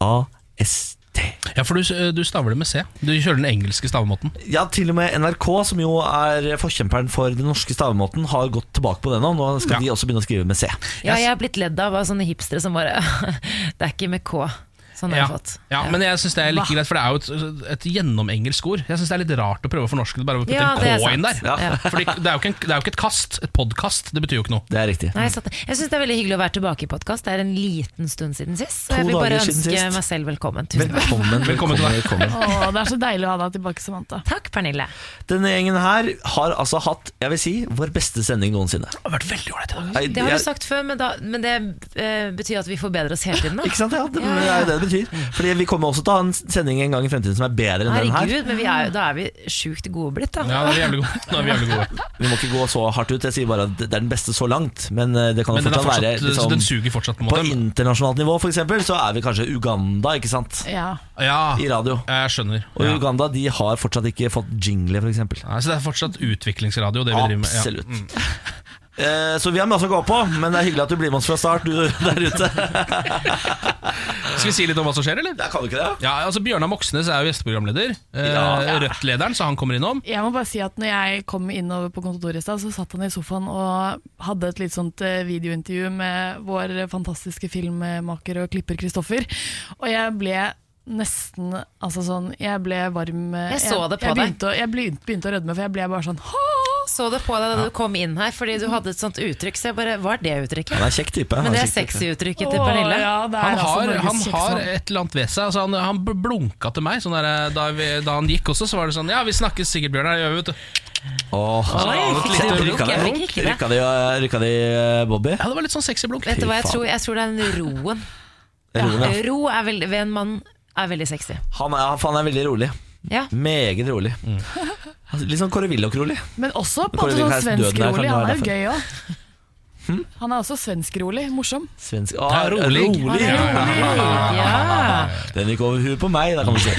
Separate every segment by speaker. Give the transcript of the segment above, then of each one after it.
Speaker 1: P-O-D-C-A-S-T.
Speaker 2: Ja, for du, eh, du staver det med C. Du kjører den engelske stavemåten.
Speaker 1: Ja, til og med NRK, som jo er forkjemperen for den norske stavemåten, har gått tilbake på det nå. Nå skal
Speaker 2: Ja.
Speaker 1: de også begynne å skrive med C.
Speaker 3: Ja, jeg er blitt ledd av av sånne hipstere som bare Det er ikke med K. Sånn har
Speaker 2: Ja,
Speaker 3: jeg fått.
Speaker 2: ja, men jeg synes det er like greit, for det er jo et, et gjennomengelsk ord. Jeg syns det er litt rart å prøve å fornorske det bare ved å putte
Speaker 3: Ja, det er
Speaker 2: en K inn
Speaker 3: sant.
Speaker 2: der.
Speaker 1: Ja.
Speaker 2: Fordi det er, jo ikke en, det er jo ikke et kast. Et podkast, det betyr jo ikke noe.
Speaker 1: Det er riktig.
Speaker 3: Nei, sant. jeg syns det er veldig hyggelig å være tilbake i podkast. Det er en liten stund siden sist.
Speaker 1: To
Speaker 3: Så jeg vil bare
Speaker 1: dager siden
Speaker 3: ønske
Speaker 1: sist.
Speaker 3: meg selv velkommen. Tusen takk.
Speaker 1: Velkommen,
Speaker 2: Velkommen
Speaker 1: velkommen,
Speaker 2: til
Speaker 1: velkommen.
Speaker 2: deg.
Speaker 4: Åh, det er så deilig å ha deg tilbake, Samantha.
Speaker 3: Takk, Pernille.
Speaker 1: Denne gjengen her har altså hatt, jeg vil si, vår beste sending noensinne.
Speaker 2: Det har vært veldig ålreit i dag.
Speaker 1: Nei,
Speaker 3: Det har
Speaker 1: jeg-
Speaker 3: du sagt før, men, da, men det eh, betyr at vi forbedrer oss hele tiden.
Speaker 1: Ikke
Speaker 3: Da.
Speaker 1: sant? Ja, det,
Speaker 3: Ja, ja.
Speaker 1: det er jo det det betyr. Fordi vi kommer også til å ha en sending en gang i fremtiden som er bedre enn den her.
Speaker 3: Herregud, men vi er, jo- da er vi sjukt gode blitt, da.
Speaker 2: Ja, nå er vi jævlig gode. Nå er vi jævlig gode.
Speaker 1: Vi må ikke gå så hardt ut, jeg sier bare at det er den beste så langt. Men eh, det kan jo
Speaker 2: Men den, er
Speaker 1: fortsatt
Speaker 2: fortsatt,
Speaker 1: være
Speaker 2: så
Speaker 1: liksom,
Speaker 2: den suger fortsatt, på en
Speaker 1: På
Speaker 2: måte.
Speaker 1: internasjonalt nivå, for eksempel, så er vi kanskje Uganda, ikke sant?
Speaker 4: Ja.
Speaker 2: Ja,
Speaker 1: I radio.
Speaker 2: jeg skjønner.
Speaker 1: Og
Speaker 2: Ja.
Speaker 1: Uganda de har fortsatt ikke fått jingle, for eksempel.
Speaker 2: Ja, så det er fortsatt utviklingsradio, det vi driver med. Ja. Mm.
Speaker 1: Absolutt. Eh, Så vi har masse å gå på, men det er hyggelig at du blir med oss fra start, du der ute.
Speaker 2: Skal vi si litt om hva som skjer, eller?
Speaker 1: Ja, Kan du ikke det?
Speaker 2: Ja, altså Bjørnar Moxnes er jo gjesteprogramleder. Eh,
Speaker 1: Ja.
Speaker 2: Rødt-lederen, så han kommer innom.
Speaker 4: Jeg må bare si at når jeg kom innover på kontoret i stad, så satt han i sofaen og hadde et litt sånt eh, videointervju med vår fantastiske filmmaker og klipper Kristoffer. Og jeg ble nesten altså sånn Jeg ble varm eh,
Speaker 3: Jeg så det på deg.
Speaker 4: jeg, jeg begynte Å, jeg begynte, begynte å rødme, for jeg ble bare sånn Hå!
Speaker 3: Så det på deg da du kom inn her, fordi du hadde et sånt uttrykk. Så jeg bare, Hva er det
Speaker 1: Han
Speaker 3: uttrykket?
Speaker 1: er kjekk type.
Speaker 3: Men det er
Speaker 1: Han kjekk type.
Speaker 3: sexy-uttrykket til
Speaker 4: Åh,
Speaker 3: Pernille.
Speaker 4: Ja, det er
Speaker 2: Han har,
Speaker 4: altså
Speaker 2: han
Speaker 4: Norges
Speaker 2: har
Speaker 4: kjekkeste mann.
Speaker 2: et eller annet ved seg. Altså, han, han bl- blunka til meg sånn der, da, vi, da han gikk også. Så var det sånn Ja, vi snakkes sikkert, Bjørnar. det gjør vi, vet du.
Speaker 1: Åh,
Speaker 2: Oi,
Speaker 1: rykka de-
Speaker 2: fikk jeg
Speaker 3: blunk? Jeg fikk ikke det.
Speaker 1: Rykka de, rykka de eh, Bobby?
Speaker 2: Ja, det var litt sånn sexy blunk.
Speaker 3: Vet du hva, jeg
Speaker 1: faen.
Speaker 3: tror, jeg tror det er den roen.
Speaker 1: Rolig, ja.
Speaker 3: Ro er veldig, ved en mann er veldig sexy.
Speaker 1: Han er, han er veldig rolig.
Speaker 3: Ja.
Speaker 1: Meget rolig.
Speaker 2: Mm.
Speaker 1: Altså, Litt sånn Kåre Willoch-rolig.
Speaker 4: Men også på en
Speaker 1: Kåre
Speaker 4: måte sånn
Speaker 1: Wilhelmsen døde der, kan
Speaker 4: svenskrolig.
Speaker 1: det være
Speaker 4: Han er jo
Speaker 1: derfor?
Speaker 4: gøy òg.
Speaker 2: Hm?
Speaker 4: Han er også svenskrolig. Morsom.
Speaker 1: Svensk.
Speaker 2: Ja,
Speaker 1: Ah,
Speaker 2: rolig.
Speaker 1: rolig.
Speaker 2: Ja, ja,
Speaker 1: Ah.
Speaker 2: ja.
Speaker 3: Ja.
Speaker 1: Den gikk over huet på meg, da kan du si.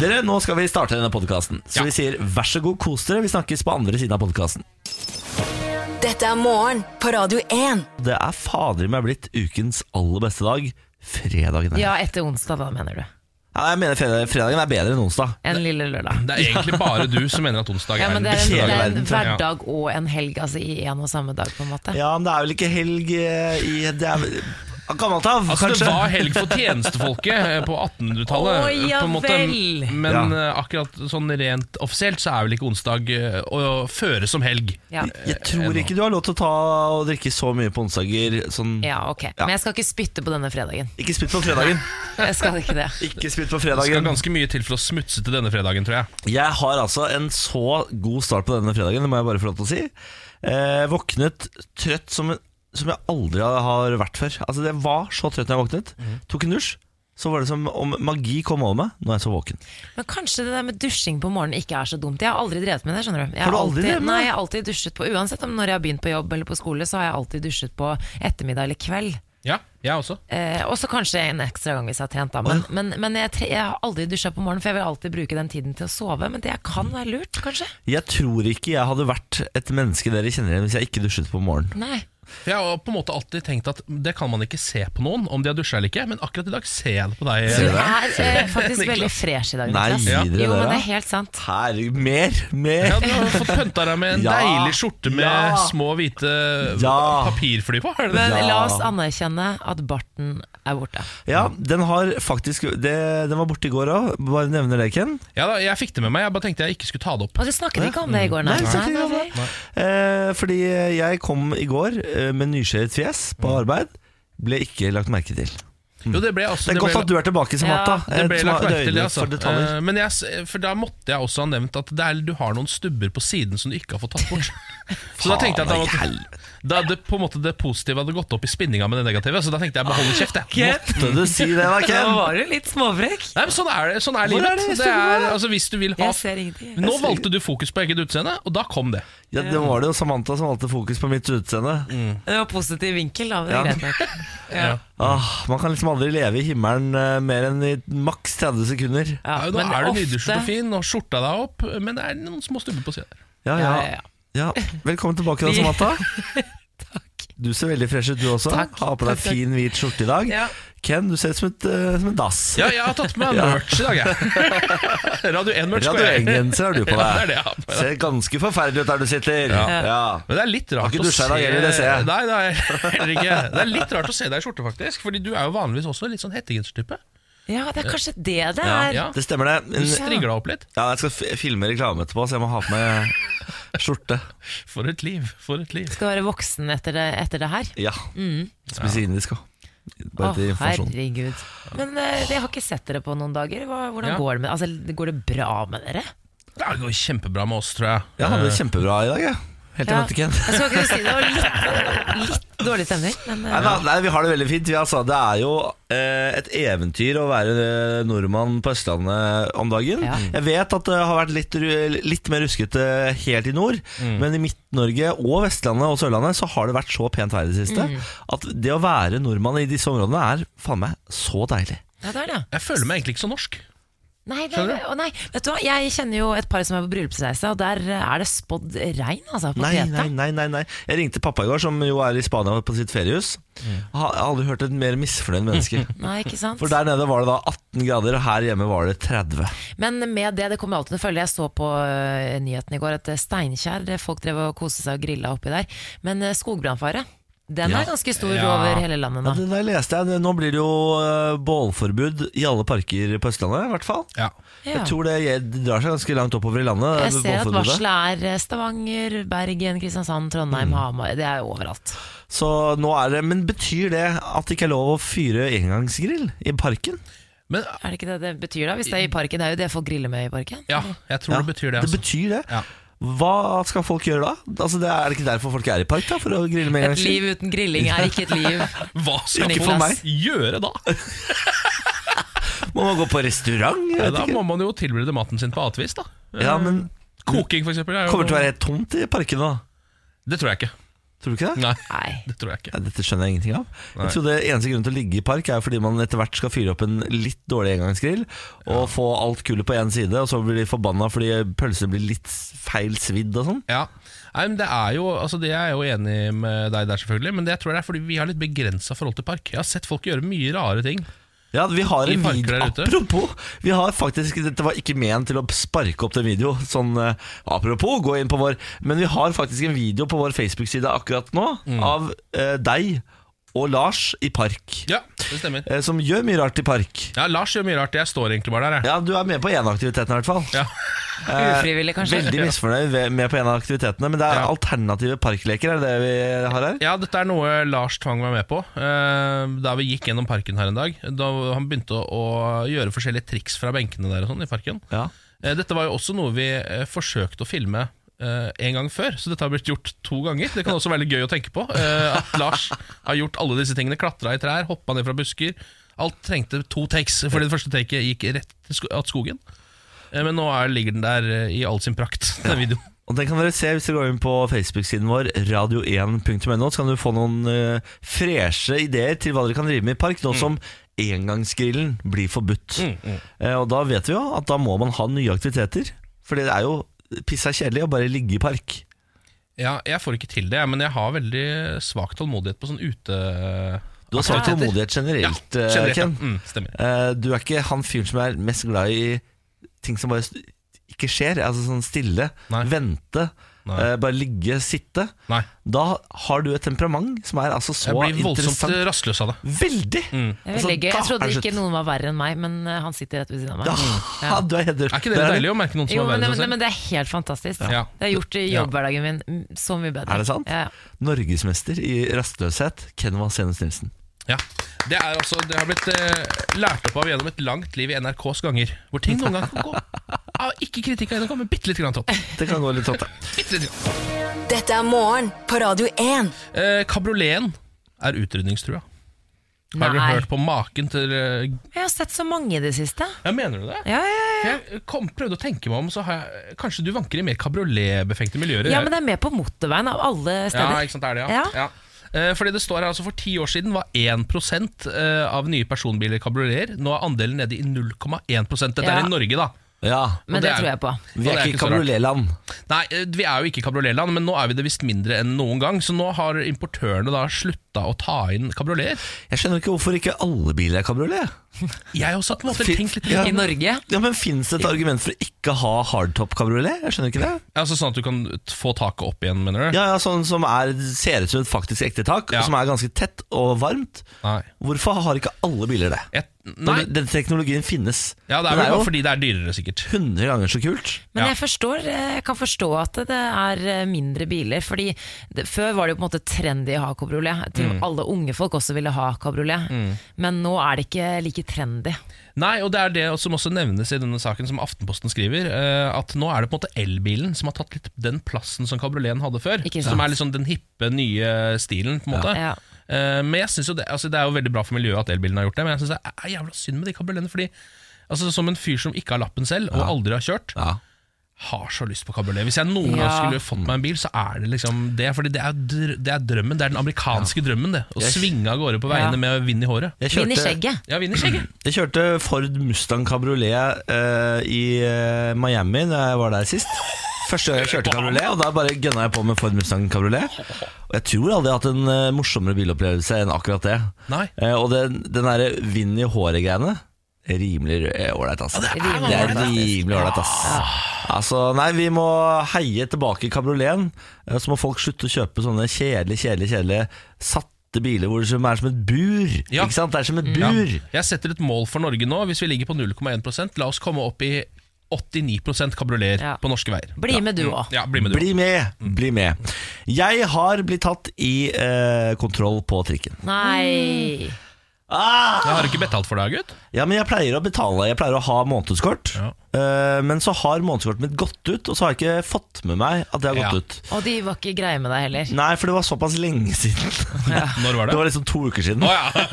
Speaker 1: Dere, nå skal vi starte denne podkasten. Så
Speaker 2: Ja.
Speaker 1: vi sier vær så god, kos dere. Vi snakkes på andre siden av podkasten.
Speaker 5: Dette er morgen på Radio 1.
Speaker 1: Det er fader meg blitt ukens aller beste dag. Fredagen er
Speaker 3: ja, etter onsdag, da, mener du.
Speaker 1: Ja, Jeg mener fredag, fredagen er bedre enn onsdag.
Speaker 3: En lille lørdag.
Speaker 2: Det er egentlig bare du som mener at onsdag
Speaker 3: Ja,
Speaker 2: er
Speaker 3: men
Speaker 2: den
Speaker 3: det er en,
Speaker 2: beste
Speaker 3: det
Speaker 1: hele
Speaker 2: dagen.
Speaker 3: er en
Speaker 1: verden,
Speaker 2: tror jeg.
Speaker 3: hverdag og en helg altså, i en og samme dag, på en måte.
Speaker 1: Ja, men det er vel ikke helg eh, i Det er vel gammelt av,
Speaker 2: Altså, det
Speaker 1: kanskje?
Speaker 2: var helg for tjenestefolket eh, på 1800-tallet.
Speaker 3: Å, ja
Speaker 2: på en måte.
Speaker 3: vel.
Speaker 2: Men
Speaker 1: Ja.
Speaker 2: eh, akkurat sånn rent offisielt så er vel ikke onsdag eh, å føre som helg.
Speaker 3: Ja.
Speaker 1: Jeg tror ikke du har lov til å ta og drikke så mye på onsdager. Sånn.
Speaker 3: ja, ok.
Speaker 1: Ja.
Speaker 3: Men jeg skal ikke spytte på denne fredagen.
Speaker 1: Ikke spytt på fredagen.
Speaker 3: Jeg skal ikke det.
Speaker 1: Ikke spytt på
Speaker 2: Det skal
Speaker 1: fredagen.
Speaker 2: ganske mye til for å smutse til denne fredagen, tror jeg.
Speaker 1: Jeg har altså en så god start på denne fredagen, det må jeg bare få lov til å si. Eh, våknet trøtt som, en- som jeg aldri har vært før. Altså Det var så trøtt når jeg våknet.
Speaker 3: Mhm.
Speaker 1: Tok en dusj. Så var det som om magi kom over meg. Nå er jeg så våken.
Speaker 3: Men kanskje det der med dusjing på morgenen ikke er så dumt. Jeg har aldri drevet med det. skjønner du jeg
Speaker 1: Har du aldri drevet med det?
Speaker 3: Nei, jeg har alltid dusjet på Uansett om når jeg har begynt på jobb eller på skole, så har jeg alltid dusjet på ettermiddag eller kveld.
Speaker 2: Ja, jeg også.
Speaker 3: Eh, også kanskje en ekstra gang hvis jeg har trent, da. Men, men, men jeg, tre, jeg har aldri dusja på morgenen, for jeg vil alltid bruke den tiden til å sove. Men det kan være lurt, kanskje?
Speaker 1: Jeg tror ikke jeg hadde vært et menneske dere kjenner igjen hvis jeg ikke dusjet på morgenen.
Speaker 3: Nei.
Speaker 2: For Jeg har på en måte alltid tenkt at det kan man ikke se på noen, om de har dusja eller ikke, men akkurat i dag ser jeg det på deg.
Speaker 3: Du
Speaker 2: eh,
Speaker 3: er eh, faktisk veldig fresh i dag,
Speaker 1: Nei,
Speaker 3: Niklas.
Speaker 1: gir dere
Speaker 3: Jo, men
Speaker 1: det,
Speaker 3: det
Speaker 1: da?
Speaker 3: er helt sant.
Speaker 1: Herregud, mer!
Speaker 2: Ja,
Speaker 1: Mer!
Speaker 2: Du har fått pønta deg med en
Speaker 1: Ja.
Speaker 2: deilig skjorte med
Speaker 1: Ja.
Speaker 2: små, hvite
Speaker 1: Ja.
Speaker 2: papirfly på. Er det det?
Speaker 3: Men
Speaker 1: Ja.
Speaker 3: la oss anerkjenne at barten er borte.
Speaker 1: Ja, den har faktisk det, Den var borte i går òg. Bare nevner det, Ken.
Speaker 2: Ja, da, jeg fikk det med meg, jeg bare tenkte jeg ikke skulle ta det opp.
Speaker 3: Og du snakket ikke om det i går, nei?
Speaker 1: Nei, vi snakket ikke om det. Eh, fordi jeg kom i går eh, med nyskjæret fjes på
Speaker 2: Mm.
Speaker 1: arbeid. Ble ikke lagt merke til.
Speaker 2: Jo, det ble også
Speaker 1: Det er godt
Speaker 2: ble,
Speaker 1: at du er tilbake, eh, Samata.
Speaker 2: det ble lagt merke til, det, altså.
Speaker 1: for detaljer.
Speaker 2: Eh, Men jeg, s- for da måtte jeg også ha nevnt at det er, du har noen stubber på siden som du ikke har fått tatt bort. Så da tenkte jeg at da,
Speaker 1: Faen, i
Speaker 2: måtte, da det, på en måte det positive hadde gått opp i spinninga med det negative, så da tenkte jeg bare hold kjeft, jeg.
Speaker 1: Måtte du si det, da,
Speaker 3: Da
Speaker 1: Ken?
Speaker 3: var du litt småfrekk.
Speaker 2: Nei, men sånn er, det, sånn er
Speaker 1: Hvor
Speaker 2: livet.
Speaker 1: er det
Speaker 2: det er, altså, hvis du vil ha
Speaker 3: Jeg ser ingenting.
Speaker 2: Nå valgte du fokus på eget utseende, og da kom det.
Speaker 1: Ja, det var det jo Samantha som valgte fokus på mitt utseende.
Speaker 2: Mm.
Speaker 3: Det var positiv vinkel, da. Men det er
Speaker 1: Ja.
Speaker 3: greit nok.
Speaker 1: Ah, man kan liksom aldri leve i himmelen eh, mer enn i maks 30 sekunder.
Speaker 3: Ja,
Speaker 2: Nei, nå
Speaker 3: men
Speaker 2: er du
Speaker 3: ofte-
Speaker 2: nydusjet og fin, og skjorta deg opp, men det er noen små stubber på sida der.
Speaker 1: Ja, ja.
Speaker 3: Ja, ja,
Speaker 1: ja. Velkommen tilbake da,
Speaker 3: Vi-
Speaker 1: Samantha.
Speaker 3: Takk.
Speaker 1: Du ser veldig fresh ut, du også.
Speaker 3: Takk.
Speaker 1: Har på deg
Speaker 3: Takk, takk.
Speaker 1: fin, hvit skjorte i dag.
Speaker 3: Ja.
Speaker 1: Ken, du ser ut som, et, eh, som en dass.
Speaker 2: Ja, jeg har tatt med meg
Speaker 1: Ja.
Speaker 2: merch i dag, jeg. Radio 1-merch.
Speaker 1: Radio 1-genser har du på
Speaker 2: Ja, det
Speaker 1: deg.
Speaker 2: er det jeg har på meg.
Speaker 1: ser ganske forferdelig ut der du sitter.
Speaker 2: Ja.
Speaker 1: Ja.
Speaker 2: Men det er litt
Speaker 1: Har
Speaker 2: rart
Speaker 1: ikke
Speaker 2: å
Speaker 1: dusja
Speaker 2: se
Speaker 1: i dag heller, det ser jeg.
Speaker 2: Nei, nei, heller ikke. Det er litt rart å se deg i skjorte, faktisk. Fordi du er jo vanligvis også litt sånn hettegensertype.
Speaker 3: Ja, det er kanskje det det
Speaker 1: Ja.
Speaker 3: er.
Speaker 2: Ja.
Speaker 1: Det stemmer, det.
Speaker 2: Du
Speaker 1: Men,
Speaker 2: strigler deg opp litt.
Speaker 1: ja, jeg skal f- filme reklame etterpå, så jeg må ha på meg skjorte.
Speaker 2: For et liv. For et liv.
Speaker 3: Skal være voksen etter det, etter det her. Mm.
Speaker 1: Ja. Spise indisk òg.
Speaker 3: Å,
Speaker 1: Bare til informasjon.
Speaker 3: herregud. Men eh, jeg har ikke sett dere på noen dager. Hva, hvordan
Speaker 2: Ja.
Speaker 3: går det med Altså, går det bra med dere?
Speaker 2: Det går kjempebra med oss, tror jeg.
Speaker 1: Jeg hadde det kjempebra i dag, jeg. Helt til
Speaker 3: Ja.
Speaker 1: jeg møtte Ken.
Speaker 3: Jeg skal ikke si det, det var litt, litt dårlig stemning, men eh,
Speaker 1: Nei, da, nei, vi har det veldig fint. Vi, altså, det er jo eh, et eventyr å være eh, nordmann på Østlandet om dagen.
Speaker 3: Ja.
Speaker 1: Jeg vet at det har vært litt, ru- litt mer ruskete helt i nord, men i Midt-Norge og Vestlandet og Sørlandet så har det vært så pent vær i det siste at det å være nordmann i disse områdene er faen meg så deilig.
Speaker 3: ja, det er det.
Speaker 2: Jeg føler meg egentlig ikke så norsk.
Speaker 3: Nei, nei,
Speaker 2: Skjønner
Speaker 3: nei,
Speaker 2: du?
Speaker 3: å nei, vet du hva? Jeg kjenner jo et par som er på bryllupsreise, og der eh, er det spådd regn, altså, på
Speaker 1: Nei,
Speaker 3: Kreta.
Speaker 1: nei, nei, nei, nei. Jeg ringte pappa i går, som jo er i Spania på sitt feriehus. Jeg har aldri hørt et mer misfornøyd menneske.
Speaker 3: Nei, ikke sant?
Speaker 1: For der nede var det da 18 grader, og her hjemme var det 30.
Speaker 3: Men med det, det kommer alltid til å følge. Jeg så på eh, nyheten i går at eh, Steinkjer, eh, folk drev og koste seg og grilla oppi der. Men eh, skogbrannfare, den
Speaker 1: Ja.
Speaker 3: er ganske stor
Speaker 2: Ja.
Speaker 3: over hele landet
Speaker 1: Ja,
Speaker 3: nå.
Speaker 1: det der leste jeg. Nå blir det jo eh, bålforbud i alle parker på Østlandet, i hvert fall.
Speaker 2: Ja.
Speaker 3: Ja.
Speaker 1: Jeg tror det, det drar seg ganske langt oppover i landet.
Speaker 3: Jeg ser at
Speaker 1: bålforbudet.
Speaker 3: varselet er eh, Stavanger, Bergen, Kristiansand, Trondheim, Hamar. Det er jo overalt.
Speaker 1: Så nå er det, Men betyr det at det ikke er lov å fyre engangsgrill i parken?
Speaker 2: Men
Speaker 3: Er det ikke det det betyr, da? Hvis det er i parken, det er jo det folk griller med i parken.
Speaker 2: ja, jeg tror det betyr det.
Speaker 1: Det
Speaker 2: Altså.
Speaker 1: betyr det.
Speaker 2: Ja.
Speaker 1: Hva skal folk gjøre da? Altså, det er det ikke derfor folk er i park, da? For å grille med
Speaker 3: Et
Speaker 1: engangsgrill?
Speaker 3: liv uten grilling er ikke et liv.
Speaker 2: Hva skal
Speaker 3: Ikke for
Speaker 2: folk gjøre da?
Speaker 1: Må man gå på restaurant? Jeg
Speaker 2: Ja,
Speaker 1: vet
Speaker 2: da
Speaker 1: ikke.
Speaker 2: må man jo tilberede maten sin på annet vis, da.
Speaker 1: Ja, men
Speaker 2: Koking, for eksempel. Er jo...
Speaker 1: Kommer det til å være helt tomt i parkene da?
Speaker 2: Det tror jeg ikke.
Speaker 1: Tror du ikke det?
Speaker 2: Nei,
Speaker 3: Nei.
Speaker 2: det tror jeg ikke.
Speaker 1: Ja, dette skjønner jeg ingenting av.
Speaker 2: Nei.
Speaker 1: Jeg tror det Eneste grunnen til å ligge i park er jo fordi man etter hvert skal fyre opp en litt dårlig engangsgrill og få alt kullet på én side, og så blir de forbanna fordi pølsene blir litt feil svidd og sånn.
Speaker 2: Ja, Nei, men det er jo altså det er jeg jo enig med deg der, selvfølgelig. Men det tror jeg det er fordi vi har litt begrensa forhold til park. Jeg har sett folk gjøre mye rare ting.
Speaker 1: Ja, vi har
Speaker 2: I
Speaker 1: en
Speaker 2: parker
Speaker 1: video
Speaker 2: der ute.
Speaker 1: Apropos, vi har faktisk Dette var ikke ment til å sparke opp den video Sånn, eh, apropos, gå inn på vår Men vi har faktisk en video på vår Facebook-side akkurat nå Av eh, deg og Lars i park
Speaker 2: Ja, det stemmer.
Speaker 1: eh, Som gjør mye rart i park
Speaker 2: Ja, Lars gjør mye rart. Jeg står egentlig bare der, jeg.
Speaker 1: Ja, du er med på en aktiviteten i hvert fall
Speaker 2: Ja.
Speaker 3: Ufrivillig, kanskje.
Speaker 1: Veldig misfornøyd ved- med på en av aktivitetene, men det er
Speaker 2: Ja.
Speaker 1: alternative parkleker, er det det vi har her?
Speaker 2: Ja, dette er noe Lars tvang meg med på eh, da vi gikk gjennom parken her en dag. Da han begynte å, å gjøre forskjellige triks fra benkene der og sånn i parken.
Speaker 1: Ja.
Speaker 2: Eh, dette var jo også noe vi eh, forsøkte å filme eh, en gang før, så dette har blitt gjort to ganger. Det kan også være litt gøy å tenke på. eh, at Lars har gjort alle disse tingene. Klatra i trær, hoppa ned fra busker. Alt trengte to takes, fordi det første taket gikk rett til sko at skogen. Eh, men nå er, ligger den der eh, i all sin prakt, den videoen.
Speaker 1: Og den kan dere se hvis dere går inn på Facebook-siden vår, radio1.no, så kan du få noen eh, freshe ideer til hva dere kan drive med i park,
Speaker 2: Mm.
Speaker 1: nå som engangsgrillen blir forbudt. Eh, og da vet vi jo at da må man ha nye aktiviteter, for det er jo pissa kjedelig å bare ligge i park.
Speaker 2: Ja, jeg får ikke til det, men jeg har veldig svak tålmodighet på sånn ute...
Speaker 1: Du har svak tålmodighet generelt,
Speaker 2: Ja,
Speaker 1: eh,
Speaker 2: generelt, ja.
Speaker 1: Ken.
Speaker 2: Mm, stemmer.
Speaker 1: Eh, du er ikke han fyren som er mest glad i ting som bare st- ikke skjer. Altså sånn stille,
Speaker 2: Nei.
Speaker 1: vente,
Speaker 2: Nei.
Speaker 1: eh, bare ligge, sitte.
Speaker 2: Nei,
Speaker 1: Da har du et temperament som er altså så
Speaker 2: jeg blir voldsomt eh, Mm.
Speaker 1: interessant.
Speaker 2: rastløs av det.
Speaker 1: Veldig!
Speaker 3: Det er veldig
Speaker 1: Altså,
Speaker 3: gøy.
Speaker 1: da
Speaker 3: Jeg trodde
Speaker 1: er det
Speaker 3: ikke
Speaker 1: slutt.
Speaker 3: noen var verre enn meg, men eh, han sitter rett ved siden av meg. Mm.
Speaker 1: Ja,
Speaker 3: Ja.
Speaker 1: du er hedder.
Speaker 2: Mm. Er ikke det litt deilig å merke noen som
Speaker 3: Jo,
Speaker 2: er
Speaker 3: men
Speaker 2: verre
Speaker 3: det,
Speaker 2: enn seg
Speaker 3: men
Speaker 2: selv?
Speaker 3: det er helt fantastisk.
Speaker 2: Ja.
Speaker 3: Det har gjort i
Speaker 2: Ja.
Speaker 3: jobbhverdagen min mm, så mye bedre.
Speaker 1: Er det sant?
Speaker 3: Ja.
Speaker 1: Norgesmester i rastløshet, Ken Vasenus Nilsen.
Speaker 2: Ja. Det, er altså, det har blitt eh, lært opp av gjennom et langt liv i NRKs ganger, hvor ting noen ganger kan gå av ikke kritikk av NRK, men bitte litt grann topp.
Speaker 1: Det kan gå litt topp, det.
Speaker 2: Bitte litt grann.
Speaker 5: Dette er morgen på Radio 1.
Speaker 2: Eh, kabrioleten er utrydningstrua. Har dere
Speaker 3: Nei.
Speaker 2: hørt på maken til eh,
Speaker 3: Jeg har sett så mange i det siste.
Speaker 2: Ja, mener du det?
Speaker 3: Ja, ja, ja.
Speaker 2: Jeg kom, prøvde å tenke meg om, så har jeg, kanskje du vanker i mer kabrioletbefengte miljøer. enn
Speaker 3: ja,
Speaker 2: jeg-
Speaker 3: men det er med på motorveien av alle
Speaker 2: Ja,
Speaker 3: steder.
Speaker 2: ikke sant, det er det, ja.
Speaker 3: Ja.
Speaker 2: ja. Eh, Fordi det står her altså For ti år siden var 1 eh, av nye personbiler kabrioleter. Nå er andelen nede i 0,1 Dette
Speaker 3: Ja.
Speaker 2: er i Norge, da.
Speaker 1: Ja.
Speaker 3: Men
Speaker 2: Og
Speaker 3: det,
Speaker 2: det er-
Speaker 3: tror jeg på.
Speaker 1: Vi
Speaker 2: Og det
Speaker 1: er
Speaker 2: er
Speaker 1: ikke i
Speaker 2: ikke så rart.
Speaker 1: kabrioletland.
Speaker 2: Nei, eh, vi er jo ikke kabrioletland, men nå er vi det visst mindre enn noen gang. Så nå har importørene da slutta å ta inn kabrioleter.
Speaker 1: Jeg skjønner ikke hvorfor ikke alle biler er kabriolet.
Speaker 2: Jeg har også på en måte
Speaker 1: Fy-
Speaker 2: tenkt litt
Speaker 1: Ja.
Speaker 3: I Norge.
Speaker 1: Ja, men Fins det et argument for ikke å ha hardtop-kabriolet? Jeg skjønner ikke det.
Speaker 2: Altså Sånn at du kan t- få taket opp igjen, mener du?
Speaker 1: Ja, ja, Sånn som er, ser ut som et faktisk ekte tak,
Speaker 2: Ja.
Speaker 1: som er ganske tett og varmt.
Speaker 2: Nei.
Speaker 1: Hvorfor har ikke alle biler det?
Speaker 2: Jeg, nei.
Speaker 1: Når Den teknologien finnes.
Speaker 2: Ja, det
Speaker 1: Den
Speaker 2: er vel
Speaker 1: jo
Speaker 2: bare fordi det er dyrere, sikkert.
Speaker 1: 100 ganger så kult.
Speaker 3: Men
Speaker 2: Ja.
Speaker 3: jeg, forstår, jeg kan forstå at det er eh, mindre biler. fordi det, Før var det jo på en måte trendy å ha kabriolet. Til og
Speaker 2: Mm.
Speaker 3: med Alle unge folk også ville ha kabriolet. Men nå er det ikke like trendy.
Speaker 2: Nei, og det er det som også nevnes i denne saken som Aftenposten skriver, eh, at nå er det på en måte elbilen som har tatt litt den plassen som kabrioleten hadde før.
Speaker 3: Ikke sant.
Speaker 2: Som er liksom den hippe, nye stilen, på en måte.
Speaker 3: Ja.
Speaker 2: Eh, Men jeg synes jo det, altså det er jo veldig bra for miljøet at elbilen har gjort det, men jeg syns det er jævla synd med de kabrioletene. Fordi altså, som en fyr som ikke har lappen selv, og aldri har kjørt,
Speaker 1: Ja.
Speaker 2: har så lyst på kabriolet. Hvis jeg noen gang
Speaker 3: Ja.
Speaker 2: skulle fått meg en bil, så er det liksom det. Fordi det er, dr- det er drømmen. Det er den amerikanske drømmen, det. Å
Speaker 1: Jeg-
Speaker 2: svinge av gårde på
Speaker 3: Ja.
Speaker 2: veiene med vind i håret.
Speaker 1: Jeg
Speaker 3: Vinn i
Speaker 1: kjørte,
Speaker 3: skjegget.
Speaker 2: Ja, vind i skjegget.
Speaker 1: jeg kjørte Ford Mustang kabriolet eh, i eh, Miami da jeg var der sist. Første gang jeg kjørte kabriolet, og da bare gønna jeg på med Ford Mustang kabriolet. Og jeg tror aldri jeg har hatt en eh, morsommere bilopplevelse enn akkurat det.
Speaker 2: Nei.
Speaker 1: Eh, og den, den derre vind i håret-greiene Rimelig rø- eh, ålreit, ass. Det
Speaker 3: er
Speaker 1: det er
Speaker 3: ålreit, faktisk.
Speaker 1: rimelig ålreit, ass. Altså, nei, vi må heie tilbake kabrioleten. eh, Så må folk slutte å kjøpe sånne kjedelige, kjedelige, kjedelige satte biler hvor det som er som et bur.
Speaker 2: Ja. Mm.
Speaker 1: Ikke sant? Det er som et
Speaker 2: Ja.
Speaker 1: bur.
Speaker 2: Jeg setter et mål for Norge nå. Hvis vi ligger på 0,1 la oss komme opp i 89 kabrioleter
Speaker 3: Ja.
Speaker 2: på norske veier.
Speaker 3: Bli med du òg.
Speaker 2: Ja, bli med du. Mm.
Speaker 1: Bli med, bli med. Jeg har blitt tatt i eh, kontroll på trikken.
Speaker 3: Nei
Speaker 2: Jeg har ikke betalt for deg, gutt.
Speaker 1: Ja, men jeg pleier å betale. Jeg pleier å ha månedskort.
Speaker 2: Ja.
Speaker 1: Eh, men så har månedskortet mitt gått ut, og så har jeg ikke fått med meg at det har gått
Speaker 2: Ja.
Speaker 1: ut.
Speaker 3: Og de var ikke greie med deg heller.
Speaker 1: Nei, for det var såpass lenge siden.
Speaker 2: Når var
Speaker 1: Det
Speaker 2: det?
Speaker 1: var liksom to uker siden.
Speaker 2: Å, ja.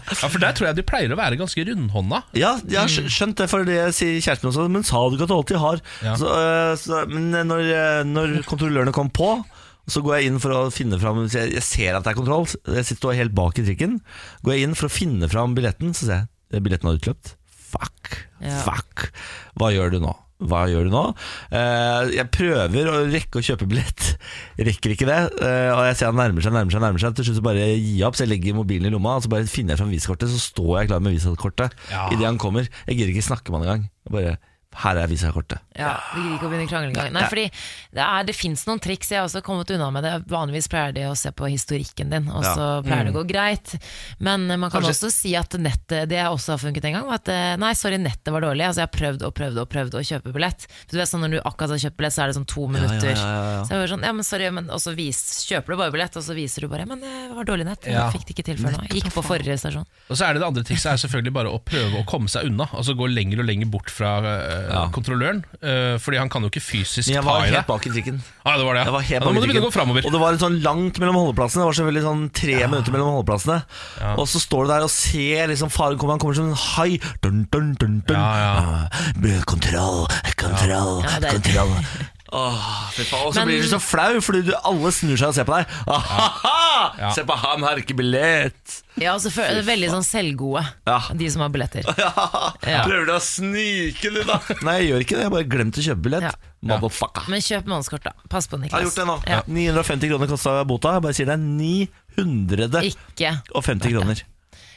Speaker 2: ja, For der tror jeg de pleier å være ganske rundhånda.
Speaker 1: Ja, jeg har skj- skjønt det, for det sier kjæresten min også. Men sa du ikke at du alltid har?
Speaker 2: Ja.
Speaker 1: Så, øh, så, men når, øh, når kontrollørene kom på, så går jeg inn for å finne fram så Jeg jeg ser at det er kontroll, så jeg sitter helt bak i trikken. Går jeg inn for å finne fram billetten, så ser jeg eh, billetten har utløpt. Fuck.
Speaker 3: Ja.
Speaker 1: Fuck. Hva gjør du nå? Hva gjør du nå? Eh, jeg prøver å rekke å kjøpe billett. Rekker ikke det. eh, og jeg ser han nærmer seg, nærmer seg, nærmer seg. Til slutt så bare gir jeg opp, så jeg legger mobilen i lomma og så bare finner jeg fram viskortet. Så står jeg klar med visakortet
Speaker 2: Ja.
Speaker 1: idet han kommer. Jeg gidder ikke snakke med han engang. Jeg Bare her er visakortet.
Speaker 3: Ja, Vi gidder ikke å begynne krangling engang. Nei, fordi det, er, det fins noen triks. Jeg har også kommet unna med det. Vanligvis pleier de å se på historikken din, og så
Speaker 1: Mm.
Speaker 3: pleier det å gå greit. Men eh, man kan også si at nettet Det jeg også har funket en gang, var at eh, nei, sorry, nettet var dårlig. Altså, jeg har prøvd og prøvd og prøvd å kjøpe billett. For du vet sånn Når du akkurat har kjøpt billett, så er det sånn to minutter.
Speaker 1: ja, ja, ja.
Speaker 3: Så jeg var sånn, ja, men sorry, men, Og så vis, kjøper du bare billett, og så viser du bare Men eh, det var dårlig nett.
Speaker 2: Ja.
Speaker 3: Jeg fikk det ikke til før nå. Jeg Gikk på forrige stasjon.
Speaker 2: Og så er det det andre trikset er selvfølgelig bare å prøve å komme seg unna. Altså gå lenger og lenger bort fra øh,
Speaker 1: Ja.
Speaker 2: kontrolløren. øh, fordi han kan jo ikke fysisk
Speaker 1: Men jeg
Speaker 2: ta
Speaker 1: var
Speaker 2: i
Speaker 1: helt
Speaker 2: deg.
Speaker 1: bak i trikken.
Speaker 2: Ja, det var det.
Speaker 1: Jeg var
Speaker 2: ja,
Speaker 1: helt
Speaker 2: da må
Speaker 1: bak
Speaker 2: du
Speaker 1: i trikken.
Speaker 2: begynne å gå framover.
Speaker 1: Og det var en sånn langt mellom holdeplassene. Det var selvfølgelig sånn tre minutter mellom holdeplassene. Og så står du der og ser liksom faren komme. Han kommer som en hai. Dun, dun, dun, dun.
Speaker 2: Ja, ja.
Speaker 1: Ah, Kontroll, kontroll,
Speaker 3: Ja, det er-
Speaker 1: kontroll. Åh, fy faen. Og så
Speaker 3: Men-
Speaker 1: blir du så flau, fordi du, alle snur seg og ser på deg. Ahaha!
Speaker 2: Ja.
Speaker 1: Se på han, har ikke billett!
Speaker 3: Ja, og så føl- Veldig sånn selvgode,
Speaker 1: Ja.
Speaker 3: de som har billetter. Ja.
Speaker 1: Prøver du å snike, du, da? Nei, jeg gjør ikke det. Jeg bare glemte å kjøpe billett.
Speaker 3: Ja.
Speaker 1: Motherfucker.
Speaker 3: Men kjøp månedskort, da. Pass på, Niklas.
Speaker 1: Jeg har gjort det nå.
Speaker 3: Ja.
Speaker 1: 950 kroner kosta bota. Jeg bare sier det er 950
Speaker 3: Ikke.
Speaker 1: kroner.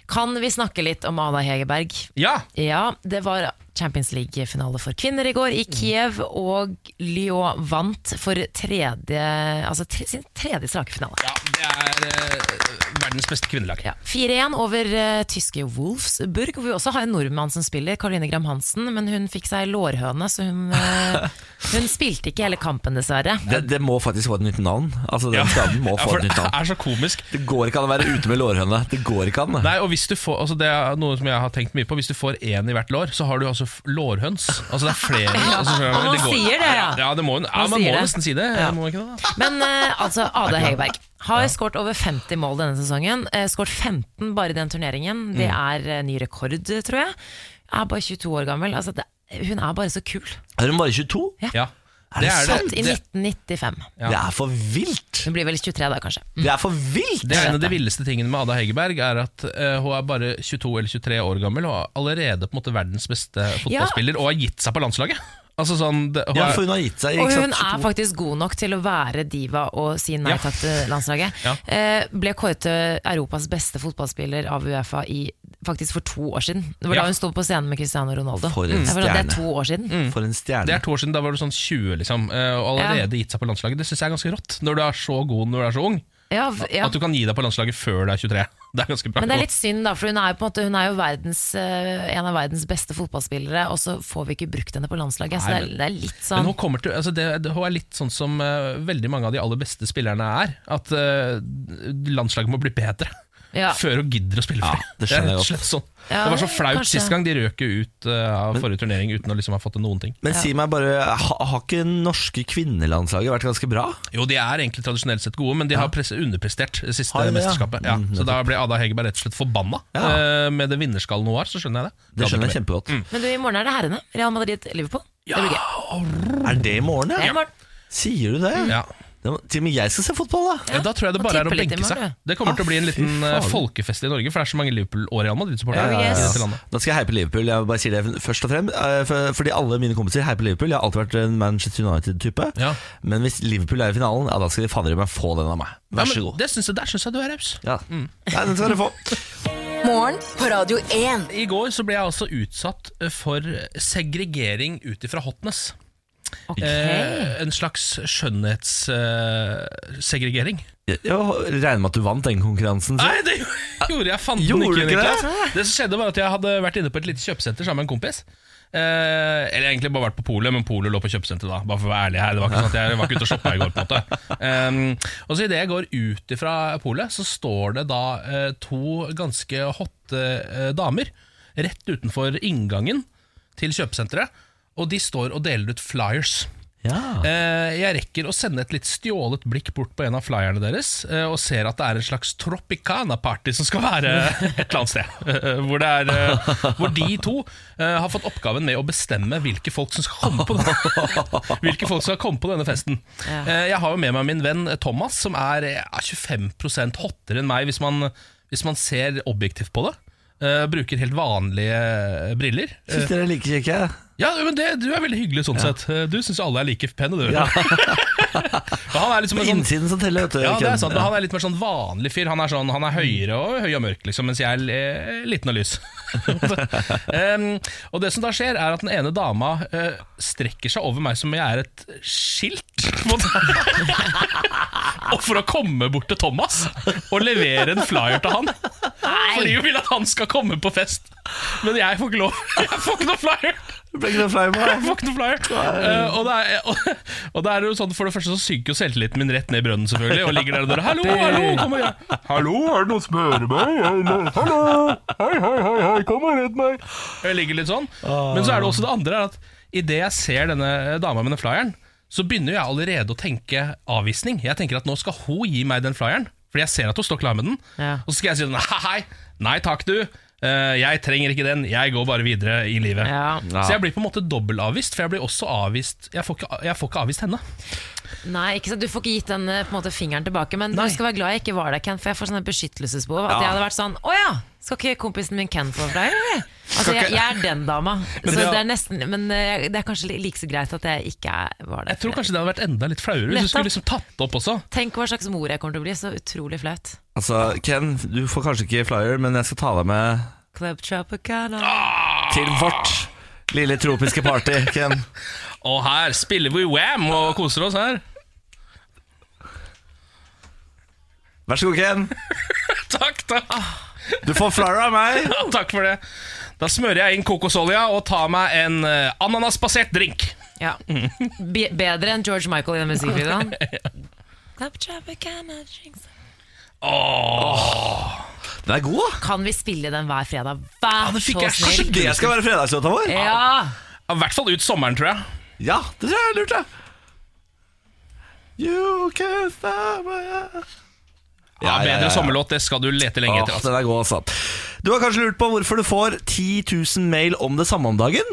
Speaker 3: Kan vi snakke litt om Ada Hegerberg?
Speaker 2: Ja,
Speaker 3: Ja, det var Champions League-finale for kvinner i går i Kiev, og Lyon vant for tredje, altså tre, sin tredje strake finale.
Speaker 2: ja, det er øh, verdens beste kvinnelag.
Speaker 3: Ja. 4-1 over eh, tyske Wolfsburg, hvor vi også har en nordmann som spiller, Caroline Gram Hansen, men hun fikk seg lårhøne, så hun, eh, hun spilte ikke hele kampen, dessverre.
Speaker 1: Det, det må faktisk få et nytt navn. Altså, den skaden må
Speaker 2: Ja,
Speaker 1: få
Speaker 2: for
Speaker 1: et
Speaker 2: det
Speaker 1: nytt navn.
Speaker 2: er så komisk.
Speaker 1: Det går ikke an å være ute med lårhøne. Det går ikke an.
Speaker 2: Nei, og hvis du får, altså Det er noe som jeg har tenkt mye på. Hvis du får én i hvert lår, så har du altså f- lårhøns. Altså Det er flere. Altså, skjønner du,
Speaker 3: Og man
Speaker 2: går-
Speaker 3: sier det, ja.
Speaker 2: Ja, det må, hun- ja
Speaker 3: Man
Speaker 2: man
Speaker 3: sier
Speaker 2: må
Speaker 3: det.
Speaker 2: nesten si det.
Speaker 3: Ja.
Speaker 2: Må man ikke det da?
Speaker 3: Men eh, altså, Ada Hegerberg har skåret over 50 mål denne sesongen. Eh, skåret 15 bare i den turneringen. Det
Speaker 1: Mm.
Speaker 3: er eh, ny rekord, tror jeg. Er bare 22 år gammel. Altså, det, hun er bare så kul.
Speaker 1: Er hun bare 22?
Speaker 2: Ja.
Speaker 1: Er det,
Speaker 2: Det er det.
Speaker 1: sant?
Speaker 3: I 1995.
Speaker 2: Ja.
Speaker 1: Det er for vilt!
Speaker 3: Hun blir vel 23 da, kanskje. Mm.
Speaker 1: Det er for vilt!
Speaker 2: Det er en av de villeste tingene med Ada Hegerberg, er at eh, hun er bare 22 eller 23 år gammel og er allerede på en måte verdens beste fotballspiller og har gitt seg på landslaget. Altså sånn, det, hun
Speaker 1: Ja,
Speaker 2: er,
Speaker 1: for hun har gitt seg.
Speaker 3: Og
Speaker 1: Ikke
Speaker 3: hun
Speaker 1: sant?
Speaker 3: er faktisk god nok til å være diva og si nei
Speaker 2: Ja.
Speaker 3: takk til landslaget.
Speaker 2: Ja.
Speaker 3: Eh, ble kåret til Europas beste fotballspiller av Uefa i, faktisk for to år siden. Det var
Speaker 2: Ja.
Speaker 3: da hun sto på scenen med Cristiano Ronaldo.
Speaker 1: For en
Speaker 3: Jeg var sånn, det
Speaker 1: stjerne. Mm.
Speaker 3: er to år siden.
Speaker 1: For en
Speaker 2: det
Speaker 1: stjerne.
Speaker 2: er to år siden, da var du sånn 20 liksom, eh, og allerede gitt seg på landslaget. Det syns jeg er ganske rått, når du er så god når du er så ung.
Speaker 3: Ja, v- ja.
Speaker 2: At du kan gi deg på landslaget før du er 23. Det er ganske bra.
Speaker 3: Men det er litt synd, da, for hun er jo, på en, måte, hun er jo verdens, eh, en av verdens beste fotballspillere, og så får vi ikke brukt henne på landslaget. så
Speaker 2: Nei,
Speaker 3: det,
Speaker 2: men-
Speaker 3: er, det er litt
Speaker 2: Men
Speaker 3: sånn
Speaker 2: hun, kommer til, altså det, det- hun er litt sånn som eh, veldig mange av de aller beste spillerne er. At eh, landslaget må bli bedre
Speaker 3: Ja.
Speaker 2: før hun gidder å spille
Speaker 1: Ja,
Speaker 2: for
Speaker 1: det skjønner jeg
Speaker 2: rett og
Speaker 1: godt.
Speaker 2: slett sånn.
Speaker 3: Ja,
Speaker 2: det var så flaut
Speaker 3: kanskje.
Speaker 2: sist gang. De røk jo ut eh, av forrige turnering uten å liksom ha fått til noen ting.
Speaker 1: Men si meg bare, ha, har ikke norske kvinnelandslaget vært ganske bra?
Speaker 2: Jo, de er egentlig tradisjonelt sett gode, men de har presse, underprestert det siste
Speaker 1: Har de det, ja?
Speaker 2: mesterskapet. Ja.
Speaker 1: Mm,
Speaker 2: så da ble Ada Hegerberg rett og slett forbanna
Speaker 1: Ja.
Speaker 2: eh, med det vinnerskallen hun var. Så skjønner jeg det.
Speaker 1: Det
Speaker 2: Gadd ikke
Speaker 1: skjønner jeg
Speaker 2: mer.
Speaker 1: kjempegodt.
Speaker 3: Men du, i morgen er det herrene. Real Madrid-Liverpool. Det blir gøy.
Speaker 1: Er det i morgen,
Speaker 3: Det er i
Speaker 1: ja?
Speaker 3: morgen.
Speaker 1: Sier du det?
Speaker 2: Ja.
Speaker 1: Det må- Til og med jeg skal se fotball, da!
Speaker 2: Ja, da tror jeg det
Speaker 3: og
Speaker 2: bare er å
Speaker 3: tippe litt i
Speaker 2: benke seg.
Speaker 3: morgen,
Speaker 2: Det kommer
Speaker 1: Ah,
Speaker 2: til å bli en
Speaker 1: fy
Speaker 2: liten eh,
Speaker 1: faen.
Speaker 2: folkefest i Norge, for det er så mange Liverpool- og Real Madrid-supportere
Speaker 3: Ja, ja, ja.
Speaker 2: i dette landet.
Speaker 1: Da skal jeg heie på Liverpool. Jeg bare sier det først og frem eh, for- Fordi alle mine kompiser heier på Liverpool. Jeg har alltid vært en Manchester United-type.
Speaker 2: Ja.
Speaker 1: Men hvis Liverpool er i finalen, ja, da skal de fader i meg få den av meg.
Speaker 2: Ja,
Speaker 1: Vær så
Speaker 2: men Mm.
Speaker 1: god.
Speaker 2: det synes jeg, der syns jeg du er raus.
Speaker 1: Ja. Nei, den skal dere få.
Speaker 5: Morgen på Radio 1.
Speaker 2: I går så ble jeg altså utsatt for segregering ut ifra hotness.
Speaker 3: Ok.
Speaker 2: Eh, en slags skjønnhetssegregering. Eh, segregering.
Speaker 1: Jeg jeg regner med at du vant den konkurransen. så-
Speaker 2: Nei, det gjorde jeg fanden
Speaker 1: Gjorde
Speaker 2: ikke.
Speaker 1: du ikke det?
Speaker 2: Niklas. Det som skjedde var at Jeg hadde vært inne på et lite kjøpesenter sammen med en kompis. Eh, eller egentlig bare vært på polet, men polet lå på kjøpesenteret da. Bare for å være ærlig her, det var ikke sånn at Jeg var ikke ute og shoppa i går. på en måte Em, Og så Idet jeg går ut fra polet, så står det da eh, to ganske hotte eh, damer rett utenfor inngangen til kjøpesenteret, og de står og deler ut flyers.
Speaker 1: Ja.
Speaker 2: Eh, Jeg rekker å sende et litt stjålet blikk bort på en av flyerne deres, eh, og ser at det er en slags Tropicana-party som skal være et eller annet sted. Eh, Hvor, det er, eh, hvor de to eh, har fått oppgaven med å bestemme hvilke folk som skal komme på denne, hvilke folk som skal komme på denne festen.
Speaker 3: Ja.
Speaker 2: Eh, Jeg har jo med meg min venn eh, Thomas, som er eh, 25 hottere enn meg, hvis man, hvis man ser objektivt på det. Eh, bruker helt vanlige eh, briller. Eh,
Speaker 1: Syns dere er like kjekke?
Speaker 2: ja, men det, Du er veldig hyggelig sånn sett. Du syns alle er like pene, du. Og han er liksom
Speaker 1: På
Speaker 2: en sånn
Speaker 1: innsiden som teller, vet du.
Speaker 2: ja, det er
Speaker 1: Ken.
Speaker 2: sant, men Han er litt mer sånn vanlig fyr. Han er, sånn, han er høyere og høy og mørk, liksom, mens jeg er eh, liten og lys. um, og Det som da skjer, er at den ene dama eh, strekker seg over meg som om jeg er et skilt. på en måte. og for å komme bort til Thomas og levere en flyer til han. Fordi hun vil at han skal komme på fest. Men jeg får ikke lov. Jeg får ikke noe flyer.
Speaker 1: Det Ble ikke noe flau på
Speaker 2: Jeg
Speaker 1: deg?
Speaker 2: får ikke noe flyer. Eh, og, det er, og, og det er jo sånn, For det første så synker jo selvtilliten min rett ned i brønnen, selvfølgelig. Og ligger der og dør. Hallo, hallo, kom og gjør Hallo, er det noen som hører meg? Hallo, hei, hei, hei, hei, kom og redd meg. Jeg ligger litt sånn. Men så er det også det andre, er at idet jeg ser denne dama med den flyeren, så begynner jeg allerede å tenke avvisning. Jeg tenker at nå skal hun gi meg den flyeren, fordi jeg ser at hun står klar med den.
Speaker 3: Ja.
Speaker 2: Og så skal jeg si sånn hei, hei, nei takk, du. Eh, jeg trenger ikke den, jeg går bare videre i livet.
Speaker 3: Ja.
Speaker 2: Så jeg blir på en måte dobbeltavvist, for jeg blir også avvist Jeg får ikke, jeg får ikke avvist henne.
Speaker 3: Nei, ikke sant? Du får ikke gitt den eh, på en måte, fingeren tilbake, men
Speaker 2: Nei.
Speaker 3: du skal være glad jeg ikke var der, Ken, for jeg får sånne beskyttelsesbehov. At
Speaker 1: Ja.
Speaker 3: jeg hadde vært sånn Å ja! Skal ikke kompisen min Ken få flyer, eller? Altså, jeg, jeg er den dama.
Speaker 2: Men
Speaker 3: så
Speaker 2: det er-
Speaker 3: det er nesten, men eh, det er kanskje li- like så greit at jeg ikke er- var der.
Speaker 2: Jeg tror
Speaker 3: for det.
Speaker 2: kanskje det hadde vært enda litt flauere hvis du
Speaker 3: Nettopp.
Speaker 2: skulle liksom tatt det opp også.
Speaker 3: Tenk hva slags mor jeg kommer til å bli. Så utrolig flaut.
Speaker 1: Altså, Ken, du får kanskje ikke flyer, men jeg skal ta deg med
Speaker 3: Club Tropicana.
Speaker 2: Ah!
Speaker 1: til vårt lille tropiske party, Ken.
Speaker 2: Og her spiller vi Wam og koser oss her.
Speaker 1: Vær så god, Ken.
Speaker 2: Takk, takk.
Speaker 1: Du får flyer av meg.
Speaker 2: Takk for det. Da smører jeg inn kokosolja og tar meg en eh, ananasbasert drink.
Speaker 3: Ja. Be bedre enn George Michael i den musikkvideoen. Club Tropicana drinks.
Speaker 1: Den er god, da.
Speaker 3: Kan vi spille den hver fredag? Vær
Speaker 2: Ah, det fikk
Speaker 3: så
Speaker 2: jeg
Speaker 1: Kanskje
Speaker 3: snill!
Speaker 1: det skal være fredagslåta vår?
Speaker 3: Ja!
Speaker 2: I hvert fall ut sommeren, tror jeg.
Speaker 1: Ja, det tror jeg er lurt, det. You can stop me.
Speaker 2: Ja,
Speaker 1: Ja, ja, ja,
Speaker 2: Bedre
Speaker 1: ja.
Speaker 2: sommerlåt, det skal du lete lenge etter.
Speaker 1: Åh,
Speaker 2: Altså.
Speaker 1: den er god, altså. Du har kanskje lurt på hvorfor du får 10 000 mail om det samme om dagen?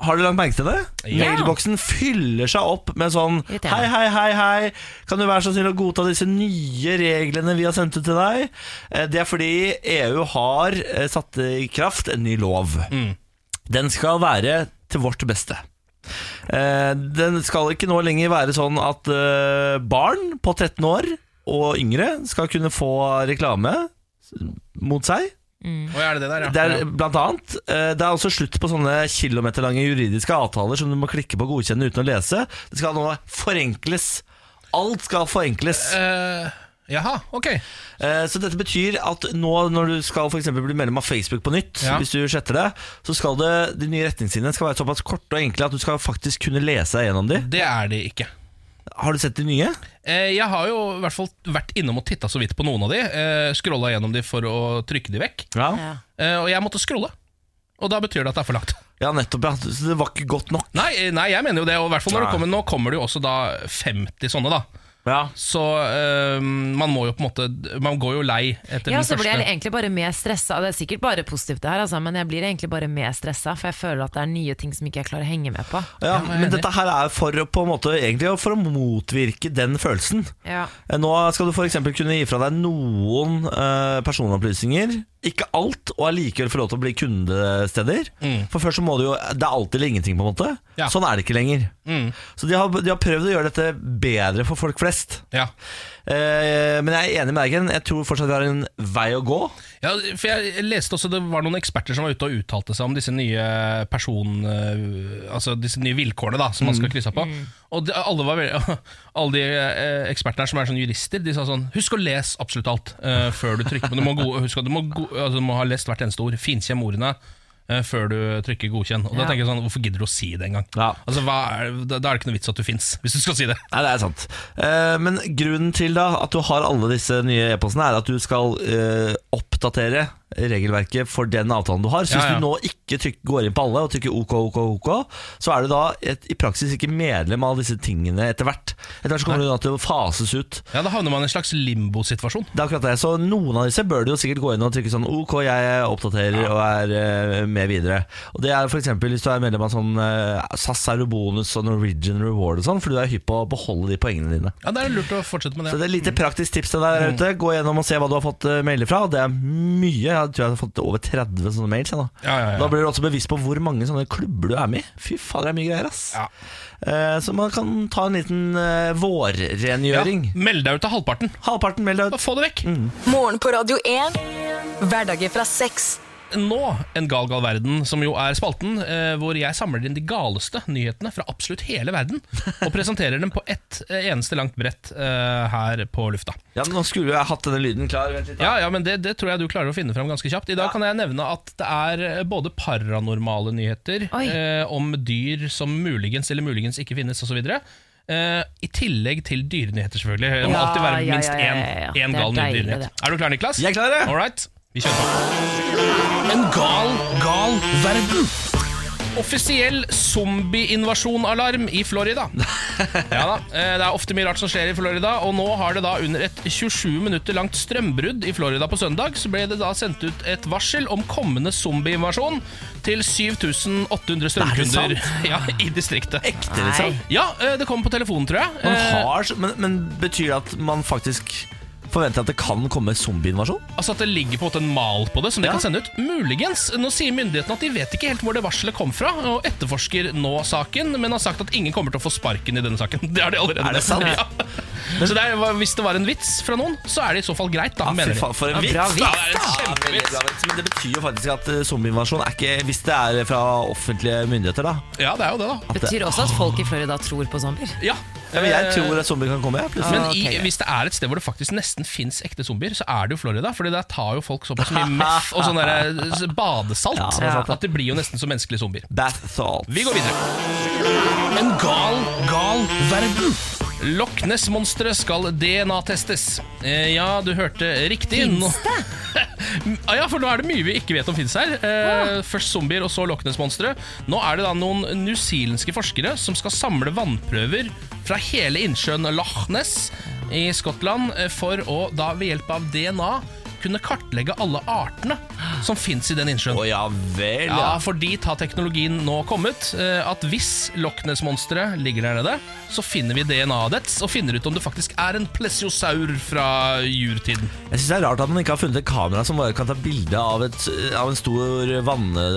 Speaker 1: Har dere lagt merke til det?
Speaker 2: Ja.
Speaker 1: Mailboksen fyller seg opp med sånn
Speaker 3: Irriterende.
Speaker 1: Hei, hei, hei, hei. Kan du være så snill å godta disse nye reglene vi har sendt ut til deg? Eh, Det er fordi EU har eh, satt i kraft en ny lov. Den skal være til vårt beste. Eh, Den skal ikke nå lenger være sånn at eh, barn på 13 år og yngre skal kunne få reklame mot seg.
Speaker 2: Å, er det det der, ja?
Speaker 1: Det er, blant annet, eh, det er også slutt på sånne kilometerlange juridiske avtaler som du må klikke på og godkjenne uten å lese. Det skal nå forenkles. Alt skal forenkles.
Speaker 2: Eh, Jaha, ok.
Speaker 1: Eh, Så dette betyr at nå når du skal for eksempel bli medlem av Facebook på nytt,
Speaker 2: Ja.
Speaker 1: hvis du sletter det, så skal det, de nye retningslinjene skal være såpass korte og enkle at du skal faktisk kunne lese deg gjennom de.
Speaker 2: Det er det ikke.
Speaker 1: Har du sett de nye?
Speaker 2: Eh, Jeg har jo i hvert fall vært innom og titta så vidt på noen av de. eh, Scrolla gjennom de for å trykke de vekk.
Speaker 1: Ja.
Speaker 3: Ja.
Speaker 2: Eh, Og jeg måtte scrolle. Og da betyr det at det er for langt.
Speaker 1: Ja, nettopp. Ja. Så det var ikke godt nok.
Speaker 2: Nei, eh, nei jeg mener jo det. Og i hvert fall når det
Speaker 1: Nei.
Speaker 2: kommer, Nå kommer det jo også da 50 sånne, da.
Speaker 1: Ja.
Speaker 2: Så eh, man må jo på en måte Man går jo lei etter
Speaker 3: Ja,
Speaker 2: den
Speaker 3: så blir jeg
Speaker 2: første.
Speaker 3: egentlig bare mer stressa. Det er sikkert bare positivt, det her, altså, men jeg blir egentlig bare mer stressa, for jeg føler at det er nye ting som ikke jeg klarer å henge med på.
Speaker 1: ja,
Speaker 2: jeg er
Speaker 1: Men
Speaker 2: enig.
Speaker 1: dette her er for, å på en måte, egentlig for å motvirke den følelsen.
Speaker 3: Ja.
Speaker 1: Eh, Nå skal du f.eks. kunne gi fra deg noen eh, personopplysninger. Ikke alt, og allikevel få lov til å bli kundesteder. For først så må du jo Det er alltid eller ingenting, på en måte.
Speaker 2: Ja.
Speaker 1: Sånn er det ikke lenger.
Speaker 2: Mm.
Speaker 1: Så de har, de har prøvd å gjøre dette bedre for folk flest.
Speaker 2: Ja.
Speaker 1: Eh, men jeg er enig med deg, Ken. Jeg tror fortsatt vi har en vei å gå.
Speaker 2: Ja, for jeg leste også det var noen eksperter som var ute og uttalte seg om disse nye person... øh, Altså disse nye vilkårene da, som man skal krysse av på. Og de, alle, var veldig, alle de eh, ekspertene her som er sånn jurister, de sa sånn Husk å lese absolutt alt eh, før du trykker på. Du må, go husk at du, må go altså, du må ha lest hvert eneste ord. Finkjem ordene. eh, Før du trykker 'godkjenn'. Og da
Speaker 3: Ja.
Speaker 2: tenker jeg sånn, Hvorfor gidder du å si det engang?
Speaker 1: Ja.
Speaker 2: Altså, hva er, da, da er det ikke noe vits at du fins, hvis du skal si det.
Speaker 1: Nei, det er sant. Eh, men grunnen til da at du har alle disse nye e-postene, er at du skal eh, oppdatere regelverket for den avtalen du har. Så hvis
Speaker 2: Ja, ja.
Speaker 1: du nå ikke trykk, går inn på alle og trykker OK, OK, OK, så er du da et, i praksis ikke medlem av disse tingene etter hvert. Etter hvert så kommer du da til å fases ut.
Speaker 2: Ja, Da havner man i en slags limbosituasjon.
Speaker 1: Det er akkurat det. Så noen av disse bør du jo sikkert gå inn og trykke sånn OK, jeg oppdaterer og er eh, med videre. Og Det er f.eks. hvis du er medlem av sånn eh, SAS Aerobonus og Norwegian Reward og sånn, for du er hypp på å beholde de poengene dine.
Speaker 2: Ja, Mm. Det er lurt å fortsette med det.
Speaker 1: Så det er et lite praktisk tips til deg der ute. Gå gjennom og se hva du har fått eh, melder fra. Det er mye. Jeg tror jeg har fått over 30 sånne mails. Jeg, nå.
Speaker 2: Ja, ja, ja.
Speaker 1: Da blir du også bevisst på hvor mange sånne klubber du er med i. Fy faen, det er mye greier, ass.
Speaker 2: Ja.
Speaker 1: Eh, Så man kan ta en liten eh, vårrengjøring.
Speaker 2: Ja, meld deg ut av halvparten.
Speaker 1: Halvparten meld deg
Speaker 2: Bare
Speaker 1: ut.
Speaker 2: få det vekk.
Speaker 5: Morgen på Radio 1. Hverdager fra seks.
Speaker 2: Nå En gal gal verden, som jo er spalten eh, hvor jeg samler inn de galeste nyhetene fra absolutt hele verden, og presenterer dem på ett eh, eneste langt brett eh, her på lufta.
Speaker 1: Ja, men nå skulle jeg hatt denne lyden klar. Vent litt. da.
Speaker 2: Ja, ja, men det, det tror jeg du klarer å finne fram ganske kjapt. I dag kan jeg nevne at det er eh, både paranormale nyheter
Speaker 3: Oi.
Speaker 2: eh, om dyr som muligens eller muligens ikke finnes, osv. Eh, I tillegg til dyrenyheter, selvfølgelig. Det må
Speaker 3: Ja,
Speaker 2: alltid være
Speaker 3: ja,
Speaker 2: minst
Speaker 3: ja,
Speaker 2: én
Speaker 3: ja, ja, ja.
Speaker 2: én
Speaker 3: Det er
Speaker 2: gal ny
Speaker 3: deilig,
Speaker 2: dyrenyhet.
Speaker 3: det.
Speaker 2: Er du klar, Niklas?
Speaker 1: Jeg er klar, jeg.
Speaker 2: All right, vi kjører på. En gal, gal verden. Offisiell zombieinvasjonalarm i Florida. Ja da, eh, Det er ofte mye rart som skjer i Florida, og nå har det da under et 27 minutter langt strømbrudd i Florida på søndag, så ble det da sendt ut et varsel om kommende zombieinvasjon til 7800 strømkunder ja, i distriktet.
Speaker 1: Ekte, liksom.
Speaker 2: Ja, eh, det kom på telefonen, tror jeg.
Speaker 1: Man
Speaker 2: Eh,
Speaker 1: har, så- men, men betyr det at man faktisk forventer at det kan komme zombieinvasjon?
Speaker 2: Altså at det ligger på en måte en mal på det som de
Speaker 1: Ja.
Speaker 2: kan sende ut. Muligens. Nå sier myndighetene at de vet ikke helt hvor det varselet kom fra, og etterforsker nå saken, men har sagt at ingen kommer til å få sparken i denne saken. Det har de allerede
Speaker 1: Er det sant?
Speaker 2: Ja. Så det er, hvis det var en vits fra noen, så er det i så fall greit,
Speaker 1: Ja,
Speaker 2: da,
Speaker 1: fy
Speaker 2: mener de.
Speaker 1: faen, for en
Speaker 3: Ja,
Speaker 1: vits!
Speaker 3: bra
Speaker 1: da.
Speaker 2: Ja, det er en
Speaker 1: Ja, veldig
Speaker 2: kjempevits.
Speaker 1: bra vits. Men det betyr jo faktisk at eh, zombieinvasjon er ikke Hvis det er fra offentlige myndigheter, da.
Speaker 2: Ja, det er jo det, da.
Speaker 3: Betyr også at folk i Florida tror på zombier.
Speaker 2: Ja.
Speaker 1: Ja, men jeg tror at zombier kan komme, jeg. Plutselig.
Speaker 2: Men
Speaker 3: Ah,
Speaker 2: i,
Speaker 3: ok, ja.
Speaker 2: hvis det er et sted hvor det faktisk nesten fins ekte zombier, så er det jo Florida. Fordi der tar jo folk såpass mye meff og sånn derre s- badesalt
Speaker 1: Ja, det er sant, da.
Speaker 2: at de blir jo nesten som menneskelige zombier.
Speaker 1: Bath salt.
Speaker 2: Vi går videre. En gal, gal verden. Loch Ness-monsteret skal DNA-testes. Eh, ja, du hørte riktig. Fins det? ja, for nå er det mye vi ikke vet om fins her. Eh, Først zombier, og så Loch Ness-monsteret. Nå er det da noen newzealandske forskere som skal samle vannprøver fra hele innsjøen Loch Ness i Skottland eh, for å da ved hjelp av DNA kunne kartlegge alle artene som fins i den innsjøen.
Speaker 1: Å ja vel, ja.
Speaker 2: Ja, for dit har teknologien nå kommet. eh, At hvis Loch Ness-monsteret ligger der nede, så finner vi DNA-et dets og finner ut om det faktisk er en plesiosaur fra jurtiden.
Speaker 1: Jeg synes det er rart at man ikke har funnet et kamera som bare kan ta bilde av, et- av en stor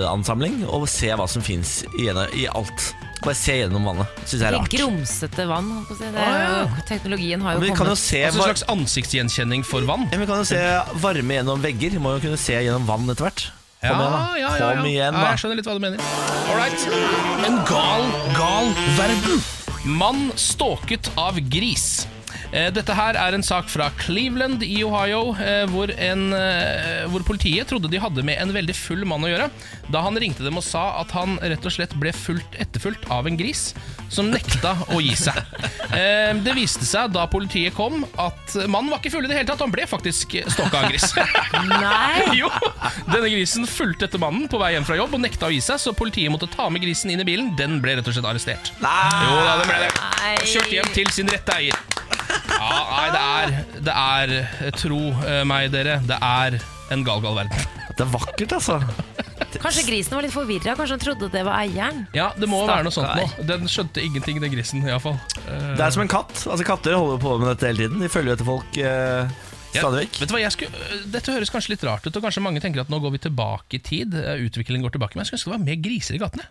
Speaker 1: vannansamling og se hva som fins i, gjennom- i alt. Bare se gjennom vannet. Synes jeg er
Speaker 3: Det
Speaker 1: rart.
Speaker 3: grumsete vann. holdt på å si. Det er
Speaker 1: Å,
Speaker 3: jo, teknologien
Speaker 1: Men
Speaker 3: har jo
Speaker 1: vi kan jo
Speaker 3: kommet.
Speaker 1: se
Speaker 2: Altså En
Speaker 1: var-
Speaker 2: slags ansiktsgjenkjenning for vann.
Speaker 1: ja, men vi kan jo se varme gjennom vegger. Må jo kunne se gjennom vann etter hvert. Kom igjen, da. Kom igjen,
Speaker 2: Ja,
Speaker 1: da.
Speaker 2: jeg skjønner litt hva du mener. All right. En gal, gal verden. Mann stalket av gris. Eh, Dette her er en sak fra Cleveland i Ohio, eh, hvor, en, eh, hvor politiet trodde de hadde med en veldig full mann å gjøre, da han ringte dem og sa at han rett og slett ble fulgt etterfulgt av en gris som nekta å gi seg. Eh, Det viste seg da politiet kom at mannen var ikke full i det hele tatt, han ble faktisk stalka av en gris.
Speaker 3: Nei!
Speaker 2: Jo, denne grisen fulgte etter mannen på vei hjem fra jobb og nekta å gi seg, så politiet måtte ta med grisen inn i bilen. Den ble rett og slett arrestert.
Speaker 1: Nei.
Speaker 2: Jo da, den ble det.
Speaker 3: Nei.
Speaker 2: Og kjørt hjem til sin rette eier. Ja, nei, det er, det er Tro eh, meg, dere, det er en gal, gal verden.
Speaker 1: Det er vakkert, altså.
Speaker 3: Kanskje grisen var litt forvirra. Kanskje han trodde det var eieren.
Speaker 2: Ja, det må være noe sånt nå.
Speaker 3: Stakkar.
Speaker 2: Den skjønte ingenting, den grisen, iallfall.
Speaker 1: Det er som en katt. Altså Katter holder jo på med dette hele tiden. De følger jo etter folk eh, stadig vekk.
Speaker 2: Vet du hva, jeg skulle, øh, Dette høres kanskje litt rart ut, og kanskje mange tenker at nå går vi tilbake i tid. øh, Utviklingen går tilbake, men jeg skulle ønske det var mer griser i gatene.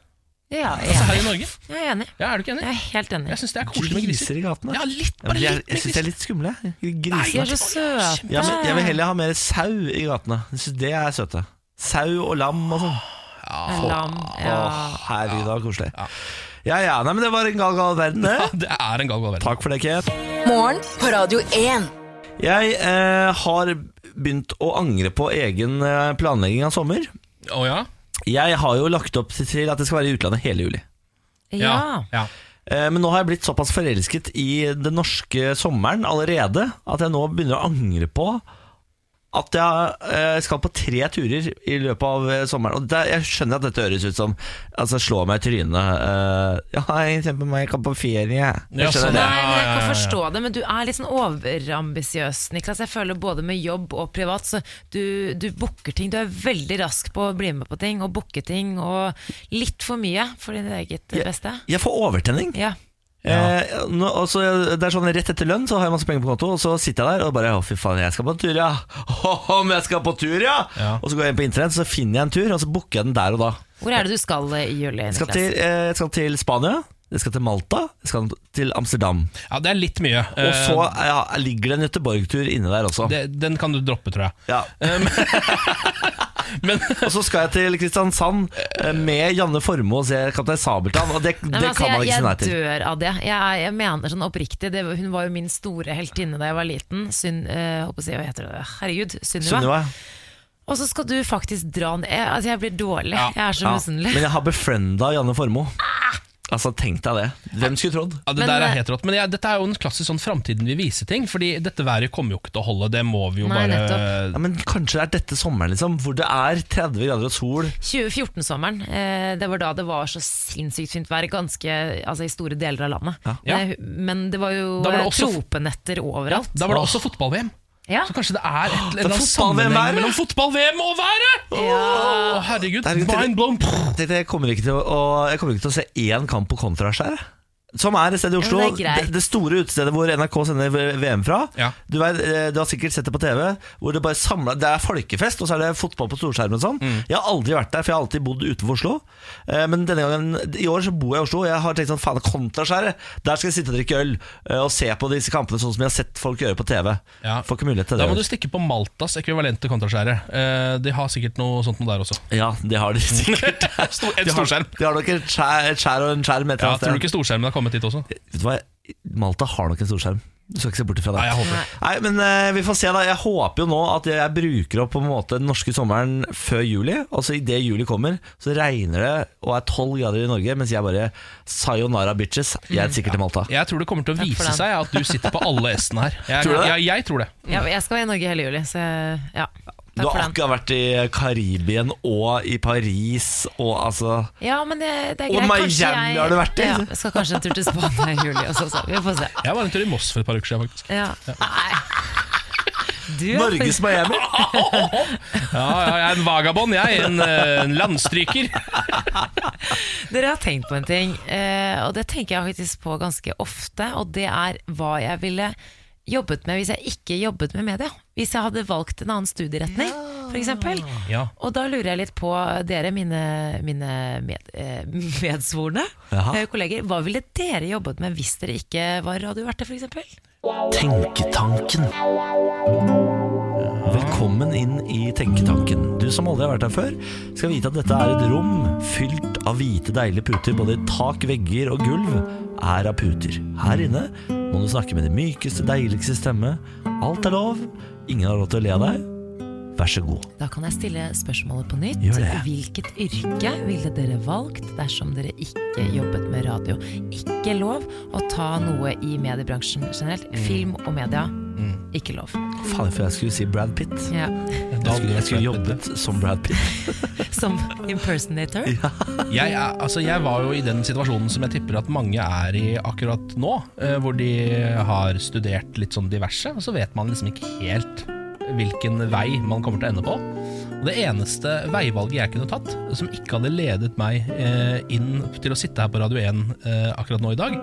Speaker 3: Ja, jeg
Speaker 2: Altså
Speaker 3: er
Speaker 2: her i
Speaker 3: enig.
Speaker 2: Norge.
Speaker 3: Jeg er enig.
Speaker 2: Ja, Er du ikke
Speaker 3: Jeg
Speaker 2: enig?
Speaker 3: er helt enig.
Speaker 2: Jeg syns det er koselig med griser.
Speaker 1: Griser i gatene.
Speaker 2: Ja, litt,
Speaker 1: Ja, men
Speaker 2: bare
Speaker 1: de er-
Speaker 2: litt.
Speaker 1: jeg syns de er litt skumle. jeg. Grisene.
Speaker 3: De er så søte.
Speaker 1: Ja, men
Speaker 3: Ah.
Speaker 1: jeg vil heller ha mer sau i gatene. Jeg synes det er søte. Sau og lam og sånn.
Speaker 3: En Lam. Ja.
Speaker 1: Åh, herregud, det var koselig. Ja ja, nei, men det var en gal, gal verden,
Speaker 2: Ja,
Speaker 1: det.
Speaker 2: det er en gal, gal verden.
Speaker 1: Takk for det, Kate.
Speaker 5: Morgen på Radio 1.
Speaker 1: Jeg eh, har begynt å angre på egen eh, planlegging av sommer.
Speaker 2: Å ja?
Speaker 1: Jeg har jo lagt opp til at det skal være i utlandet hele juli.
Speaker 3: ja.
Speaker 2: ja.
Speaker 1: Eh, Men nå har jeg blitt såpass forelsket i den norske sommeren allerede at jeg nå begynner å angre på at jeg eh, skal på tre turer i løpet av eh, sommeren. Og det, jeg skjønner at dette høres ut som altså, slå meg i trynet. eh, ja, jeg ser på meg, jeg kan på ferie.
Speaker 2: Ja,
Speaker 1: Jeg
Speaker 2: sånn,
Speaker 1: skjønner det.
Speaker 3: Nei, men jeg
Speaker 2: Ja, ja, ja,
Speaker 3: kan
Speaker 2: ja.
Speaker 3: forstå det, men du er litt sånn overambisiøs, Niklas. Jeg føler både med jobb og privat, så du, du booker ting. Du er veldig rask på å bli med på ting og booke ting, og litt for mye for ditt eget beste.
Speaker 1: Jeg får overtenning.
Speaker 3: Ja.
Speaker 1: Eh, nå, og så, det er sånn Rett etter lønn så har jeg masse penger på konto, og så sitter jeg der og bare Å, fy faen, jeg skal på en tur, ja! Om jeg skal på tur, ja!
Speaker 2: Ja.
Speaker 1: Og så går jeg inn på internett, så finner jeg en tur, og så booker jeg den der og da.
Speaker 3: Hvor er det du skal eh, i juli,
Speaker 1: Jeg skal
Speaker 3: Niklas?
Speaker 1: til, eh, jeg skal til Spania, jeg skal til Malta, jeg skal til Amsterdam.
Speaker 2: ja, det er litt mye.
Speaker 1: Og
Speaker 2: Eh,
Speaker 1: så ja, ligger det en Göteborg-tur inne der også.
Speaker 2: det, Den kan du droppe, tror jeg.
Speaker 1: Ja.
Speaker 2: Men
Speaker 1: Og så skal jeg til Kristiansand eh, med Janne Formoe og se Kaptein Sabeltann, og det, det
Speaker 3: Nei, men altså,
Speaker 1: kan man ikke si nei
Speaker 3: jeg,
Speaker 1: til.
Speaker 3: jeg dør av det. Jeg, er- jeg mener sånn oppriktig. Det, hun var jo min store heltinne da jeg var liten. Syn, eh, håper å si, hva heter det? Herregud, Sunniva.
Speaker 1: Sunniva.
Speaker 3: Og så skal du faktisk dra ned. Jeg, altså, jeg blir dårlig.
Speaker 2: Ja.
Speaker 3: Jeg er så
Speaker 1: Ja.
Speaker 3: misunnelig. Ah!
Speaker 1: Men jeg har befrienda Janne Formoe. Altså, tenk deg det. Hvem skulle trodd?
Speaker 2: ja, det
Speaker 3: Men,
Speaker 2: der
Speaker 3: eh,
Speaker 2: er helt rått. Men ja, dette er jo en klassisk sånn framtiden vil vise ting. Fordi dette været kommer jo ikke til å holde. Det må vi jo
Speaker 3: Nei,
Speaker 2: bare
Speaker 1: Ja, men kanskje det er dette sommeren, liksom, hvor det er 30 grader og sol.
Speaker 3: 2014-sommeren, eh, det var da det var så sinnssykt fint vær ganske, altså, i store deler av landet.
Speaker 2: Ja.
Speaker 3: Eh, men det var jo
Speaker 2: Da var det
Speaker 3: eh,
Speaker 2: også-
Speaker 3: tropenetter overalt.
Speaker 2: Da var det også fotball-VM.
Speaker 3: Ja.
Speaker 2: Så kanskje det er et eller annet
Speaker 1: fotball-VM
Speaker 2: sammenheng
Speaker 1: været?
Speaker 2: mellom fotball-VM og været! Å, herregud,
Speaker 1: Herregud, det-
Speaker 2: mind blown!
Speaker 1: Tenkte Jeg kommer ikke til å, jeg kommer ikke til å se én kamp på Kontraskjæret. Som er et sted i Oslo.
Speaker 3: Ja, men det
Speaker 1: det,
Speaker 3: er greit.
Speaker 1: det, store utestedet hvor NRK sender V- VM fra.
Speaker 2: Ja.
Speaker 1: Du, vet, eh, du har sikkert sett det på TV. Hvor Det bare samler, det er folkefest, og så er det fotball på storskjermen. og Sånn.
Speaker 2: Mm.
Speaker 1: Jeg har aldri vært der, for jeg har alltid bodd utenfor Oslo. Eh, Men denne gangen, i år så bor jeg i Oslo, og jeg har tenkt sånn faen, Kontraskjæret! Der skal jeg sitte og drikke øl eh, og se på disse kampene sånn som jeg har sett folk gjøre på TV.
Speaker 2: Ja.
Speaker 1: Får ikke mulighet til
Speaker 2: Da
Speaker 1: det.
Speaker 2: må du stikke på Maltas ekvivalent til kontraskjæret. Eh, de har sikkert noe sånt noe der også.
Speaker 1: Ja, det har de sikkert.
Speaker 2: Stor,
Speaker 1: De
Speaker 2: en
Speaker 1: har,
Speaker 2: storskjerm.
Speaker 1: de har nok et skjær, et skjær og en skjerm et
Speaker 2: Ja,
Speaker 1: eller annet
Speaker 2: tror du ikke storskjermen har kommet hit også?
Speaker 1: Vet du hva, Malta har nok en storskjerm. Du skal ikke se bort ifra det.
Speaker 2: Nei, jeg håper det.
Speaker 1: Nei, men eh, vi får se da Jeg håper jo nå at jeg bruker opp på en måte den norske sommeren før juli. Og så idet juli kommer, så regner det og er tolv grader i Norge, mens jeg bare Sayonara bitches. Jeg er sikkert til Malta.
Speaker 2: Jeg tror det kommer til å
Speaker 3: Takk for
Speaker 2: vise
Speaker 3: den.
Speaker 2: seg at du sitter på alle S-ene her. Jeg,
Speaker 1: Tror du det?
Speaker 2: Jeg, jeg tror det.
Speaker 3: Ja, jeg skal i Norge hele juli, så ja.
Speaker 1: Du
Speaker 3: Takk
Speaker 1: har
Speaker 3: for den.
Speaker 1: akkurat vært i Karibien og i Paris og altså
Speaker 3: Ja, men det, det er
Speaker 1: Og
Speaker 3: greit. Kanskje
Speaker 1: Miami
Speaker 3: jeg-
Speaker 1: har du vært i?
Speaker 3: Ja, jeg skal kanskje en tur til Spania i juli også, så vi får se.
Speaker 2: Jeg var en tur i Moss for et par uker siden, faktisk.
Speaker 3: Ja. Nei. Du-
Speaker 1: Norges Miami.
Speaker 2: Ja, ja, jeg er en vagabond, jeg. En, eh, en landstryker.
Speaker 3: Dere har tenkt på en ting, eh, og det tenker jeg faktisk på ganske ofte. Og det er hva jeg ville jobbet med hvis jeg ikke jobbet med media. Hvis jeg hadde valgt en annen studieretning, for f.eks.
Speaker 2: Ja.
Speaker 3: Og da lurer jeg litt på dere, mine, mine med, eh, medsvorne
Speaker 1: Jaha.
Speaker 3: eh, kolleger. Hva ville dere jobbet med hvis dere ikke var radioverter, f.eks.?
Speaker 1: Tenketanken. Velkommen inn i Tenketanken. Du som aldri har vært her før, skal vite at dette er et rom fylt av hvite, deilige puter. Både tak, vegger og gulv er av puter. Her inne må du snakke med den mykeste, deiligste stemme. Alt er lov. Ingen har lov til å le av deg. Vær så god.
Speaker 3: Da kan jeg stille spørsmålet på nytt.
Speaker 1: Gjør det.
Speaker 3: Hvilket yrke ville dere valgt dersom dere ikke jobbet med radio? Ikke lov å ta noe i mediebransjen generelt.
Speaker 1: Mm.
Speaker 3: Film og media, ikke lov.
Speaker 1: Faen, for jeg skulle si Brad Pitt.
Speaker 3: Ja.
Speaker 1: Jeg skulle, jeg skulle jobbet som Brad Pitt.
Speaker 3: Som impersonator.
Speaker 2: Jeg, er, altså, jeg var jo i den situasjonen som jeg tipper at mange er i akkurat nå, eh, hvor de har studert litt sånn diverse, og så vet man liksom ikke helt hvilken vei man kommer til å ende på. Og det eneste veivalget jeg kunne tatt, som ikke hadde ledet meg eh, inn til å sitte her på Radio 1 eh, akkurat nå i dag,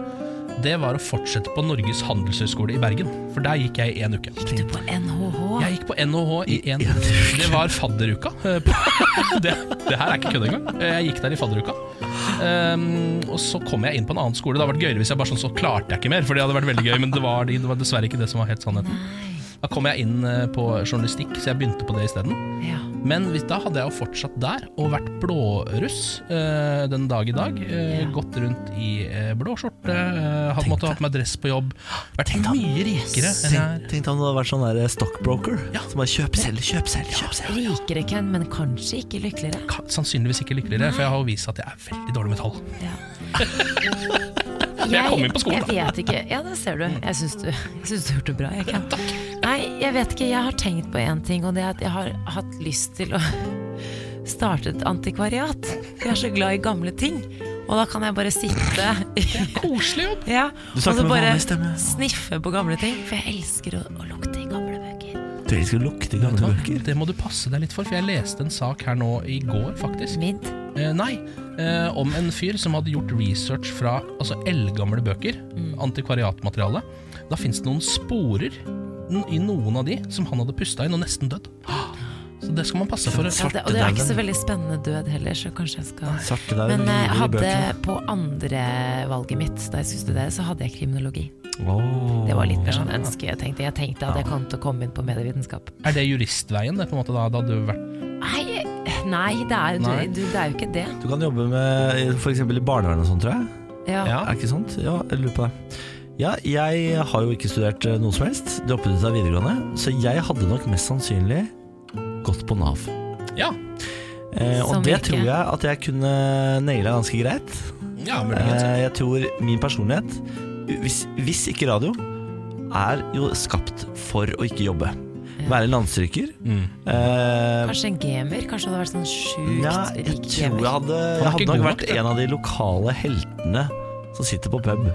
Speaker 2: det var å fortsette på Norges handelshøyskole i Bergen. For der gikk jeg i en uke.
Speaker 3: Gikk du på NHH?
Speaker 2: Jeg gikk på NHH i én
Speaker 1: en uke.
Speaker 2: Det var fadderuka. eh, på- Det, det her er ikke kødd engang. Eh, Jeg gikk der i fadderuka. Ehm, og så kom jeg inn på en annen skole. Det hadde vært gøyere hvis jeg bare sånn, så klarte jeg ikke mer. For det hadde vært veldig gøy, men det var, det var dessverre ikke det som var helt sannheten. Da kom jeg inn eh, på journalistikk, så jeg begynte på det isteden.
Speaker 3: Ja.
Speaker 2: Men hvis- da hadde jeg jo fortsatt der og vært blåruss eh, den dag i dag. Eh,
Speaker 3: Ja.
Speaker 2: Gått rundt i eh, blå skjorte, eh, hadde måttet ha på meg dress på jobb. Vært mye rikere enn jeg er.
Speaker 1: Tenk, tenk deg om du hadde vært sånn der stockbroker
Speaker 2: Ja.
Speaker 1: som bare kjøp, selg, kjøp, selg. Kjøp, selg.
Speaker 3: Rikere, Ken, men kanskje ikke lykkeligere.
Speaker 2: Ka- Sannsynligvis ikke lykkeligere, for jeg har jo vist at jeg er veldig dårlig med tall. Jeg kom inn på skolen,
Speaker 3: Jeg vet ikke. Ja, det ser du. Jeg syns du, jeg syns du hørte bra. Jeg kan. Nei, jeg vet ikke. Jeg har tenkt på én ting, og det er at jeg har hatt lyst til å starte et antikvariat. Jeg er så glad i gamle ting. Og da kan jeg bare sitte
Speaker 2: Koselig jobb!
Speaker 3: ja,
Speaker 1: Du
Speaker 3: og
Speaker 1: snakker
Speaker 3: så
Speaker 1: med
Speaker 3: bare
Speaker 1: vanlig stemme.
Speaker 3: sniffe på gamle ting. For jeg elsker å, å lukte i gamle bøker.
Speaker 1: Du elsker å lukte gamle bøker.
Speaker 2: Det må du passe deg litt for, for jeg leste en sak her nå i går, faktisk.
Speaker 3: Midd.
Speaker 2: Eh, nei, eh, om en fyr som hadde gjort research fra altså, eldgamle bøker, antikvariatmateriale. Da fins det noen sporer n- i noen av de som han hadde pusta inn og nesten dødd. Så det skal man passe for.
Speaker 3: Ja, det, og det er ikke så veldig spennende død heller, så kanskje jeg skal
Speaker 1: Svartedauden
Speaker 3: Men jeg
Speaker 1: hviler i
Speaker 3: hadde
Speaker 1: bøkene.
Speaker 3: på andre valget mitt da jeg skulle studere, så hadde jeg kriminologi.
Speaker 1: Åh.
Speaker 3: Det var litt mer sånn ønske jeg tenkte. Jeg tenkte at jeg kom til å komme inn på medievitenskap.
Speaker 2: Er det juristveien, det, på en måte? Da, da hadde du vært
Speaker 3: Nei, nei, det, er, jo-
Speaker 2: Nei.
Speaker 3: Du, det er jo ikke det.
Speaker 1: Du kan jobbe med f.eks. i barnevernet og sånt, tror jeg.
Speaker 3: Ja.
Speaker 2: Ja.
Speaker 1: Er det ikke sant? Ja, jeg lurer på det. Ja, jeg har jo ikke studert eh, noe som helst. Droppet ut av videregående. Så jeg hadde nok mest sannsynlig gått på Nav.
Speaker 2: Ja,
Speaker 1: Eh, og
Speaker 3: Som
Speaker 1: det
Speaker 3: hvilke?
Speaker 1: tror jeg at jeg kunne naila ganske greit.
Speaker 2: ja muligens.
Speaker 1: Eh, jeg tror min personlighet, hvis, hvis ikke radio, er jo skapt for å ikke jobbe. Være landstryker.
Speaker 2: Mm.
Speaker 1: Eh,
Speaker 3: Kanskje en gamer? Kanskje det hadde vært sånn sjukt
Speaker 1: ja, jeg
Speaker 3: rik
Speaker 1: tror
Speaker 3: gamer?
Speaker 1: jeg hadde,
Speaker 2: er
Speaker 1: jeg
Speaker 2: ikke
Speaker 1: hadde nok
Speaker 2: god
Speaker 1: vært
Speaker 2: nok, det.
Speaker 1: en av de lokale heltene som sitter på pub.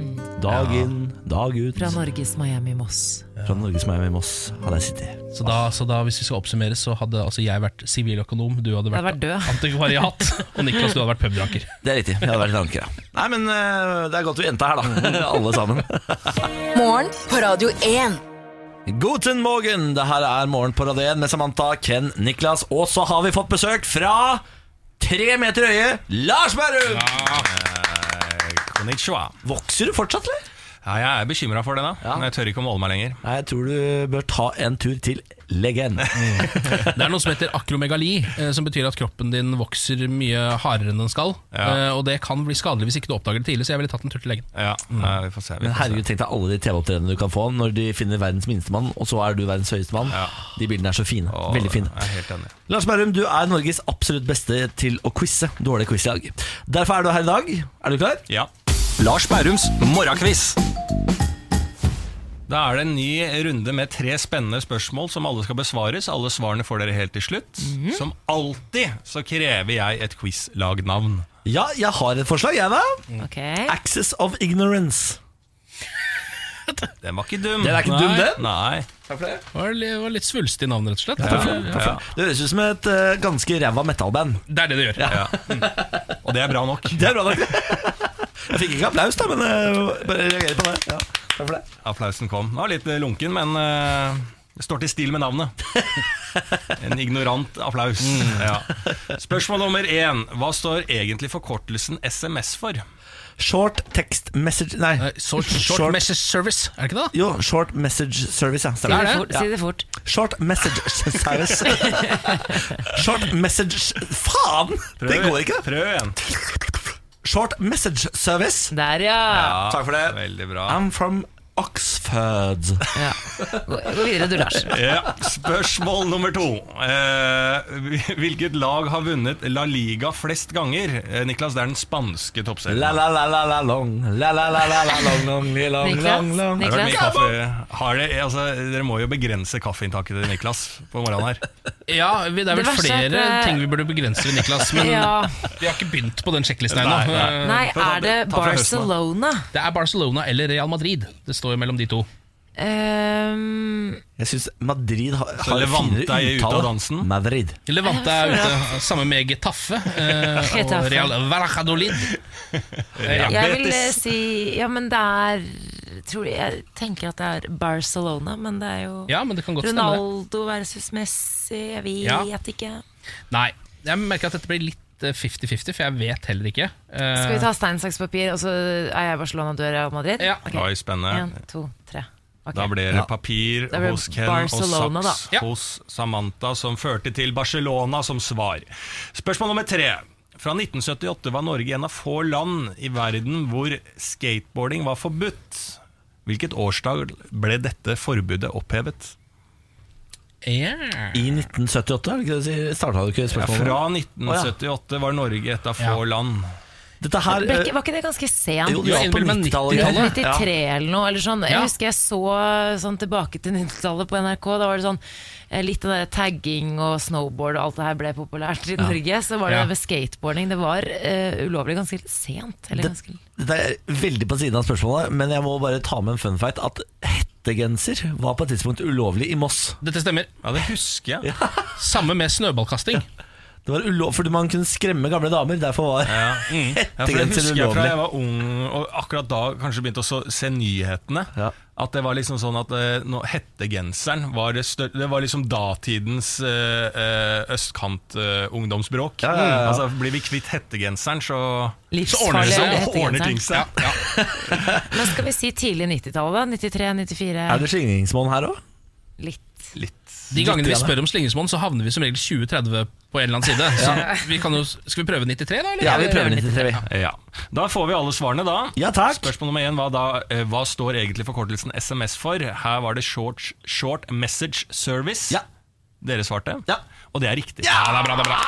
Speaker 1: Mm. Dag
Speaker 2: Ja.
Speaker 1: inn, dag ut.
Speaker 3: Fra Norges Miami Moss.
Speaker 1: Fra Norges Miami Moss hadde jeg sittet.
Speaker 2: Så da, så da, hvis vi skal oppsummere, så hadde altså jeg vært siviløkonom, du hadde
Speaker 3: Jeg hadde
Speaker 2: vært
Speaker 3: vært død.
Speaker 2: antikvariat, og Niklas, du hadde vært pubdranker.
Speaker 1: Det er riktig. Jeg hadde vært en anker, ja. Nei, men eh, det er godt vi endte her, da. Alle sammen.
Speaker 5: Morgen på Radio 1.
Speaker 1: Guten morgen! Det her er Morgen på Radio 1 med Samantha, Ken, Niklas, og så har vi fått besøk fra tre meter høye Lars Berrum! Eh,
Speaker 6: Konnichiwa.
Speaker 1: Vokser du fortsatt, eller?
Speaker 6: Ja, jeg er bekymra for det, da. Men Jeg tør ikke å måle meg lenger.
Speaker 1: Nei, jeg tror du bør ta en tur til legenden.
Speaker 2: Det er noe som heter akromegali, eh, som betyr at kroppen din vokser mye hardere enn den skal.
Speaker 6: Ja.
Speaker 2: eh, Og det kan bli skadelig hvis ikke du oppdager det tidlig, så jeg ville tatt en tur til legen.
Speaker 6: Ja, nei, vi får se. Vi
Speaker 1: Men
Speaker 6: får
Speaker 1: herregud,
Speaker 6: se.
Speaker 1: tenk deg alle de TV-opptredenene du kan få når de finner verdens minstemann, og så er du verdens høyeste mann.
Speaker 6: Ja.
Speaker 1: De bildene er så fine.
Speaker 6: Åh,
Speaker 1: Veldig fine.
Speaker 6: Jeg er helt enig.
Speaker 1: Lars Berrum, du er Norges absolutt beste til å quize. Dårlig quizlag. Derfor er du her i dag. Er du klar?
Speaker 6: Ja. Lars Bærums morgenkviss. Da er det en ny runde med tre spennende spørsmål som alle skal besvares. Alle svarene får dere helt til slutt.
Speaker 1: Mhm.
Speaker 6: Som alltid så krever jeg et quizlagnavn.
Speaker 3: Mm.
Speaker 1: Ja, jeg har et forslag, jeg, da.
Speaker 3: Ok.
Speaker 1: Axis of Ignorance.
Speaker 7: Den var ikke dum.
Speaker 1: Den er ikke dum,
Speaker 7: Nei.
Speaker 1: den.
Speaker 7: Nei.
Speaker 2: Det var, li- var litt svulstig navn, rett og slett.
Speaker 7: Ja.
Speaker 1: Det høres ut som et eh, ganske ræva metalband.
Speaker 2: Det er det det gjør.
Speaker 7: Ja.
Speaker 6: Mm.
Speaker 7: Og det er bra nok.
Speaker 1: Det er bra nok. Jeg fikk ikke applaus, da, men eh, bare reagerer på det. Ja, takk for det.
Speaker 7: Applausen kom. Den var litt lunken, men eh, det står til stil med navnet. En ignorant applaus.
Speaker 1: Mm.
Speaker 7: Ja. Spørsmål nummer én. Hva står egentlig forkortelsen SMS for?
Speaker 1: Short text message Nei.
Speaker 2: Nei, Eh, Short, short,
Speaker 1: Short-
Speaker 2: message service, er det ikke det?
Speaker 1: Jo, Short Message Service, ja.
Speaker 3: Si
Speaker 1: Stemmer.
Speaker 3: det
Speaker 2: det?
Speaker 3: fort. Si det fort.
Speaker 1: Short Message Service. Short Message Faen! Det går ikke, det.
Speaker 7: Prøv igjen.
Speaker 1: Short Message Service.
Speaker 3: Der, ja.
Speaker 7: Ja,
Speaker 1: Takk for det.
Speaker 7: Veldig bra.
Speaker 1: I'm from Oxford.
Speaker 3: ja. Gå, gå videre du, Lars.
Speaker 7: Ja. Spørsmål nummer to. Eh, hvilket lag har vunnet La Liga flest ganger? Eh, Niklas, det er den spanske toppserien.
Speaker 1: La la la la la long La la la la la long long li, long
Speaker 3: Niklas?
Speaker 1: long long
Speaker 7: Har dere vært mye
Speaker 3: Niklas?
Speaker 7: kaffe? Har dere, altså, dere må jo begrense kaffeinntaket til Niklas på morgenen her.
Speaker 2: Ja, vi, Det er
Speaker 3: Det
Speaker 2: vel
Speaker 3: verste
Speaker 2: flere
Speaker 3: er at, eh,
Speaker 2: ting vi burde begrense ved Niklas, men
Speaker 3: Ja.
Speaker 2: vi har ikke begynt på den sjekklisten
Speaker 7: Nei,
Speaker 2: ennå.
Speaker 7: nei.
Speaker 2: Eh,
Speaker 3: Nei,
Speaker 7: Ta fra-
Speaker 3: er det
Speaker 7: ta fra høsten, da.
Speaker 3: Barcelona?
Speaker 2: Det er Barcelona eller Real Madrid. Det står jo mellom de to.
Speaker 3: Ehm,
Speaker 1: Jeg syns Madrid har,
Speaker 7: Så
Speaker 1: har
Speaker 7: Levante
Speaker 1: finere
Speaker 7: er ute av
Speaker 1: uttale.
Speaker 7: dansen?
Speaker 1: Madrid.
Speaker 2: Levante er ute, sammen med Getafe eh, og
Speaker 3: Getafe.
Speaker 2: Real Valladolid.
Speaker 3: jeg vil eh, si Ja, men det er tror jeg, jeg tenker at det er Barcelona, men det er jo
Speaker 2: Ja, men det kan godt stemme. det.
Speaker 3: Ronaldo versus Messi, jeg vet
Speaker 2: Ja. Eh.
Speaker 3: ikke.
Speaker 2: Nei, jeg merker at dette blir litt eh, 50-50, for jeg vet heller ikke. Eh,
Speaker 3: Skal vi ta stein, saks, papir, og så er jeg Barcelona, du er Real Madrid?
Speaker 2: Ja.
Speaker 3: Ok,
Speaker 7: Oi,
Speaker 3: En,
Speaker 7: spennende.
Speaker 3: to, tre. Ok.
Speaker 7: Da blir det papir
Speaker 3: Da blir det
Speaker 7: hos Ken
Speaker 3: Barcelona,
Speaker 7: og saks
Speaker 2: da. Ja.
Speaker 7: hos Samantha, som førte til Barcelona som svar. Spørsmål nummer tre. Fra 1978 var Norge en av få land i verden hvor skateboarding var forbudt. Hvilket årsdag ble dette forbudet opphevet?
Speaker 2: yeah.
Speaker 1: I 1978, er det ikke det du sier? Starta du ikke
Speaker 7: Ja,
Speaker 1: spørsmålet?
Speaker 7: fra 1978 var Norge et av få
Speaker 2: Ja.
Speaker 7: land.
Speaker 1: Dette her eh,
Speaker 3: Ble ikke- Var ikke det ganske sent?
Speaker 1: Jo,
Speaker 2: Jo,
Speaker 1: ja, på
Speaker 2: Elbil med
Speaker 1: 90-tallet.
Speaker 2: 90-tallet.
Speaker 3: 93 eller noe. Eller sånn. Jeg
Speaker 2: Ja.
Speaker 3: husker jeg så sånn, tilbake til 90-tallet på NRK. Da var det sånn eh, litt av det der tagging og snowboard og alt det her ble populært i Norge. Så var det
Speaker 2: Ja.
Speaker 3: ved skateboarding. Det var eh, ulovlig ganske sent. Eller ganske
Speaker 1: Dette er veldig på siden av spørsmålet, men jeg må bare ta med en fun fact at hettegenser var på et tidspunkt ulovlig i Moss.
Speaker 2: Dette stemmer.
Speaker 7: Ja, det husker jeg.
Speaker 2: Samme med snøballkasting.
Speaker 1: Det var ulo- Fordi man kunne skremme gamle damer, derfor var
Speaker 7: Ja. Ja, for det
Speaker 1: hettegenser
Speaker 7: husker Mm. jeg fra
Speaker 1: ulovlig.
Speaker 7: jeg var ung, og akkurat da kanskje begynte å så- se nyhetene.
Speaker 1: Ja.
Speaker 7: At det var liksom sånn at eh, nå, hettegenseren var det, stør det var liksom datidens eh, østkant-ungdomsbråk.
Speaker 1: ja, ja, ja.
Speaker 7: eh, Altså, blir vi kvitt hettegenseren,
Speaker 2: Så
Speaker 7: så
Speaker 2: ordner det
Speaker 3: livsfarlig.
Speaker 2: seg,
Speaker 3: eller
Speaker 2: så
Speaker 3: hette
Speaker 7: ordner ting
Speaker 3: genseren.
Speaker 7: seg.
Speaker 3: Men skal vi si tidlig 90-tallet, da? 93-94?
Speaker 1: Er det slingringsmonn her òg?
Speaker 3: Litt.
Speaker 7: Litt.
Speaker 2: De gangene vi spør om slingringsmonn, så havner vi som regel 20-30 på en eller annen side. Så vi kan jo, skal vi prøve 93, da? Eller?
Speaker 1: Ja, vi prøver 93, vi.
Speaker 7: Ja. Da får vi alle svarene, da.
Speaker 1: Ja, takk.
Speaker 7: Spørsmål nummer én var da eh, hva står egentlig forkortelsen SMS for? Her var det Short, short Message Service.
Speaker 1: Ja.
Speaker 7: Dere svarte,
Speaker 1: Ja.
Speaker 7: og det er riktig. det er bra, det er bra.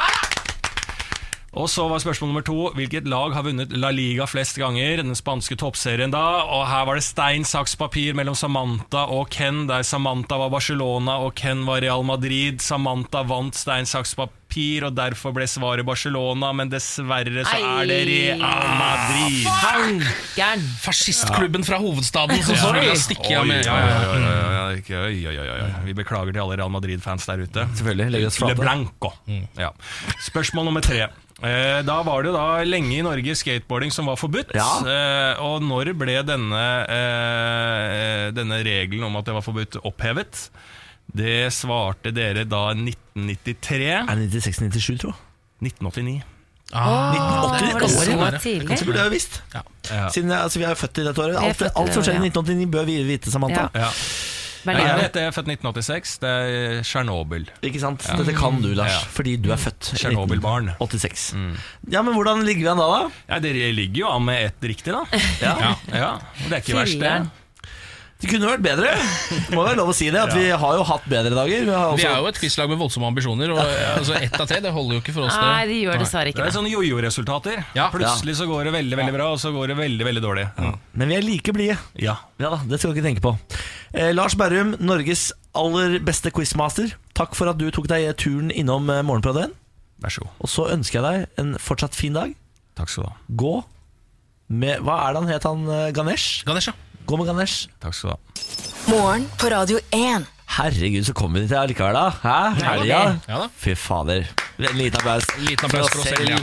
Speaker 7: Og så var spørsmål nummer to Hvilket lag har vunnet La Liga flest ganger? Den spanske toppserien da. Og her var det stein, saks, papir mellom Samantha og Ken, der Samantha var Barcelona og Ken var Real Madrid. Samantha vant stein, saks, papir, og derfor ble svaret Barcelona, men dessverre så er det Real Madrid.
Speaker 3: Gæren.
Speaker 2: Fascistklubben fra hovedstaden som
Speaker 7: Ja.
Speaker 2: så ville stikke av med.
Speaker 7: Oi, oi, oi, oi, oi, ikke- oi, oi, oi, oi. Vi beklager til alle Real Madrid-fans der ute.
Speaker 1: Selvfølgelig, legger oss flate.
Speaker 7: Le Blanco. Ja. Spørsmål nummer tre. Eh, Da var det da lenge i Norge skateboarding som var forbudt.
Speaker 1: Ja.
Speaker 7: Eh, Og når ble denne, eh, denne regelen om at det var forbudt, opphevet? Det svarte dere da 1993.
Speaker 1: Er det 96-97, tro?
Speaker 7: 1989.
Speaker 2: Ah.
Speaker 3: Åh,
Speaker 1: det
Speaker 3: var det
Speaker 1: året,
Speaker 3: så
Speaker 2: var det.
Speaker 3: tidlig?
Speaker 1: Kanskje burde jeg jo visst.
Speaker 7: Ja.
Speaker 1: Siden jeg, altså, vi er født i dette året.
Speaker 3: er
Speaker 1: Alt,
Speaker 3: født i
Speaker 1: alt som
Speaker 3: det
Speaker 1: skjedde i
Speaker 3: året,
Speaker 1: 1989, bør vi vite, Samantha.
Speaker 3: Ja.
Speaker 7: Ja. Jeg
Speaker 3: Berlin.
Speaker 7: vet det, jeg er født 1986. Det er Tsjernobyl.
Speaker 1: Ikke sant? Dette kan du, Lars,
Speaker 7: Ja.
Speaker 1: fordi du er født i
Speaker 7: Tsjernobyl-barn. Mm.
Speaker 1: 1986. Ja, men hvordan ligger vi an da, da?
Speaker 7: Ja, dere ligger jo an med ett riktig, da. Ja. Ja. Og Det er ikke verst, det.
Speaker 3: Fireren.
Speaker 1: Det kunne vært bedre. Det må være lov å si det. At Vi har jo hatt bedre dager. Vi har
Speaker 2: Vi er
Speaker 1: også
Speaker 2: jo et quizlag med voldsomme ambisjoner, og eh, altså, ett av tre det holder jo ikke for oss. det.
Speaker 3: Nei, de gjør dessverre
Speaker 7: Det
Speaker 3: ikke
Speaker 7: er
Speaker 3: det.
Speaker 7: sånne jojo-resultater.
Speaker 2: Ja.
Speaker 7: Plutselig så går det veldig veldig bra, og så går det veldig veldig dårlig. Mm.
Speaker 1: Men vi er like blide.
Speaker 7: Ja.
Speaker 1: Ja da, det skal du ikke tenke på. Eh, Lars Berrum, Norges aller beste quizmaster. Takk for at du tok deg turen innom eh, Morgenpraten.
Speaker 7: Vær så god.
Speaker 1: Og så ønsker jeg deg en fortsatt fin dag.
Speaker 7: Takk skal du ha.
Speaker 1: Gå med Hva er det han het, han eh, Ganesh?
Speaker 2: Ganesha.
Speaker 1: Gå med Ganesh.
Speaker 6: Takk skal du ha.
Speaker 5: Morgen på Radio 1.
Speaker 1: Herregud, så kom vi dit til allikevel, da. Hæ? Helga?
Speaker 2: Ja da.
Speaker 1: Fy fader. En liten applaus.
Speaker 2: Liten applaus for oss selv, ja.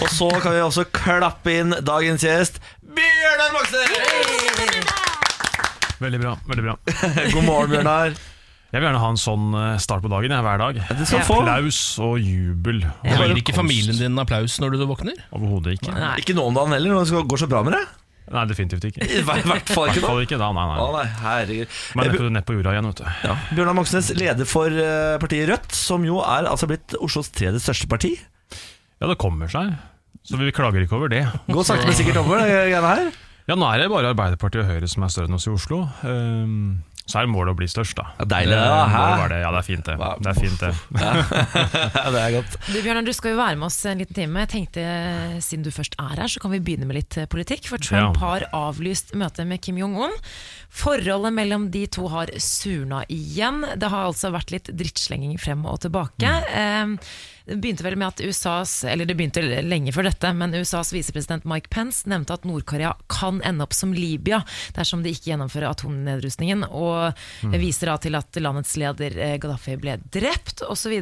Speaker 1: Og så kan vi også klappe inn dagens gjest, Bjørnar Moxnes!
Speaker 7: Veldig bra. veldig bra
Speaker 1: God morgen, Bjørnar.
Speaker 7: Jeg vil gjerne ha en sånn eh, start på dagen jeg, hver dag.
Speaker 1: Du skal få.
Speaker 7: Applaus og jubel. Og
Speaker 2: Gir
Speaker 7: velkomst.
Speaker 2: ikke familien din applaus når du våkner?
Speaker 7: Overhodet ikke. Nei.
Speaker 1: Ikke nå om dagen heller, når det skal- går så bra med deg.
Speaker 7: definitivt ikke.
Speaker 1: I hver- hvert fall
Speaker 7: I
Speaker 1: ikke
Speaker 7: hvert fall
Speaker 1: nå.
Speaker 7: ikke da, nei,
Speaker 1: Å
Speaker 7: nei.
Speaker 1: nei, herregud.
Speaker 7: Men
Speaker 1: Eh,
Speaker 7: nett på, nett på jorda igjen, vet du.
Speaker 1: Ja. Bjørnar Moxnes, leder for eh, partiet Rødt, som jo er altså blitt Oslos tredje største parti.
Speaker 7: Ja, det kommer seg. Så vi klager ikke over det.
Speaker 1: Gå sakte, men sikkert over det eh, greiene her.
Speaker 7: Ja, Nå er det bare Arbeiderpartiet og Høyre som er større enn oss i Oslo. Ehm, så er målet å bli størst, da.
Speaker 1: Ja, deilig,
Speaker 7: det,
Speaker 1: da, hæ?
Speaker 7: må jo være det. Ja, det er fint, det. Det er fint det
Speaker 1: Ja, det er godt.
Speaker 3: Du Bjørnar, du skal jo være med oss en liten time. Jeg tenkte eh, Siden du først er her, så kan vi begynne med litt eh, politikk. For Trump
Speaker 7: Ja.
Speaker 3: har avlyst møtet med Kim Jong-un. Forholdet mellom de to har surna igjen. Det har altså vært litt drittslenging frem og tilbake. Eh, Det begynte vel med at USAs, eller det begynte lenge før dette, men USAs visepresident Mike Pence nevnte at Nord-Korea kan ende opp som Libya dersom de ikke gjennomfører atomnedrustningen, og viser da til at landets leder eh, Gaddafi ble drept osv.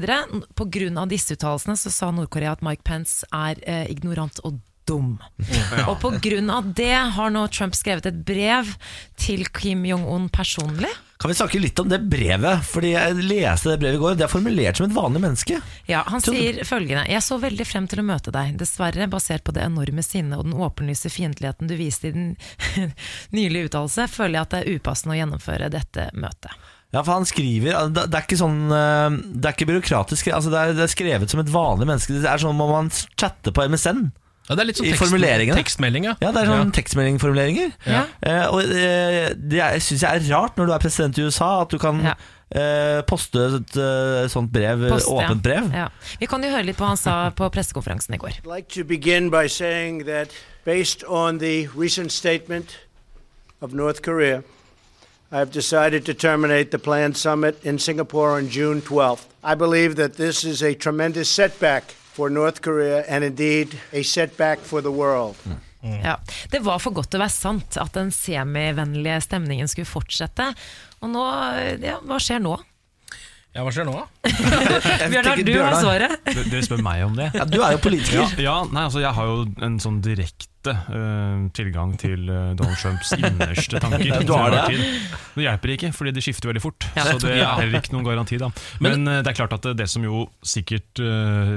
Speaker 3: Pga. disse uttalelsene så sa Nord-Korea at Mike Pence er eh, ignorant og dum.
Speaker 1: Mm.
Speaker 3: Og pga. det har nå Trump skrevet et brev til Kim Jong-un personlig.
Speaker 1: Kan vi snakke litt om det brevet? Fordi jeg leste det brevet i går. Det er formulert som et vanlig menneske.
Speaker 3: Ja, Han
Speaker 1: Tror du-
Speaker 3: sier følgende Jeg så veldig frem til å møte deg, dessverre basert på det enorme sinnet og den åpenlyse fiendtligheten du viste i din nylige uttalelse, føler jeg at det er upassende å gjennomføre dette møtet.
Speaker 1: Ja, for han skriver Det det er ikke sånn eh, Det er ikke byråkratisk. Altså det, er, det er skrevet som et vanlig menneske. Det er sånn om man chatter på MSN.
Speaker 2: Ja, det er litt sånn
Speaker 1: I
Speaker 2: tekst,
Speaker 1: formuleringene.
Speaker 2: tekstmelding, ja.
Speaker 1: Ja, det er sånn tekstmeldingformuleringer.
Speaker 2: Ja.
Speaker 1: Eh, og eh, det er- jeg syns jeg er rart når du er president i USA, at du kan
Speaker 3: Ja.
Speaker 1: eh, poste et eh, sånt brev, eh,
Speaker 3: Post, ja.
Speaker 1: åpent brev.
Speaker 3: Ja. Vi kan jo høre litt på hva han sa på pressekonferansen i går.
Speaker 8: I'd like to begin by saying that based on the recent statement of North Korea, I have decided to terminate the planned summit in Singapore on June 12th. I believe that this is a tremendous setback for North Korea and indeed a setback for the world.
Speaker 1: Mm.
Speaker 3: Ja. Det var for godt til å være sant at den semivennlige stemningen skulle fortsette. Og nå, ja, hva skjer nå?
Speaker 2: ja, hva skjer nå, da?
Speaker 1: Jeg
Speaker 3: Bjørnar,
Speaker 1: tenker,
Speaker 3: du har
Speaker 1: Bjørnar,
Speaker 3: svaret.
Speaker 7: Dere- Dere spør meg om det.
Speaker 1: Ja, du er jo politiker.
Speaker 7: Ja, ja nei, altså jeg har jo en sånn direkte eh, tilgang til eh, Donald Trumps innerste tanker.
Speaker 1: Du har det, ja.
Speaker 7: Til. Det hjelper ikke, fordi de skifter veldig fort.
Speaker 3: Ja.
Speaker 7: Så det er heller ikke noen garanti. da. Men, eh, det er klart at det, det som jo sikkert eh,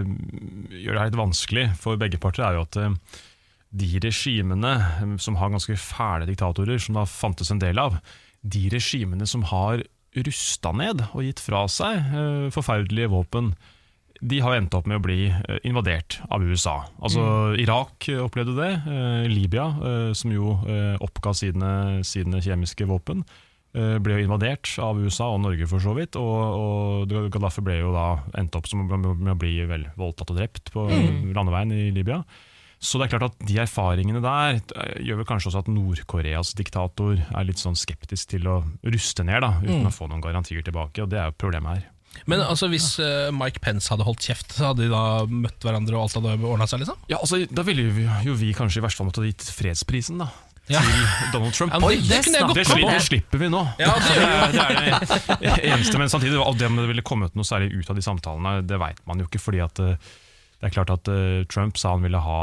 Speaker 7: gjør det her litt vanskelig for begge parter, er jo at eh, de regimene eh, som har ganske fæle diktatorer, som det har fantes en del av, de regimene som har rusta ned og gitt fra seg eh, forferdelige våpen, de har endt opp med å bli eh, invadert av USA. Altså Irak eh, opplevde det, eh, Libya, eh, som jo eh, oppga sine, sine kjemiske våpen, eh, ble jo invadert av USA og Norge for så vidt. Og, og Gaddafi ble jo da endt opp som, med å bli vel voldtatt og drept på landeveien i Libya. Så det er klart at de erfaringene der eh, gjør vel kanskje også at Nord-Koreas diktator er litt sånn skeptisk til å ruste ned, da, uten å få noen garantier tilbake. Og det er jo problemet her.
Speaker 2: Men altså, hvis eh, Mike Pence hadde holdt kjeft, så hadde de da møtt hverandre og alt hadde ordna seg, liksom?
Speaker 7: Ja, altså, Da ville vi, jo vi kanskje i verste fall måtte ha gitt fredsprisen da,
Speaker 2: Ja.
Speaker 7: til Donald Trump.
Speaker 2: Ja, men det- det kunne jeg
Speaker 7: det,
Speaker 2: godt
Speaker 7: slipper,
Speaker 2: komme på.
Speaker 7: det slipper vi nå.
Speaker 2: Ja, det gjør
Speaker 7: er- det er det eneste, men samtidig, og det om det ville kommet noe særlig ut av de samtalene, det veit man jo ikke. fordi at eh, det er klart at eh, Trump sa han ville ha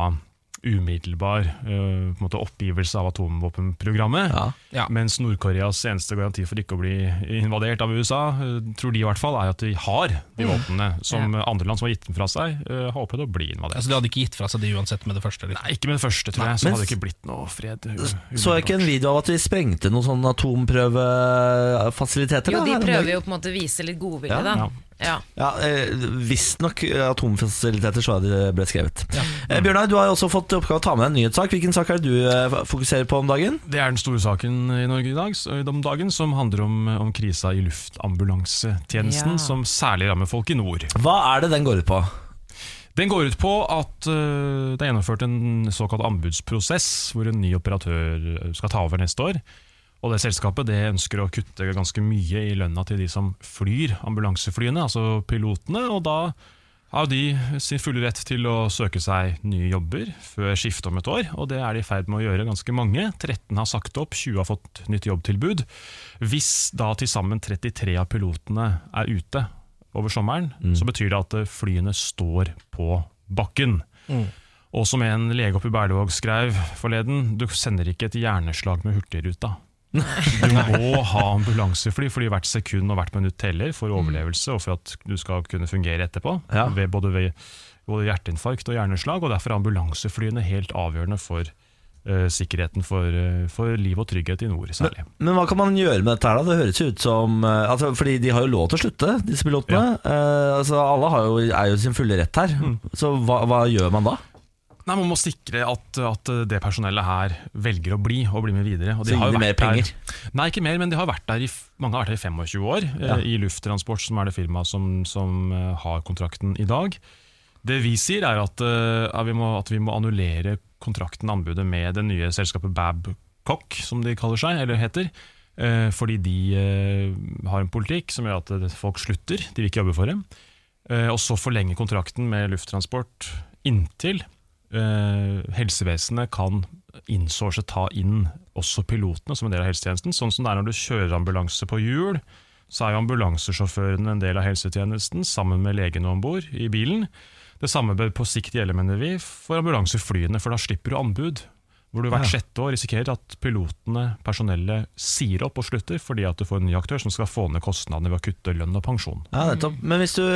Speaker 7: umiddelbar eh, på en måte oppgivelse av atomvåpenprogrammet.
Speaker 1: Ja.
Speaker 2: Ja.
Speaker 7: Mens Nord-Koreas eneste garanti for ikke å bli invadert av USA, eh, tror de i hvert fall, er at de har
Speaker 2: Mm.
Speaker 7: de våpnene som eh, andre land som har gitt dem fra seg, eh, har opplevd å bli invadert.
Speaker 2: Altså, de hadde ikke gitt fra seg det uansett med det første. Liksom.
Speaker 7: Nei, ikke med det første, tror jeg. Så
Speaker 1: men-
Speaker 7: hadde det ikke blitt noe fred.
Speaker 1: Så jeg ikke en video av at de sprengte noen sånne atomprøvefasiliteter?
Speaker 3: Jo,
Speaker 1: da,
Speaker 3: de
Speaker 1: her om dagen?
Speaker 3: prøver jo på en måte å vise litt godvilje,
Speaker 1: Ja,
Speaker 3: da. Ja.
Speaker 1: Ja, eh, Visstnok eh, atomfasiliteter, så det ble skrevet. Eh, Bjørnar, du har jo også fått i oppgave å ta med deg en nyhetssak. Hvilken sak er det du eh, fokuserer på om dagen?
Speaker 7: Det er den store saken i Norge i dag, s- om dagen, som handler om, om krisa i luftambulansetjenesten,
Speaker 3: Ja.
Speaker 7: som særlig rammer folk i nord.
Speaker 1: Hva er det den går ut på?
Speaker 7: Den går ut på at øh, det er gjennomført en såkalt anbudsprosess, hvor en ny operatør øh, skal ta over neste år. Og det selskapet det ønsker å kutte ganske mye i lønna til de som flyr ambulanseflyene, altså pilotene. Og da har de sin fulle rett til å søke seg nye jobber før skifte om et år, og det er de i ferd med å gjøre ganske mange. 13 har sagt opp, 20 har fått nytt jobbtilbud. Hvis da til sammen 33 av pilotene er ute over sommeren, så betyr det at eh, flyene står på bakken. Og som en lege oppe i Berlevåg skrev forleden, du sender ikke et hjerneslag med Hurtigruta. Du må ha ambulansefly, fordi hvert sekund og hvert minutt teller for overlevelse og for at du skal kunne fungere etterpå.
Speaker 1: Ja.
Speaker 7: Ved både ved både hjerteinfarkt og hjerneslag, og derfor er ambulanseflyene helt avgjørende for eh, sikkerheten for, eh, for liv og trygghet i nord, særlig.
Speaker 1: Men hva kan man gjøre med dette her da? Det høres jo ut som eh, altså, Fordi de har jo lov til å slutte, disse pilotene. Eh, altså, alle har jo, er jo sin fulle rett her.
Speaker 7: Mm.
Speaker 1: Så hva, hva gjør man da?
Speaker 7: Nei, Man må sikre at, at det personellet her velger å bli og bli med videre. Og
Speaker 1: Så gir
Speaker 7: jo
Speaker 1: de mer
Speaker 7: vært der-
Speaker 1: penger?
Speaker 7: Nei, ikke mer, men de har vært der i, f- mange har vært der i 25 år. eh,
Speaker 1: Ja.
Speaker 7: I Lufttransport, som er det firmaet som, som eh, har kontrakten i dag. Det vi sier, er at, eh, at, vi, må, at vi må annullere kontrakten, anbudet, med det nye selskapet Babcock, som de kaller seg, eller heter. eh, Fordi de eh, har en politikk som gjør at eh, folk slutter, de vil ikke jobbe for dem. Eh, Og så forlenge kontrakten med Lufttransport inntil eh, helsevesenet kan insource, ta inn også pilotene som en del av helsetjenesten. Sånn som det er når du kjører ambulanse på hjul, så er jo ambulansesjåføren en del av helsetjenesten sammen med legene om bord i bilen. Det samme bør på sikt gjelde, mener vi, for ambulanseflyene, for da slipper du anbud. Hvor du hvert sjette år risikerer at pilotene, personellet, sier opp og slutter fordi at du får en ny aktør som skal få ned kostnadene ved å kutte lønn og pensjon.
Speaker 1: Ja, nettopp. Men hvis du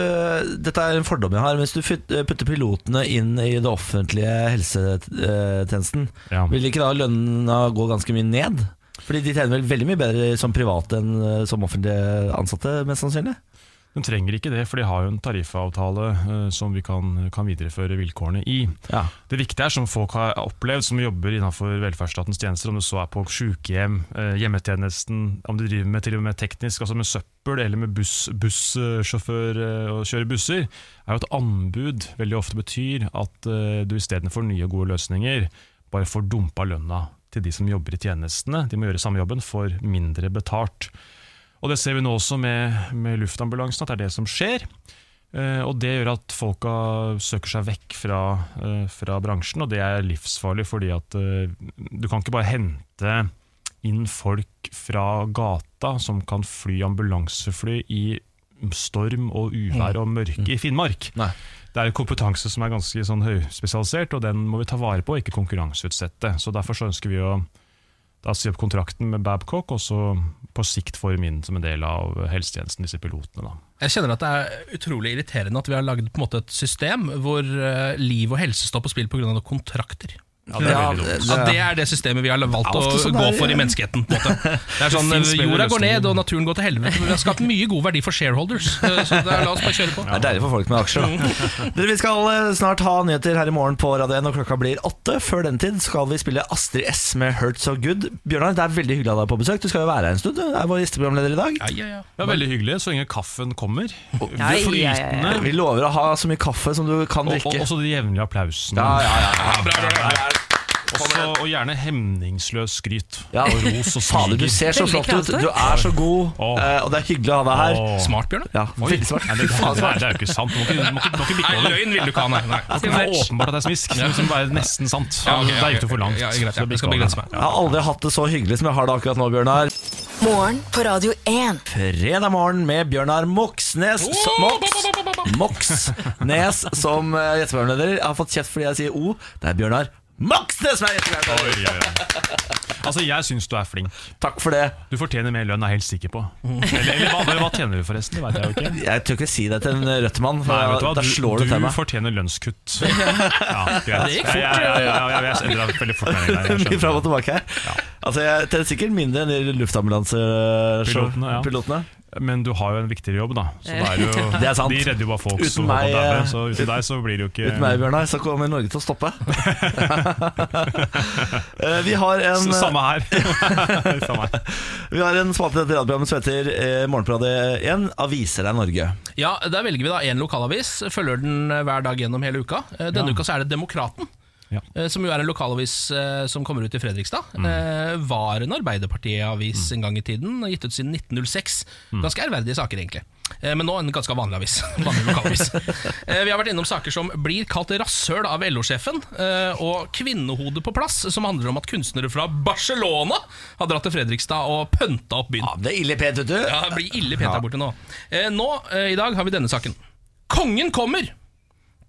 Speaker 1: Dette er en fordom jeg har. men Hvis du fyt- putter pilotene inn i det offentlige helsetjenesten,
Speaker 7: Ja.
Speaker 1: vil ikke da lønna gå ganske mye ned? Fordi de tjener vel veldig mye bedre som private enn eh, som offentlige ansatte, mest sannsynlig?
Speaker 7: De trenger ikke det, for de har jo en tariffavtale eh, som vi kan, kan videreføre vilkårene i.
Speaker 1: Ja.
Speaker 7: Det viktige er, som folk har opplevd, som jobber innenfor velferdsstatens tjenester, om du så er på sykehjem, eh, hjemmetjenesten, om du driver med til og med teknisk, altså med søppel eller med buss- bussjåfør eh, og kjører busser, er jo at anbud veldig ofte betyr at eh, du istedenfor nye og gode løsninger, bare får dumpa lønna til de som jobber i tjenestene. De må gjøre samme jobben for mindre betalt. Og det ser vi nå også med, med luftambulansen, at det er det som skjer. Eh, og det gjør at folka søker seg vekk fra, eh, fra bransjen, og det er livsfarlig fordi at eh, du kan ikke bare hente inn folk fra gata som kan fly ambulansefly i storm og uvær og mørke i Finnmark.
Speaker 1: Nei.
Speaker 7: Det er jo kompetanse som er ganske sånn høyspesialisert, og den må vi ta vare på, og ikke konkurranseutsette. Så derfor så ønsker vi å da si opp kontrakten med Babcock, og så på sikt få dem inn som en del av helsetjenesten, disse pilotene. da.
Speaker 2: Jeg kjenner at det er utrolig irriterende at vi har lagd på en måte et system hvor eh, liv og helse står på spill pga. kontrakter.
Speaker 7: Ja, det er veldig dumt.
Speaker 1: det-
Speaker 2: At det er det systemet vi har valgt
Speaker 1: Det er
Speaker 2: å
Speaker 1: ofte sånn
Speaker 2: gå
Speaker 1: det er,
Speaker 2: for
Speaker 1: ja.
Speaker 2: i menneskeheten. På en måte. Det er sånn,
Speaker 7: Det finnes bedre
Speaker 2: Jorda går
Speaker 7: løsninger.
Speaker 2: ned, og naturen går til helvete. men Vi har skapt mye god verdi for shareholders, eh, så det er, la oss bare kjøre på.
Speaker 1: Det er deilig for folk med aksjer. da. Dere, Vi skal eh, snart ha nyheter her i morgen på Radio 1, og klokka blir åtte. Før den tid skal vi spille Astrid S med 'Hurt So Good'. Bjørnar, det er veldig hyggelig å ha deg på besøk. Du skal jo være her en stund. Du er vår gjesteprogramleder i dag.
Speaker 2: Ja, ja, ja.
Speaker 7: Det er veldig hyggelig, så lenge kaffen kommer.
Speaker 3: Ja, ja, ja, ja.
Speaker 7: Flytende.
Speaker 1: Vi lover å ha så mye kaffe som du kan
Speaker 7: Og, og
Speaker 1: drikke.
Speaker 7: også de jevnlige applausene.
Speaker 1: Ja, ja, ja, ja.
Speaker 7: Også, og gjerne hemningsløs skryt.
Speaker 1: Ja.
Speaker 7: Og ros og
Speaker 1: Fader, du ser
Speaker 7: smiger.
Speaker 1: så flott
Speaker 3: Veldig
Speaker 1: ut.
Speaker 3: kravstor.
Speaker 1: Du er så god,
Speaker 7: Åh.
Speaker 1: eh, og det er hyggelig å ha deg her.
Speaker 7: Åh.
Speaker 2: Smart, Bjørnar.
Speaker 1: Ja,
Speaker 7: Oi.
Speaker 1: veldig smart.
Speaker 7: Nei, det, det, det, er jo ikke sant. Du må ikke, du må ikke, du må ikke bikke
Speaker 2: Nei,
Speaker 7: over.
Speaker 2: løgn vil du ikke ha, nei. nei.
Speaker 7: Det er åpenbart at det er smisk, men som bare er nesten sant.
Speaker 2: Ja, ok, ja,
Speaker 7: Der gikk du for langt.
Speaker 2: Ja, greit,
Speaker 7: så
Speaker 2: ja. Jeg
Speaker 7: det
Speaker 2: skal
Speaker 7: bikker
Speaker 2: begrense
Speaker 7: over.
Speaker 2: meg.
Speaker 1: Jeg har aldri hatt det så hyggelig som jeg har det akkurat nå, Bjørnar.
Speaker 5: Morgen på Radio 1.
Speaker 1: Fredag morgen med Bjørnar Moxnes så- Mox, Moxnes som eh, gjesteprogramleder. Jeg har fått kjeft fordi jeg sier O. Det er Bjørnar Moxnes som er gjesteprogramleder.
Speaker 7: Oi, oi, oi. Altså, jeg syns du er flink.
Speaker 1: Takk for det.
Speaker 7: Du fortjener mer lønn, er jeg helt sikker på. Eller, eller hva, hva tjener du, forresten? Det vet jeg jo ikke.
Speaker 1: Jeg tør ikke si det til en rødt mann, for
Speaker 7: Nei, vet du hva?
Speaker 1: da slår
Speaker 7: Du,
Speaker 1: det til
Speaker 7: du
Speaker 1: meg.
Speaker 7: fortjener lønnskutt. Ja, greit.
Speaker 2: gikk fort,
Speaker 7: Ja, ja, ja, ja, ja, jeg- jeg drar veldig fort med en gang, jeg skjønner.
Speaker 1: Mye fram og tilbake her. Altså, jeg tjener sikkert mindre enn de
Speaker 7: Pilotene, ja.
Speaker 1: luftambulansepilotene.
Speaker 7: Men du har jo en viktigere jobb, da. Så det er jo,
Speaker 1: Det er sant.
Speaker 7: De redder jo bare folk
Speaker 1: Uten
Speaker 7: som
Speaker 1: meg,
Speaker 7: holder på å daue,
Speaker 1: eh,
Speaker 7: Så uten deg så blir det jo ikke
Speaker 1: Uten meg, Bjørnar, så kommer Norge til å stoppe. Eh, vi har en
Speaker 7: Så, Samme her. Samme her.
Speaker 1: Vi har en spalte i dette radioprogrammet som heter eh, Morgenpradet 1. Aviser deg Norge.
Speaker 2: Ja, Eh, Der velger vi da én lokalavis, følger den hver dag gjennom hele uka. Eh, Denne uka så er det Demokraten.
Speaker 7: Ja.
Speaker 2: eh, som jo er en lokalavis eh, som kommer ut i Fredrikstad, eh, var en Arbeiderpartiet-avis en gang i tiden, og gitt ut siden 1906. Ganske ærverdige saker, egentlig. Eh, Men nå en ganske vanlig avis. Vanlig lokalavis. Eh, Vi har vært innom saker som blir kalt rasshøl av LO-sjefen, eh, og Kvinnehodet på plass, som handler om at kunstnere fra Barcelona har dratt til Fredrikstad og pønta opp byen.
Speaker 1: Ja, men det er ille pent, vet du.
Speaker 2: Ja, det blir ille pent der borte nå. Eh, nå eh, i dag har vi denne saken. Kongen kommer!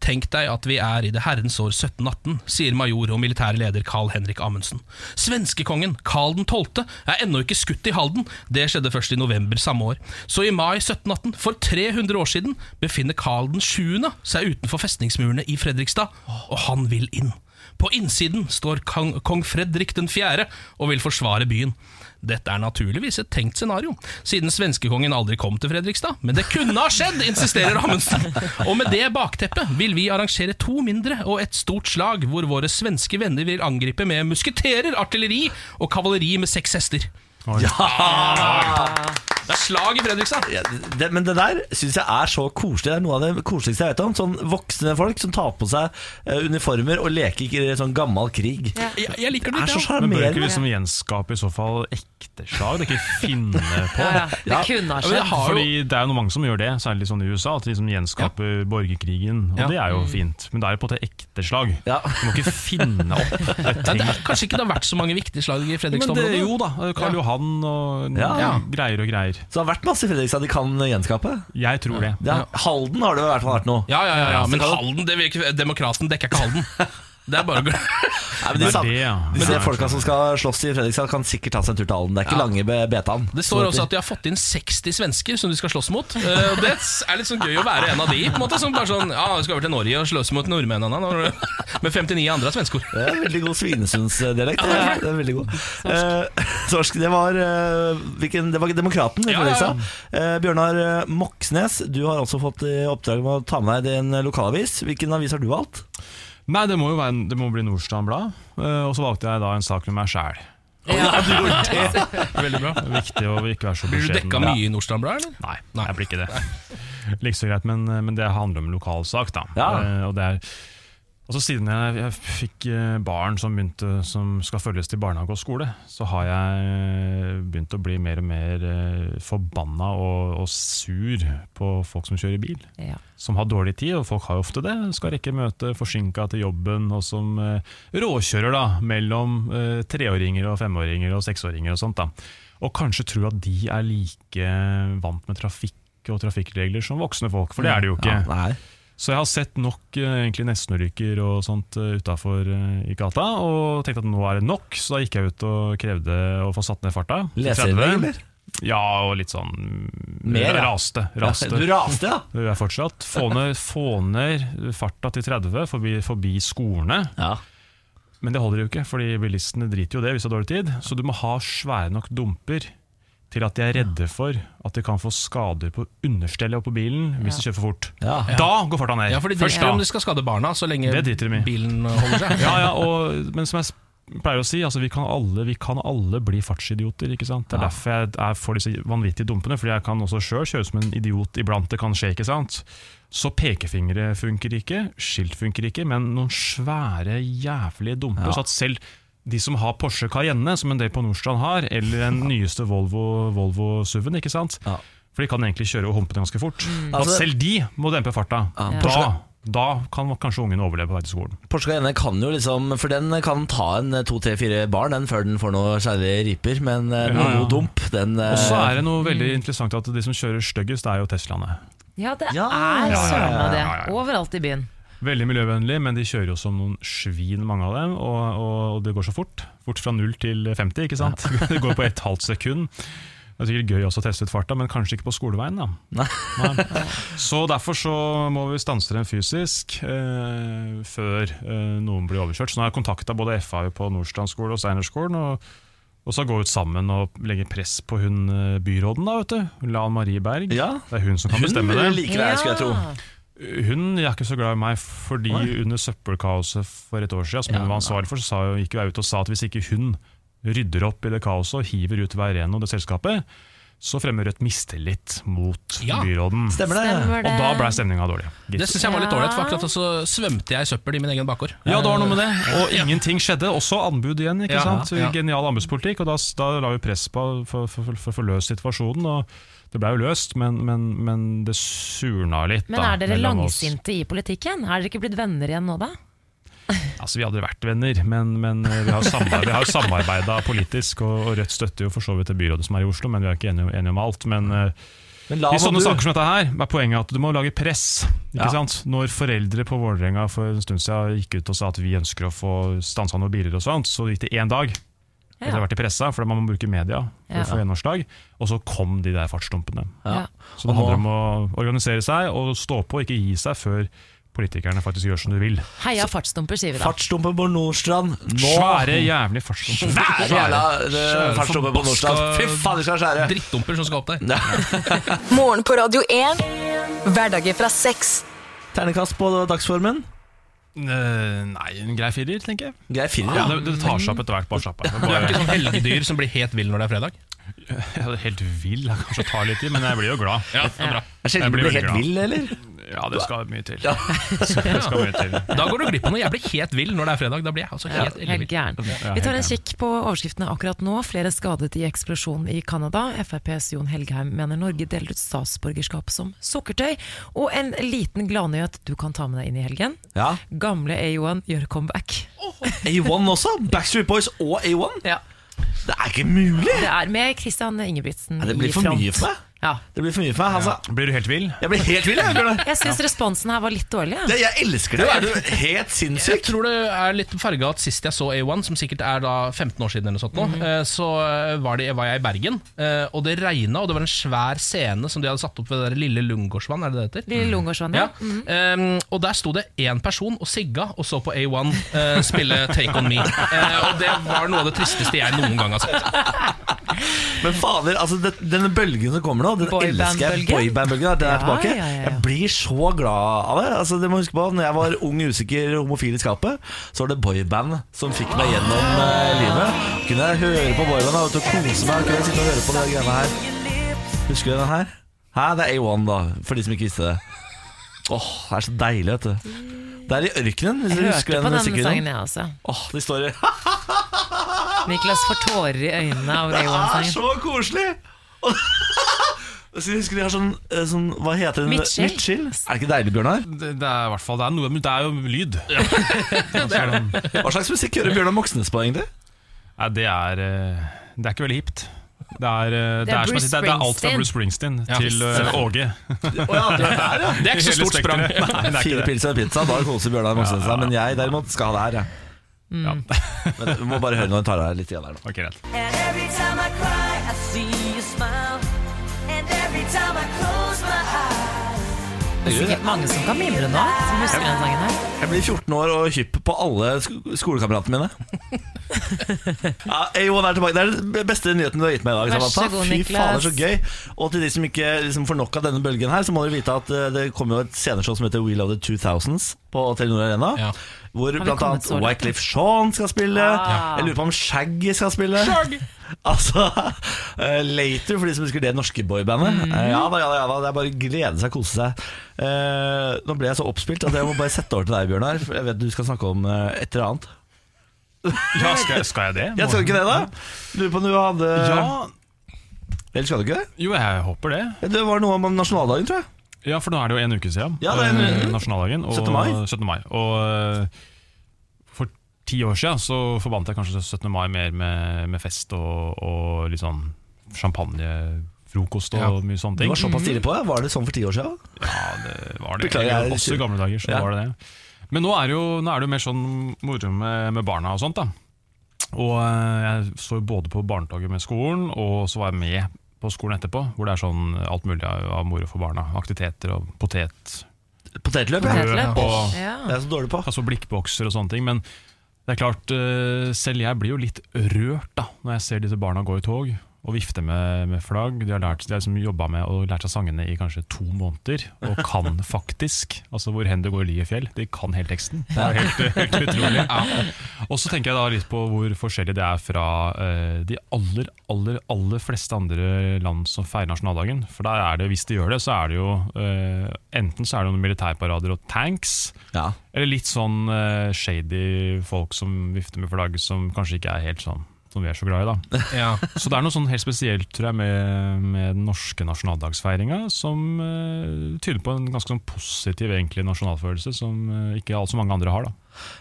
Speaker 2: Tenk deg at vi er i det herrens år 1718, sier major og militær leder Carl-Henrik Amundsen. Svenskekongen, Carl 12., er ennå ikke skutt i Halden. Det skjedde først i november samme år. Så i mai 1718, for 300 år siden, befinner Carl 7. seg utenfor festningsmurene i Fredrikstad, og han vil inn. På innsiden står kong, kong Fredrik 4. og vil forsvare byen. Dette er naturligvis et tenkt scenario, siden svenskekongen aldri kom til Fredrikstad. Men det kunne ha skjedd, insisterer Amundsen. Og med det bakteppet vil vi arrangere to mindre og et stort slag, hvor våre svenske venner vil angripe med musketerer, artilleri og kavaleri med seks hester. Det er slag i Fredrikstad!
Speaker 1: Ja, det, men det der syns jeg er så koselig. Det er noe av det koseligste jeg vet om. Sånn voksne folk som tar på seg eh, uniformer og leker ikke sånn gammel krig.
Speaker 2: Jeg, jeg liker
Speaker 1: Det
Speaker 2: det
Speaker 1: er
Speaker 2: litt,
Speaker 1: så
Speaker 2: ja.
Speaker 7: Men bør
Speaker 1: sjarmerende.
Speaker 7: ikke vi som gjenskaper i så fall ekte slag? Det er ikke finne på.
Speaker 3: Ja, ja. Det kunne
Speaker 2: Ja,
Speaker 3: ha
Speaker 2: men det
Speaker 3: skjedd.
Speaker 2: har jo,
Speaker 7: Fordi Det er jo noen mange som gjør det, særlig sånn i USA. At de liksom gjenskaper borgerkrigen. Og
Speaker 2: Ja.
Speaker 7: det er jo fint, men det er jo på en måte ekte slag.
Speaker 1: Ja.
Speaker 7: Du må ikke finne opp et
Speaker 2: ja,
Speaker 7: ting.
Speaker 2: det er kanskje ikke det har vært så mange viktige slag i
Speaker 7: Men det,
Speaker 2: Fredrikstad-området?
Speaker 7: jo da, eh, Karl Johan og
Speaker 1: Ja.
Speaker 7: ja. greier og greier.
Speaker 1: Så det har vært masse i Fredrikstad de kan gjenskape.
Speaker 7: Jeg tror det.
Speaker 1: Det er, Halden har det jo i hvert fall vært noe.
Speaker 2: Ja, ja, ja, ja. men Halden, det virker, Demokraten dekker ikke Halden. Det er bare å
Speaker 1: Nei, men
Speaker 7: Det
Speaker 1: de
Speaker 7: er
Speaker 1: samme,
Speaker 7: det, ja. Men
Speaker 1: Disse
Speaker 7: det er
Speaker 1: folka som skal slåss i Fredrikstad, kan sikkert ta seg en tur til Halden. Det er ikke lange be- betan.
Speaker 2: Det står også at de har fått inn 60 svensker som de skal slåss mot. Eh, Og Det er litt sånn gøy å være en av de. På en måte, som bare sånn, ja, Vi skal over til Norge og slåss mot nordmennene når- med 59 andre er svenskor.
Speaker 1: Det er en veldig god Svinesundsdialekt. Det er- det er veldig god. Eh, Sorsk. Det var, eh, hvilken, det var Demokraten i
Speaker 2: Ja, ja, ja.
Speaker 1: Fredrikstad. Eh, Bjørnar eh, Moxnes, du har også fått i oppdrag med å ta med deg en lokalavis. Hvilken avis har du valgt?
Speaker 7: Nei, det må jo være, en- det må bli Nordstrand Blad. Eh, Og så valgte jeg da en sak med meg sjæl.
Speaker 2: Veldig bra
Speaker 7: Viktig å ikke være så
Speaker 2: Blir du
Speaker 7: beskjeden.
Speaker 2: dekka mye i Nordstrand Blad, eller?
Speaker 7: Nei,
Speaker 2: Nei.
Speaker 7: jeg blir ikke det. Like så greit, men, eh, men det handler om en lokalsak, da.
Speaker 1: Ja.
Speaker 7: Eh, og det er, altså siden jeg, jeg fikk eh, barn som, begynte, som skal følges til barnehage og skole, så har jeg eh, begynt å bli mer og mer eh, forbanna og, og sur på folk som kjører bil.
Speaker 3: Ja.
Speaker 7: Som har dårlig tid, og folk har jo ofte det. Skal rekke møte, forsinka til jobben, og som eh, råkjører da, mellom eh, treåringer og femåringer og seksåringer og sånt. da. Og kanskje tro at de er like eh, vant med trafikk og trafikkregler som voksne folk, for det er de jo ikke.
Speaker 1: Ja, nei.
Speaker 7: Så jeg har sett nok eh, egentlig nestenulykker og sånt uh, utafor i gata, og tenkte at nå er det nok, så da gikk jeg ut og krevde å få satt ned farta. til
Speaker 1: Leserinnlegg,
Speaker 7: 30.
Speaker 1: eller?
Speaker 7: Ja, og litt sånn mm,
Speaker 1: Mer, ja.
Speaker 7: raste. raste.
Speaker 1: Du raste, ja!
Speaker 7: Det gjør jeg fortsatt. Få ned, få ned farta til 30, forbi, forbi skolene.
Speaker 1: Ja.
Speaker 7: Men det holder jo ikke, fordi bilistene driter jo det hvis de har dårlig tid. Så du må ha svære nok dumper til at de er redde for at de kan få skader på understellet og på bilen hvis de kjører for fort.
Speaker 1: Ja.
Speaker 7: Da går farta ned!
Speaker 2: Ja, for de
Speaker 7: Først
Speaker 2: driter
Speaker 7: da.
Speaker 2: om de skal skade barna, så lenge
Speaker 7: Det driter de i.
Speaker 2: bilen holder seg.
Speaker 7: Ja, ja, og, men som jeg s- pleier å si, altså, vi, kan alle, vi kan alle bli fartsidioter. ikke sant? Det er derfor jeg er for disse vanvittige dumpene, fordi jeg kan også sjøl kjøre som en idiot iblant. Det kan skje, ikke sant? Så pekefingre funker ikke, skilt funker ikke, men noen svære, jævlige dumper. Så at selv de som har Porsche Cayenne, som en del på Nordstrand har, eller den nyeste Volvo, Volvo SUV-en, ikke sant?
Speaker 1: Ja.
Speaker 7: For de kan egentlig kjøre og humpe den ganske fort. At
Speaker 1: Altså-
Speaker 7: selv de må dempe farta. Da, da kan kanskje ungen overleve på vei til skolen.
Speaker 1: Porsche Cayenne kan jo liksom For den kan ta en eh, to, tre, fire barn den før den får noe særlig riper, men eh, noe
Speaker 7: Ja, ja.
Speaker 1: god dump, den eh,
Speaker 7: Og så er det noe veldig interessant at de som kjører styggest, det er jo Teslaene.
Speaker 3: Ja, det
Speaker 1: Ja,
Speaker 3: er
Speaker 1: ja,
Speaker 3: søren meg det.
Speaker 7: ja, ja, ja.
Speaker 3: Overalt i byen.
Speaker 7: Veldig miljøvennlig, men de kjører jo som noen svin, mange av dem. Og, og, og det går så fort. Fort fra 0 til 50, ikke sant? Det går på et halvt sekund. Det er sikkert gøy også å teste ut farta, men kanskje ikke på skoleveien. da.
Speaker 1: Nei.
Speaker 7: Nei. Så derfor så må vi stanse dem fysisk eh, før eh, noen blir overkjørt. Så nå har jeg kontakta både FAU på Nordstrand skole og Steinerskolen. Og, og så gå ut sammen og legge press på hun eh, byråden, da, vet du. Lan Marie Berg.
Speaker 1: Ja.
Speaker 7: Det er hun som kan
Speaker 1: Hun
Speaker 7: bestemme det.
Speaker 1: liker deg, skulle jeg tro.
Speaker 7: Hun er ikke så glad i meg, fordi under søppelkaoset for et år siden, som hun var ansvarlig for, så sa, jo- gikk jo jeg ut og sa at hvis ikke hun rydder opp i det kaoset og hiver ut hver en av det selskapet, så fremmer Rødt mistillit mot
Speaker 2: Ja.
Speaker 7: byråden.
Speaker 1: Stemmer det?
Speaker 3: Stemmer det?
Speaker 7: Og da ble stemninga dårlig.
Speaker 2: Det
Speaker 7: gitt.
Speaker 2: syns jeg var litt
Speaker 3: Ja.
Speaker 2: ålreit, for akkurat da så svømte jeg i søppel i min egen bakgård.
Speaker 7: Ja, det var noe med det. Og ingenting skjedde. Også anbud igjen. ikke
Speaker 2: Ja,
Speaker 7: sant?
Speaker 2: ja.
Speaker 7: Genial anbudspolitikk. Og da, da la vi press på for, for, for, for å få løst situasjonen. Og det ble jo løst, men, men, men det surna litt.
Speaker 3: Men
Speaker 7: da,
Speaker 3: er dere
Speaker 7: mellom oss.
Speaker 3: langsinte i politikken? Er dere ikke blitt venner igjen nå, da?
Speaker 7: Altså, Vi hadde vært venner, men, men eh, vi har samarbeida samarbeida politisk. Og, og Rødt støtter jo for så vidt det byrådet som er i Oslo, men vi er ikke enige, enige om alt. Men eh,
Speaker 1: Men la
Speaker 7: I sånne
Speaker 1: du-
Speaker 7: saker som dette her er poenget at du må lage press. Ikke
Speaker 1: Ja.
Speaker 7: sant? Når foreldre på Vålerenga for en stund siden gikk ut og sa at vi ønsker å få stansa noen biler, og sånt, så gikk det én dag.
Speaker 3: Ja.
Speaker 7: Etter å ha vært i pressa, for man må bruke media for
Speaker 3: Ja.
Speaker 7: å få gjennomslag. Og så kom de der fartsdumpene.
Speaker 1: Ja.
Speaker 7: Så det
Speaker 1: Og nå-
Speaker 7: handler om å organisere seg og stå på, ikke gi seg før politikerne faktisk gjør som du vil.
Speaker 3: Heia fartsdumper, sier vi da.
Speaker 1: Fartsdumpe på Nordstrand nå!
Speaker 7: Svære jævlig fartsdumper.
Speaker 1: Svære jævla
Speaker 2: Svære
Speaker 1: eh, fartsdumpe på Nordstrand. Fy faen, de skal skjære!
Speaker 2: Drittdumper som skal opp der.
Speaker 5: Morgen på Radio 1. Hverdager fra seks.
Speaker 1: Ternekast på dagsformen.
Speaker 7: Eh, Nei, en grei firer, tenker jeg.
Speaker 1: Grei firer,
Speaker 7: Ja,
Speaker 1: ja.
Speaker 7: det, det tar seg opp etter hvert. Bare slapp av.
Speaker 2: Du er
Speaker 7: Bare-
Speaker 2: ikke sånn helgedyr som blir helt vill når det er fredag?
Speaker 7: Jeg er helt vill. Jeg kanskje tar litt tid, men jeg blir jo glad.
Speaker 2: Ja, det er bra
Speaker 1: Jeg sjelden
Speaker 7: Jeg blir
Speaker 1: blir
Speaker 7: veldig
Speaker 1: helt
Speaker 7: glad.
Speaker 1: vill, eller?
Speaker 7: Ja, det skal mye til.
Speaker 1: Ja.
Speaker 7: Det skal mye til.
Speaker 2: Da går du glipp av noe. Jeg blir helt vill når det er fredag. Da blir jeg altså helt
Speaker 3: Helt
Speaker 2: ellevill.
Speaker 3: gæren.
Speaker 7: Ja,
Speaker 3: Vi tar en
Speaker 7: helt
Speaker 3: kikk på overskriftene akkurat nå. Flere skadet i eksplosjon i Canada. FrPs Jon Helgheim mener Norge deler ut statsborgerskap som sukkertøy. Og en liten gladnyhet du kan ta med deg inn i helgen.
Speaker 1: Ja.
Speaker 3: Gamle A1 gjør comeback.
Speaker 1: A1 også. Backstreet Boys og A1. Det er ikke mulig!
Speaker 3: Det er med Christian Ingebrigtsen
Speaker 1: Nei,
Speaker 3: i
Speaker 1: det blir for
Speaker 3: front.
Speaker 1: mye for meg.
Speaker 3: Ja.
Speaker 1: Det blir for mye for meg. Altså,
Speaker 7: Blir du helt vill?
Speaker 1: jeg blir helt vill, jeg. Bjørnar.
Speaker 3: Jeg syns responsen her var litt dårlig. Ja.
Speaker 1: Det, jeg elsker det. Er du helt
Speaker 2: Jeg
Speaker 1: sinnssyk?
Speaker 2: tror det er litt farga at sist jeg så A1, som sikkert er da 15 år siden, eller noe sånt nå,
Speaker 1: Mhm.
Speaker 2: eh, så eh, var, det, var jeg i Bergen, eh, og det regna, og det var en svær scene som de hadde satt opp ved det der lille Lungegårdsvann, er det det heter?
Speaker 3: Lille Lungårdsvann,
Speaker 2: Ja.
Speaker 3: ja. Mm.
Speaker 1: mhm.
Speaker 2: Ehm, og der sto det én person og sigga og så på A1 eh, spille Take On Me. Eh, og det var noe av det tristeste jeg noen gang har sett.
Speaker 1: Men fader, altså, det, denne bølgen som kommer nå, den
Speaker 3: Boyband-bølgen?
Speaker 1: elsker jeg. Boyband-bølgen, ja, den er
Speaker 3: Ja,
Speaker 1: tilbake.
Speaker 3: ja, ja, ja.
Speaker 1: Jeg blir så glad av det. Altså, det må huske på, når jeg var ung, usikker, homofil i skapet, så var det boyband som fikk meg gjennom eh, livet. Kunne jeg høre på boyband da, vet du, kose meg, kunne jeg sitte og høre på de greiene her. Husker du den her? Hæ, det er A1 da, for de som ikke visste det. Åh, det er så deilig, vet du. Det er i ørkenen, hvis du
Speaker 3: Jeg
Speaker 1: husker
Speaker 3: hørte
Speaker 1: den
Speaker 3: på denne
Speaker 1: musikkvideoen.
Speaker 3: sangen, jeg også.
Speaker 1: Åh, de står i...
Speaker 3: Niklas får tårer i øynene av
Speaker 1: Det er
Speaker 3: A1-sangen.
Speaker 1: Ah, så koselig! Og- Så jeg husker de har sånn, eh, sånn Hva heter den?
Speaker 3: Midtskill.
Speaker 1: Er det ikke deilig, Bjørnar?
Speaker 7: Det, det er i hvert fall det er noe, men det er jo lyd. Altså, den-
Speaker 1: Hva slags musikk hører Bjørnar Moxnes på, egentlig?
Speaker 7: Nei, det er eh, Det er ikke veldig hipt. Det er, eh, det, er, som jeg
Speaker 3: Bruce
Speaker 7: sier, det, er, det er alt fra Bruce Springsteen til eh, Åge.
Speaker 2: Det er ikke så
Speaker 7: Hele
Speaker 2: stort sprang.
Speaker 7: spekteret. Nei, det er
Speaker 1: Fire
Speaker 7: ikke det.
Speaker 1: pils og en pizza, da koser Bjørnar Moxnes seg. Men jeg derimot skal ha det her, jeg.
Speaker 3: Mm.
Speaker 7: Ja.
Speaker 1: Men du må bare høre når hun tar av deg litt igjen her nå.
Speaker 7: Ok, greit.
Speaker 9: And every time I cry, I see you smile. And every time I close my eyes,
Speaker 3: Det er sikkert mange som kan mimre nå, som husker den sangen her.
Speaker 1: Jeg blir 14 år og hypp på alle sk skolekameratene mine. Ja, A1 er tilbake. Det er den beste nyheten du har gitt meg i dag.
Speaker 3: Vær så
Speaker 1: Samantha.
Speaker 3: god,
Speaker 1: Fy
Speaker 3: Niklas.
Speaker 1: fader, så gøy. Og til de som ikke liksom, får nok av denne bølgen her, så må dere vite at eh, det kommer jo et sceneshow som heter We Love the 2000s på Telenor Arena.
Speaker 2: Ja.
Speaker 1: Hvor
Speaker 3: vi
Speaker 1: blant
Speaker 3: kommet
Speaker 1: annet
Speaker 3: så langt?
Speaker 1: Wycliffe Sean skal spille.
Speaker 3: Ah.
Speaker 1: Jeg lurer på om Shaggy skal spille. Altså, eh, Later, for de som husker det norske boybandet. Eh, ja da, ja da, ja da. Det er bare å glede seg, kose seg. Eh, nå ble jeg så oppspilt at jeg må bare sette over til deg, Bjørnar. For jeg vet du skal snakke om eh, et eller annet.
Speaker 7: Ja, skal, jeg- skal jeg det?
Speaker 1: Jeg skal ikke det, da? Lurer på om du hadde
Speaker 7: Ja,
Speaker 1: Eller skal du ikke det?
Speaker 7: jo, jeg håper det.
Speaker 1: Ja, Det var noe om nasjonaldagen, tror jeg.
Speaker 7: Ja, for nå er det jo en uke siden.
Speaker 1: Ja, det er en-
Speaker 7: eh, nasjonaldagen. Og,
Speaker 1: 17. mai.
Speaker 7: 17. mai. Og eh, for ti år siden så forbandt jeg kanskje 17. mai mer med, med fest og, og litt sånn champagnefrokost og
Speaker 2: Ja.
Speaker 7: mye sånne
Speaker 1: Du
Speaker 7: ting.
Speaker 1: var såpass tidlig på det. Var det sånn for ti år siden?
Speaker 7: Ja, det var det.
Speaker 1: Beklager, jeg-
Speaker 7: Også i gamle dager så
Speaker 1: Ja.
Speaker 7: var det det. Men nå er det jo, nå er det jo mer sånn moro med, med barna og sånt, da. Og eh, jeg så jo både på barnetoget med skolen, og så var jeg med på skolen etterpå, hvor det er sånn alt mulig av av moro for barna. Aktiviteter og potet,
Speaker 1: Potetløp, ja.
Speaker 3: Potetløp.
Speaker 7: og-
Speaker 3: Ja.
Speaker 1: Jeg er så dårlig på.
Speaker 7: altså blikkbokser og sånne ting. Men det er klart, eh, selv jeg blir jo litt rørt da når jeg ser disse barna gå i tog. og vifte med, med flagg. De har, lært, de har liksom jobba med og lært seg sangene i kanskje to måneder, og kan faktisk. Altså hvor hen det går lie fjell. De kan hele teksten. Det er helt, helt utrolig. Og så tenker jeg da litt på hvor forskjellig det er fra eh, de aller, aller, aller fleste andre land som feirer nasjonaldagen. For der er det, hvis de gjør det, så er det jo eh, enten så er det noen militærparader og tanks.
Speaker 1: Ja.
Speaker 7: Eller litt sånn eh, shady folk som vifter med flagg, som kanskje ikke er helt sånn som vi er så glad i, da.
Speaker 2: Ja.
Speaker 7: Så det er noe sånn helt spesielt tror jeg, med, med den norske nasjonaldagsfeiringa, som eh, tyder på en ganske sånn positiv egentlig, nasjonalfølelse, som eh, ikke alt så mange andre har. da.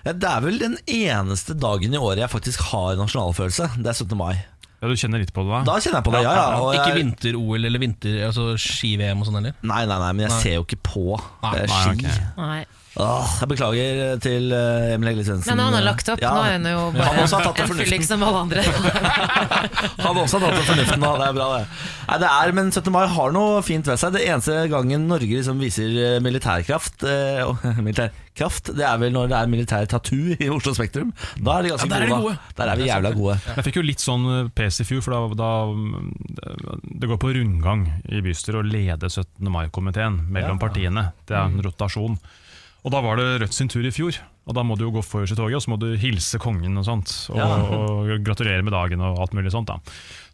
Speaker 1: Ja, Det er vel den eneste dagen i året jeg faktisk har nasjonalfølelse. Det er 17. mai.
Speaker 7: Ja, Du kjenner litt på det, da?
Speaker 1: Da kjenner jeg på det. Ja, ja. og
Speaker 2: Ikke
Speaker 1: jeg-
Speaker 2: vinter-OL eller vinter, altså ski-VM og sånn heller?
Speaker 1: Nei, nei, nei, men jeg ser jo ikke på eh,
Speaker 7: nei,
Speaker 1: ski.
Speaker 7: ok.
Speaker 3: Nei.
Speaker 1: Åh, jeg beklager til eh, Emil Hegle Svendsen.
Speaker 3: Men han har lagt opp.
Speaker 1: Ja,
Speaker 3: Nå er han jo bare
Speaker 1: Han også har tatt det
Speaker 3: en
Speaker 1: fornuften.
Speaker 3: fyllik som alle andre.
Speaker 1: Han har også tatt opp fornuften, da. Det er bra, det. Nei, det er, men 17. mai har noe fint ved seg. Det eneste gangen Norge liksom viser eh, militærkraft eh, og- Militærkraft, det er vel når det er militær tattoo i Oslo Spektrum. Da er de ganske
Speaker 2: Ja, der er de
Speaker 1: gode. da. Der er vi jævla gode.
Speaker 7: Jeg fikk jo litt sånn eh, pes i fjor, for da, da mm, Det går på rundgang i bystyret å lede 17. mai-komiteen mellom partiene. Det er
Speaker 3: Mm.
Speaker 7: en rotasjon. Og da var det Rødt sin tur i fjor. Og da må du jo gå forrest i toget, og så må du hilse kongen og sånt. Og, og gratulere med dagen og alt mulig sånt. da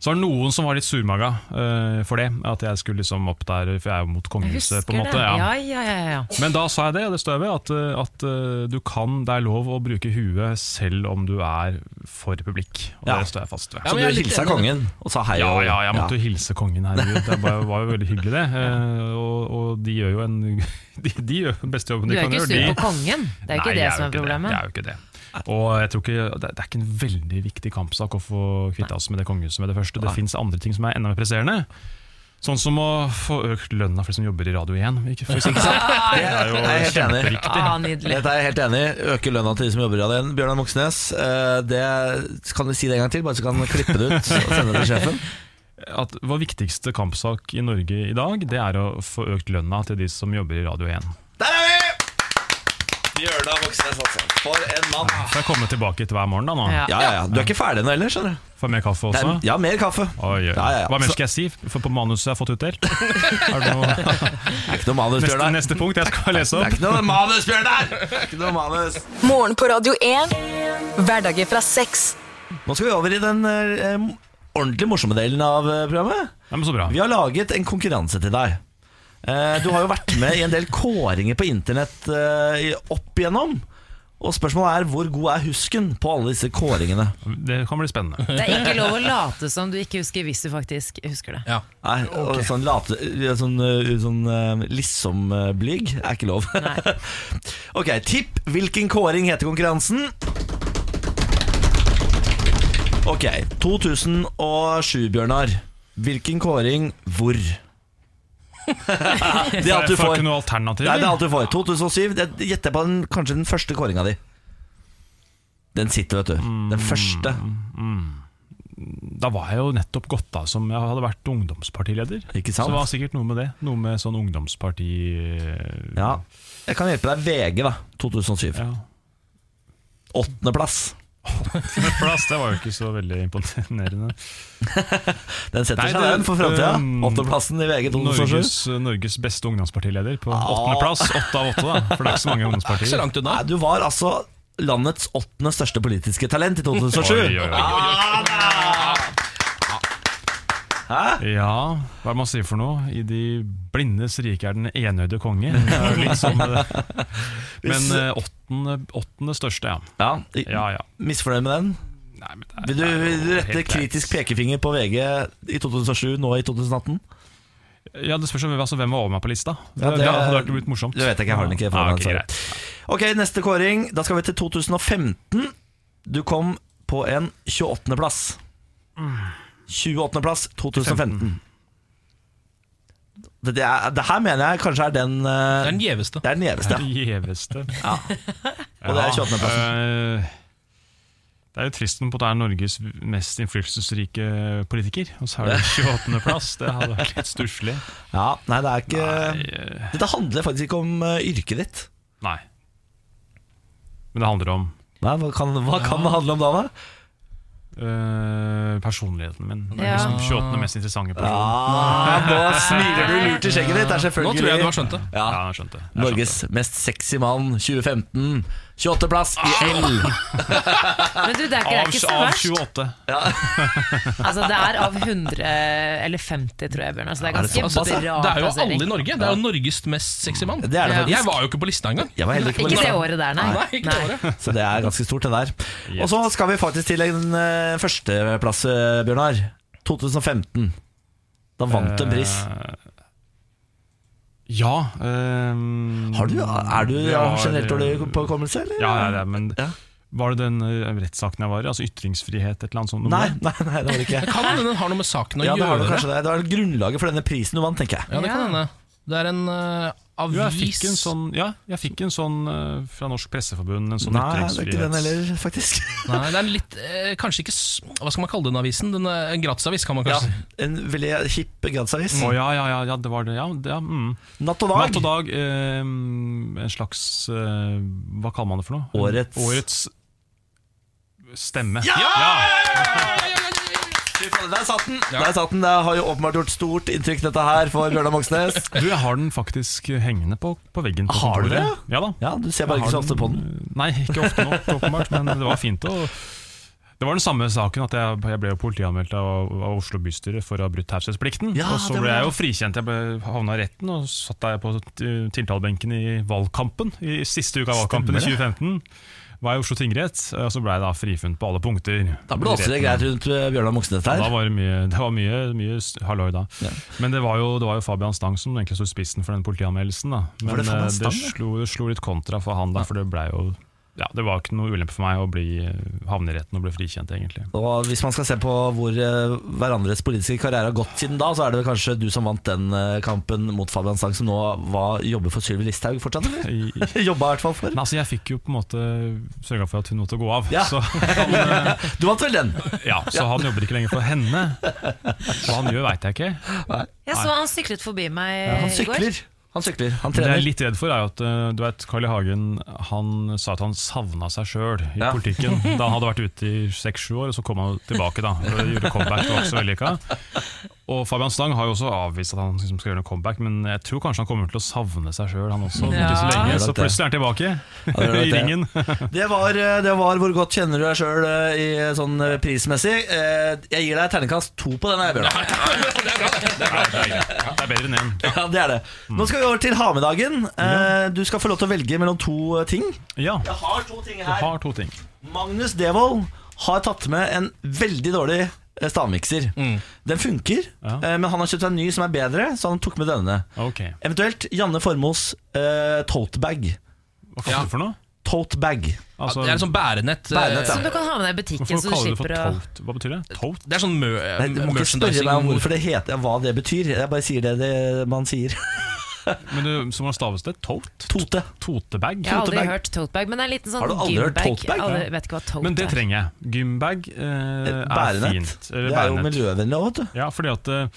Speaker 7: Så var det noen som var litt surmaga eh, for det, at jeg skulle liksom opp der, for jeg er jo mot kongehuset, på en måte.
Speaker 3: det. Ja, ja, ja, ja.
Speaker 7: Men da sa jeg det, og det står jeg ved, at, uh, at uh, du kan, det er lov å bruke huet selv om du er for publikk. Og
Speaker 1: Ja.
Speaker 7: det står jeg fast ved.
Speaker 1: Så
Speaker 2: men
Speaker 1: du
Speaker 2: jeg er litt
Speaker 1: hilsa
Speaker 2: enig.
Speaker 1: kongen og sa hei.
Speaker 7: Ja,
Speaker 1: og-
Speaker 7: ja, jeg måtte jo hilse kongen, herregud. Det var, var jo veldig hyggelig, det. Eh, og, og de gjør jo en De, de gjør den beste jobben
Speaker 3: Du er
Speaker 7: de kan
Speaker 3: ikke sur
Speaker 7: gjøre.
Speaker 3: på
Speaker 7: de-
Speaker 3: kongen. Det er ikke
Speaker 7: Nei,
Speaker 3: det
Speaker 7: jeg
Speaker 3: som er
Speaker 7: jo ikke
Speaker 3: problemet.
Speaker 7: Jeg er jo ikke det. Og jeg tror ikke, det, det er ikke en veldig viktig kampsak å få kvitte oss med det kongehuset med det første. Det fins andre ting som er enda mer presserende. Sånn som å få økt lønna for de som jobber i Radio 1. Ikke, for eksempel.
Speaker 1: Det er jo jeg er helt enig.
Speaker 3: Ah, nydelig.
Speaker 1: Dette er jeg helt enig i. Øke lønna til de som jobber i Radio 1. Bjørnar Moxnes, eh, det kan vi si det en gang til, bare så kan vi klippe det ut og sende det til sjefen.
Speaker 7: at Vår viktigste kampsak i Norge i dag, det er å få økt lønna til de som jobber i Radio 1.
Speaker 1: Der er vi! Bjørnar Moxnes, altså. For en mann.
Speaker 7: Så jeg kommer tilbake hit hver morgen da nå.
Speaker 3: Ja.
Speaker 1: Ja, ja, ja. Du er ikke ferdig nå heller, skjønner du.
Speaker 7: Får mer kaffe
Speaker 1: Det
Speaker 7: også.
Speaker 1: er, ja, mer kaffe.
Speaker 7: Oi, oi.
Speaker 1: Ja, ja, ja.
Speaker 7: Hva mer
Speaker 1: Så-
Speaker 7: skal jeg si? For på manuset jeg har fått utdelt. Er det noe
Speaker 1: Det er ikke noe manus,
Speaker 7: neste,
Speaker 1: Bjørnar.
Speaker 7: neste punkt jeg skal lese
Speaker 1: Det er
Speaker 7: opp?
Speaker 1: ikke noe manus, Bjørnar! Det er Ikke noe manus.
Speaker 5: Morgen på Radio 1. Hverdager fra seks.
Speaker 1: Nå skal vi over i den eh, ordentlig morsomme delen av eh, programmet.
Speaker 7: Ja, men så bra.
Speaker 1: Vi har laget en konkurranse til deg. Eh, Du har jo vært med i en del kåringer på internett eh, i- opp igjennom. Og spørsmålet er hvor god er husken på alle disse kåringene?
Speaker 7: Det kan bli spennende.
Speaker 3: Det er ikke lov å late som du ikke husker, hvis du faktisk husker det.
Speaker 2: Ja.
Speaker 1: Nei, og Sånn, late, sånn, eh, sånn eh, lissom-blyg er ikke lov. ok, tipp hvilken kåring heter konkurransen. Ok, 2007, Bjørnar. Hvilken kåring hvor? det er alt du
Speaker 7: Jeg får
Speaker 1: får.
Speaker 7: ikke noe alternativ?
Speaker 1: Nei, det er alt du får. 2007, det gjetter jeg på den, kanskje den første kåringa di. Den sitter, vet du. Den første.
Speaker 7: Mm. Da var jeg jo nettopp gått av som Jeg hadde vært ungdomspartileder.
Speaker 1: Ikke
Speaker 7: Så
Speaker 1: sant?
Speaker 7: det var sikkert noe med det. Noe med sånn ungdomsparti...
Speaker 1: Ja. Jeg kan hjelpe deg. VG, da. 2007.
Speaker 7: Ja.
Speaker 1: Åttendeplass.
Speaker 7: Plass, det var jo ikke så veldig imponerende.
Speaker 1: Den setter
Speaker 7: Nei,
Speaker 1: seg,
Speaker 7: det-
Speaker 1: den, for framtida.
Speaker 7: øhm,
Speaker 1: Åttendeplassen i VG 2007.
Speaker 7: Norges, eh, Norges beste ungdomspartileder på åttendeplass. Åtte av åtte, da. For det er ikke så mange
Speaker 2: Ikke så
Speaker 7: ungdomspartier.
Speaker 2: langt unna.
Speaker 1: Nei, du var altså landets åttende største politiske talent i 2007.
Speaker 7: Oi, oi, oi.
Speaker 1: Hæ?
Speaker 7: Ja, hva er det man sier for noe? I de blindes rike er den enøyde konge. Det er jo litt sånn, eh, men eh, åttende, åttende største, ja.
Speaker 1: Ja,
Speaker 7: Ja, ja.
Speaker 1: Misfornøyd med den?
Speaker 7: Nei, men det er-
Speaker 1: Vil du, vil du
Speaker 7: det er jo
Speaker 1: rette
Speaker 7: helt greit.
Speaker 1: kritisk pekefinger på VG i 2007, nå i 2018?
Speaker 7: Ja, Det spørs jo hvem- altså, hvem var over meg på lista. Det,
Speaker 1: Ja, det-
Speaker 7: det, hadde vært blitt morsomt.
Speaker 1: Det vet jeg ikke, jeg har den ikke
Speaker 7: Ja,
Speaker 1: foran
Speaker 7: ok,
Speaker 1: meg.
Speaker 7: greit.
Speaker 1: sorry. ok, neste kåring. Da skal vi til 2015. Du kom på en 28. plass. 28. plass 2015. Det, det, er, det her mener jeg kanskje er den eh,
Speaker 2: Det er den gjeveste.
Speaker 1: Det er den gjeveste.
Speaker 7: Det gjeveste.
Speaker 1: Og det er 28. plassen.
Speaker 7: Eh, Det er jo trist om på at det er Norges mest innflytelsesrike politiker, og så er det 28. plass. Det hadde vært litt stusslig.
Speaker 1: Ja, nei, det er ikke
Speaker 7: Nei, eh,
Speaker 1: Dette handler faktisk ikke om eh, yrket ditt.
Speaker 7: nei. Men det handler om
Speaker 1: Nei, hva kan, hva kan det handle om da, da?
Speaker 7: eh, personligheten min. Den
Speaker 3: Ja.
Speaker 7: liksom 28. mest interessante personen.
Speaker 1: Ah, nå smiler du lurt i skjegget ditt. Det er
Speaker 2: Nå
Speaker 1: selvfølgelig
Speaker 2: tror jeg du har skjønt det.
Speaker 1: Ja.
Speaker 7: Ja, jeg skjønte. Jeg skjønte.
Speaker 1: Norges mest sexy mann 2015. 28. plass
Speaker 2: Ah.
Speaker 1: i L.
Speaker 3: Men du, det er ikke, det er
Speaker 7: Av,
Speaker 3: ikke så
Speaker 7: av
Speaker 3: verst.
Speaker 7: 28.
Speaker 3: Altså, det er av 100 eller 50, tror jeg, Bjørn. Altså, det er
Speaker 1: Er
Speaker 3: altså,
Speaker 1: det
Speaker 3: ganske
Speaker 1: såpass, ja?
Speaker 3: bra
Speaker 2: Det er jo
Speaker 3: plassering.
Speaker 2: alle i Norge. Det er jo Norges mest sexy mann.
Speaker 1: Det er det
Speaker 2: Ja.
Speaker 1: faktisk.
Speaker 2: Jeg var jo ikke på lista engang.
Speaker 1: Jeg var heller ikke på
Speaker 3: Ikke det
Speaker 1: lista.
Speaker 3: året der, nei.
Speaker 2: Nei, ikke det året.
Speaker 1: Så det er ganske stort, det der. Og så skal vi faktisk til en eh, førsteplass, eh, Bjørnar. 2015. Da vant du en pris.
Speaker 7: Eh, ja. eh,
Speaker 1: Har du, er du
Speaker 7: det
Speaker 1: av
Speaker 7: var-
Speaker 1: generelt dårlig på hukommelse, eller?
Speaker 7: eh, Ja, ja, det er, men
Speaker 1: Ja.
Speaker 7: var det den eh, rettssaken jeg var i? Altså ytringsfrihet, et eller annet sånt? noe?
Speaker 1: Nei, nei, nei, det var det ikke.
Speaker 2: Kan hende den har noe med saken å
Speaker 1: Ja, det har du
Speaker 2: gjøre.
Speaker 1: kanskje det. Det var grunnlaget for denne prisen du vant, tenker jeg.
Speaker 2: Ja, det kan hende. Det er en eh, avis
Speaker 7: Jo, jeg fikk en sånn, ja, jeg fikk en sånn eh, fra Norsk Presseforbund. En sånn
Speaker 1: Nei, det er ikke den
Speaker 7: ytringsfrihets-
Speaker 1: heller, faktisk.
Speaker 2: Nei, det er en litt eh, Kanskje ikke s- Hva skal man kalle den avisen? Den, er en gratisavis, kan man
Speaker 1: Ja,
Speaker 2: kanskje si.
Speaker 1: en veldig kjipp gradsavis.
Speaker 7: Å ja, ja, ja, ja, det var det. Ja, det ja, mm.
Speaker 1: Natt og dag.
Speaker 7: Natt og dag. eh, en slags eh, Hva kaller man det for noe?
Speaker 1: Årets-
Speaker 7: Årets stemme.
Speaker 1: Fy faen, Der satt den! Der satt den, Det har jo åpenbart gjort stort inntrykk, dette her, for Bjørnar Moxnes.
Speaker 7: Du, jeg har den faktisk hengende på, på veggen. På
Speaker 1: Har du
Speaker 7: kontoret.
Speaker 1: det?
Speaker 7: Ja da.
Speaker 1: Ja, Du ser bare ikke så ofte på den.
Speaker 7: Nei, ikke ofte nok, åpenbart, men det var fint å det var den samme saken at jeg, jeg ble jo politianmeldt av, av Oslo bystyre for å ha brutt taushetsplikten.
Speaker 1: Ja,
Speaker 7: og så
Speaker 1: det
Speaker 7: ble
Speaker 1: var-
Speaker 7: jeg jo frikjent. Jeg ble havna i retten og satt der på t- tiltalebenken i valgkampen. I siste uka av valgkampen i 2015 var jeg i Oslo tingrett, og så ble jeg da frifunnet på alle punkter.
Speaker 1: Da blåser det
Speaker 7: I retten.
Speaker 1: greit rundt eh, Bjørnar Moxnes
Speaker 7: Ja,
Speaker 1: her.
Speaker 7: Da var det mye, det var mye, mye s- halloi da. Men det var, jo, det var jo Fabian Stang som egentlig sto i spissen for den politianmeldelsen. Da. Men
Speaker 1: Var det Fabian
Speaker 7: eh,
Speaker 1: Stang, ja?
Speaker 7: slo, det slo litt kontra for han, da, for det ble jo ja, Det var ikke noe ulempe for meg å bli eh, havne i retten og bli frikjent, egentlig.
Speaker 1: Og Hvis man skal se på hvor eh, hverandres politiske karriere har gått siden da, så er det vel kanskje du som vant den eh, kampen mot Fabian Stang, som nå var, jobber for Sylvi Listhaug fortsatt, eller?
Speaker 7: I, i,
Speaker 1: Jobba i hvert fall for.
Speaker 7: men altså, jeg fikk jo på en måte sørga for at hun måtte gå av.
Speaker 1: Ja.
Speaker 7: Så, han, eh,
Speaker 1: Du vant vel den?
Speaker 7: ja, så han jobber ikke lenger for henne. Hva han gjør, veit jeg ikke.
Speaker 3: Jeg så han syklet forbi meg
Speaker 1: Han
Speaker 3: Eh, i går.
Speaker 1: sykler. Han sykler, han
Speaker 7: Det jeg
Speaker 1: trener.
Speaker 7: er litt redd for, er jo at eh, du vet, Carl I. Hagen han sa at han savna seg sjøl i
Speaker 1: Ja.
Speaker 7: politikken. Da han hadde vært ute i seks-sju år, og så kom han tilbake. da og gjorde comeback, det var ikke så vellykka. Og Fabian Stang har jo også avvist at han liksom skal gjøre noe comeback, men jeg tror kanskje han kommer til å savne seg sjøl, han også.
Speaker 3: Ja.
Speaker 7: Ikke så lenge,
Speaker 1: Det er
Speaker 7: så
Speaker 1: det.
Speaker 7: plutselig er han tilbake
Speaker 1: det er det.
Speaker 7: i ringen.
Speaker 1: Det var, eh, det var hvor godt kjenner du deg sjøl sånn eh, prismessig. Eh, Jeg gir deg terningkast to på den her, Bjørnar.
Speaker 7: Det er bedre enn én.
Speaker 1: Ja, det er det. Nå skal vi over til ha-med-dagen. Eh, Du skal få lov til å velge mellom to eh, ting.
Speaker 7: Ja,
Speaker 1: Jeg har to ting
Speaker 7: du har to ting.
Speaker 1: Magnus Devold har tatt med en veldig dårlig eh, stavmikser. Den funker,
Speaker 7: Mm. Ja.
Speaker 1: eh, men han har kjøpt seg en ny som er bedre, så han tok med denne.
Speaker 7: Ok,
Speaker 1: Eventuelt Janne Formoes eh, totebag.
Speaker 7: Hva kaller du det for noe?
Speaker 1: Totebag.
Speaker 7: Altså,
Speaker 2: det er en sånn bærenett. eh,
Speaker 1: Bærenett, ja.
Speaker 3: Som du kan ha med deg i butikken, så
Speaker 7: hvorfor
Speaker 3: du
Speaker 7: kaller du det for
Speaker 3: slipper å
Speaker 7: tote? Hva betyr det? Tote?
Speaker 2: Det er sånn mø
Speaker 1: Nei, Du må ikke spørre meg om hvorfor det heter, ja, hva det betyr. Jeg bare sier det, det man sier.
Speaker 7: Men du, så hvordan staves det? Tote?
Speaker 1: Tote.
Speaker 7: Totebag?
Speaker 3: Jeg har aldri
Speaker 1: Totebag.
Speaker 3: hørt totebag, men det er en liten sånn
Speaker 1: Har du aldri hørt
Speaker 3: gymbag.
Speaker 1: totebag?
Speaker 3: Aldri, vet ikke hva tote
Speaker 7: Men det
Speaker 3: er.
Speaker 7: trenger jeg. Gymbag eh, er
Speaker 1: Bærenett.
Speaker 7: fint. Eller
Speaker 1: Det er jo
Speaker 7: bærenett.
Speaker 1: miljøvennlig òg, vet du.
Speaker 7: Ja, fordi at eh,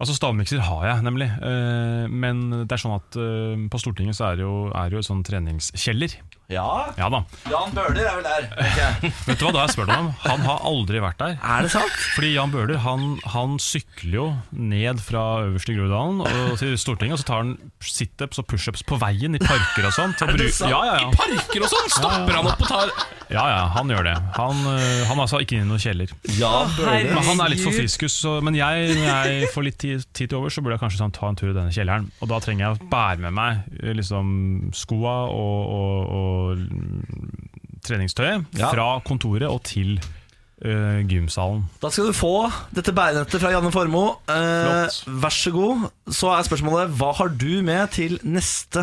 Speaker 7: Altså Stavmikser har jeg, nemlig. Eh, men det er sånn at eh, på Stortinget så er det jo, er det jo et sånn treningskjeller.
Speaker 1: Ja,
Speaker 7: Ja da.
Speaker 1: Jan Bøhler er vel der.
Speaker 7: Vet du hva da jeg spør deg om? Han har aldri vært der.
Speaker 1: Er det sant?
Speaker 7: Fordi Jan Bøhler han, han sykler jo ned fra øverste Groruddalen og til Stortinget, og så tar han situps og pushups på veien i parker og sånn sånt. Er det sant? Ja, ja, ja.
Speaker 2: Parker og sånn! Stopper han opp og tar
Speaker 7: ja, ja han gjør det. Han, eh, han er altså ikke inne i noen kjeller.
Speaker 1: Jan Bøhler.
Speaker 7: Men han er litt for friskus, så, men jeg, når jeg får litt tid, tid til over, så burde jeg kanskje sånn, ta en tur i denne kjelleren. Og da trenger jeg å bære med meg eh, liksom, skoa og, og, og mm, treningstøyet
Speaker 1: Ja.
Speaker 7: fra kontoret og til eh, gymsalen.
Speaker 1: Da skal du få dette bærenettet fra Janne Formoe. Eh,
Speaker 7: Flott.
Speaker 1: vær så god. Så er spørsmålet hva har du med til neste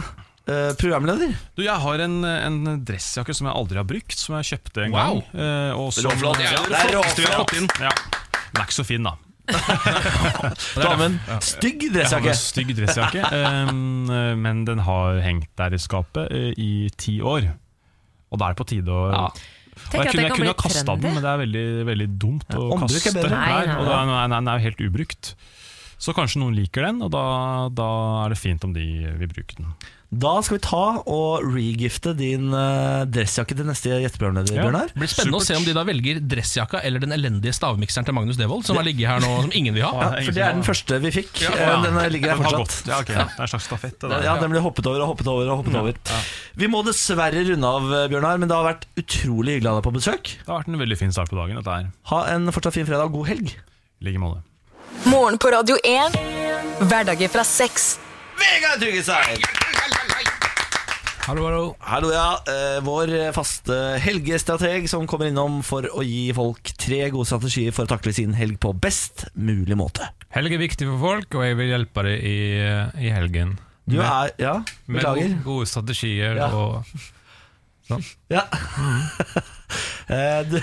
Speaker 1: eh, programleder?
Speaker 7: Du, jeg har en, en dressjakke som jeg aldri har brukt, som jeg kjøpte en
Speaker 2: Wow.
Speaker 7: gang. eh, og som-
Speaker 1: Råflott.
Speaker 7: Ja,
Speaker 1: Det er
Speaker 7: flotteste vi har
Speaker 1: råflott.
Speaker 7: fått inn. Ja. Den er ikke så fin, da.
Speaker 1: Du har med en stygg
Speaker 7: Jeg har
Speaker 1: dressjakke.
Speaker 7: en stygg dressjakke, em, eh, men den har hengt der i skapet eh, i ti år. Og da er det på tide å Og
Speaker 3: Tenk
Speaker 7: jeg
Speaker 3: at
Speaker 7: kunne,
Speaker 3: det
Speaker 7: jeg
Speaker 3: kan
Speaker 7: kunne
Speaker 3: bli
Speaker 7: ha kasta den,
Speaker 3: trendy.
Speaker 7: men det er veldig, veldig dumt å
Speaker 1: ombruk er
Speaker 7: kaste.
Speaker 1: bedre.
Speaker 7: den
Speaker 3: Nei,
Speaker 7: her,
Speaker 3: nei,
Speaker 7: og da, nei, nei, den er jo helt ubrukt. Så kanskje noen liker den, og da, da er det fint om de vil bruke den.
Speaker 1: Da skal vi ta og regifte din eh, dressjakke til neste gjesteprogramleder,
Speaker 10: Ja.
Speaker 1: Bjørnar.
Speaker 2: Det blir spennende å se om de da velger dressjakka eller den elendige stavmikseren til Magnus Devold, som har ligget her nå, som ingen vil ha.
Speaker 1: Ja, for det er den første vi fikk.
Speaker 2: Ja.
Speaker 1: Eh, Den ligger her
Speaker 10: Den har gått.
Speaker 1: fortsatt.
Speaker 10: Ja, ok. Det er en slags stafett. Det, der.
Speaker 1: Ja, den ble hoppet over og hoppet over. og hoppet over Vi må dessverre runde av, eh, Bjørnar, men det har vært utrolig hyggelig å ha deg på besøk.
Speaker 10: det har vært en veldig fin start på dagen. Dette her.
Speaker 1: Ha en fortsatt fin fredag og god helg.
Speaker 10: I like måte.
Speaker 5: Morgen på Radio 1. Hverdager fra seks.
Speaker 1: Vegard Tryggeseid!
Speaker 2: Hallo, hallo.
Speaker 1: Hallo, ja. Eh, Vår faste helgestrateg som kommer innom for å gi folk tre gode strategier for å takle sin helg på best mulig måte.
Speaker 7: Helg er viktig for folk, og jeg vil hjelpe deg i, i helgen.
Speaker 1: Du
Speaker 7: Med-
Speaker 1: er Ja,
Speaker 7: Med
Speaker 1: beklager.
Speaker 7: gode- gode strategier
Speaker 1: Ja.
Speaker 7: og
Speaker 1: Ja. Eh, du-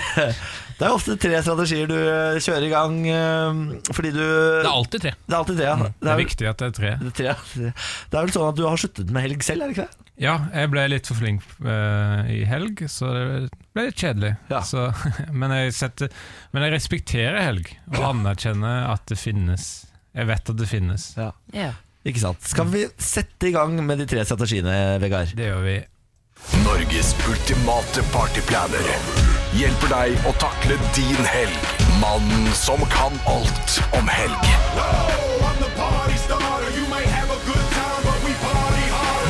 Speaker 1: Det er ofte tre strategier du eh, kjører i gang eh, fordi du
Speaker 2: Det er alltid tre.
Speaker 1: Det er alltid tre, ja.
Speaker 7: Det er
Speaker 1: vel-
Speaker 7: viktig at det er tre.
Speaker 1: det er tre. Det er vel sånn at du har sluttet med helg selv, er det ikke det?
Speaker 7: Ja, jeg ble litt for flink eh, i helg, så det ble litt kjedelig.
Speaker 1: Ja.
Speaker 7: Så, men, jeg setter, men jeg respekterer helg, og anerkjenner at det finnes. Jeg vet at det finnes.
Speaker 3: Ja.
Speaker 1: Ikke sant. Skal vi sette i gang med de tre strategiene, Vegard?
Speaker 7: Det gjør vi.
Speaker 11: Norges ultimate partyplaner hjelper deg å takle din helg. Mannen som kan alt om helg.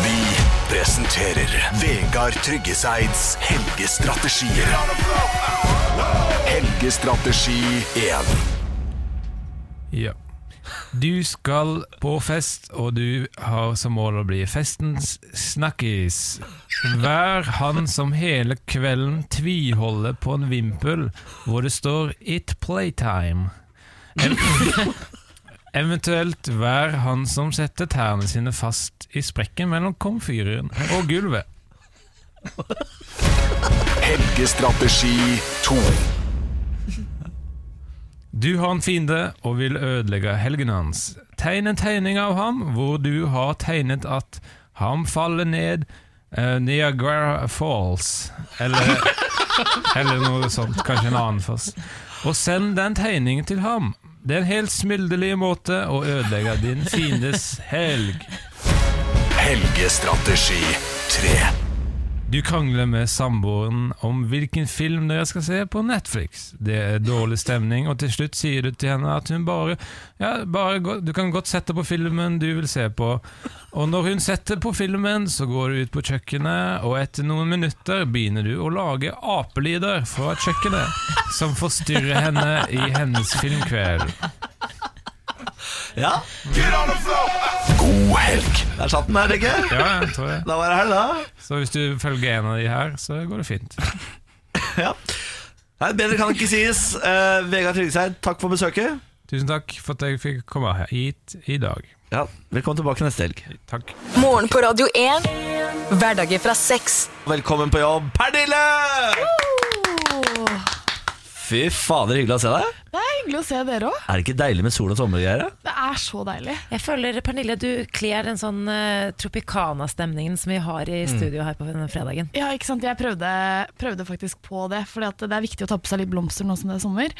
Speaker 11: Vi presenterer Vegard Tryggeseids helgestrategier. Helgestrategi 1.
Speaker 7: Ja. Du skal på fest, og du har som mål å bli festens snakkis. Vær han som hele kvelden tviholder på en vimpel hvor det står 'It playtime'. Ev eventuelt vær han som setter tærne sine fast i sprekken mellom komfyren og gulvet.
Speaker 11: Helgestrategi 2.
Speaker 7: Du har en fiende og vil ødelegge helgen hans. Tegn en tegning av ham hvor du har tegnet at ham faller ned eh, Niagara Falls. Eller, eller noe sånt. Kanskje en annen først. Og send den tegningen til ham. Det er en helt smilderlig måte å ødelegge din fiendes helg.
Speaker 11: Helgestrategi 3.
Speaker 7: Du krangler med samboeren om hvilken film dere skal se på Netflix. Det er dårlig stemning, og til slutt sier du til henne at hun bare, ja, bare gå- Du kan godt sette på filmen du vil se på. Og når hun setter på filmen, så går du ut på kjøkkenet, og etter noen minutter begynner du å lage apelyder fra kjøkkenet som forstyrrer henne i hennes filmkveld.
Speaker 1: Ja,
Speaker 11: God helg.
Speaker 1: der satt den, er det ikke?
Speaker 7: Ja, jeg tror jeg.
Speaker 1: Da var det helg, da.
Speaker 7: Så hvis du følger en av de her, så går det fint.
Speaker 1: Ja. Nei, bedre kan det ikke sies. Eh, Vegard Tryggeseid, takk for besøket.
Speaker 7: Tusen takk for at jeg fikk komme her hit i dag.
Speaker 1: Ja, Velkommen tilbake neste helg.
Speaker 7: Takk.
Speaker 5: Morgen på Radio 1. Hverdager fra seks.
Speaker 1: Velkommen på jobb, Pernille! Fy fader, hyggelig å se deg.
Speaker 4: Det er hyggelig å se dere òg.
Speaker 1: Er det ikke deilig med sol og sommergreier? da?
Speaker 4: Det er så deilig.
Speaker 3: Jeg føler, Pernille, du kler den sånn eh, Tropicana-stemningen som vi har i studio her på denne fredagen.
Speaker 4: Ja, ikke sant? Jeg prøvde, prøvde faktisk på det, for det er viktig å ta på seg litt blomster nå som det er sommer.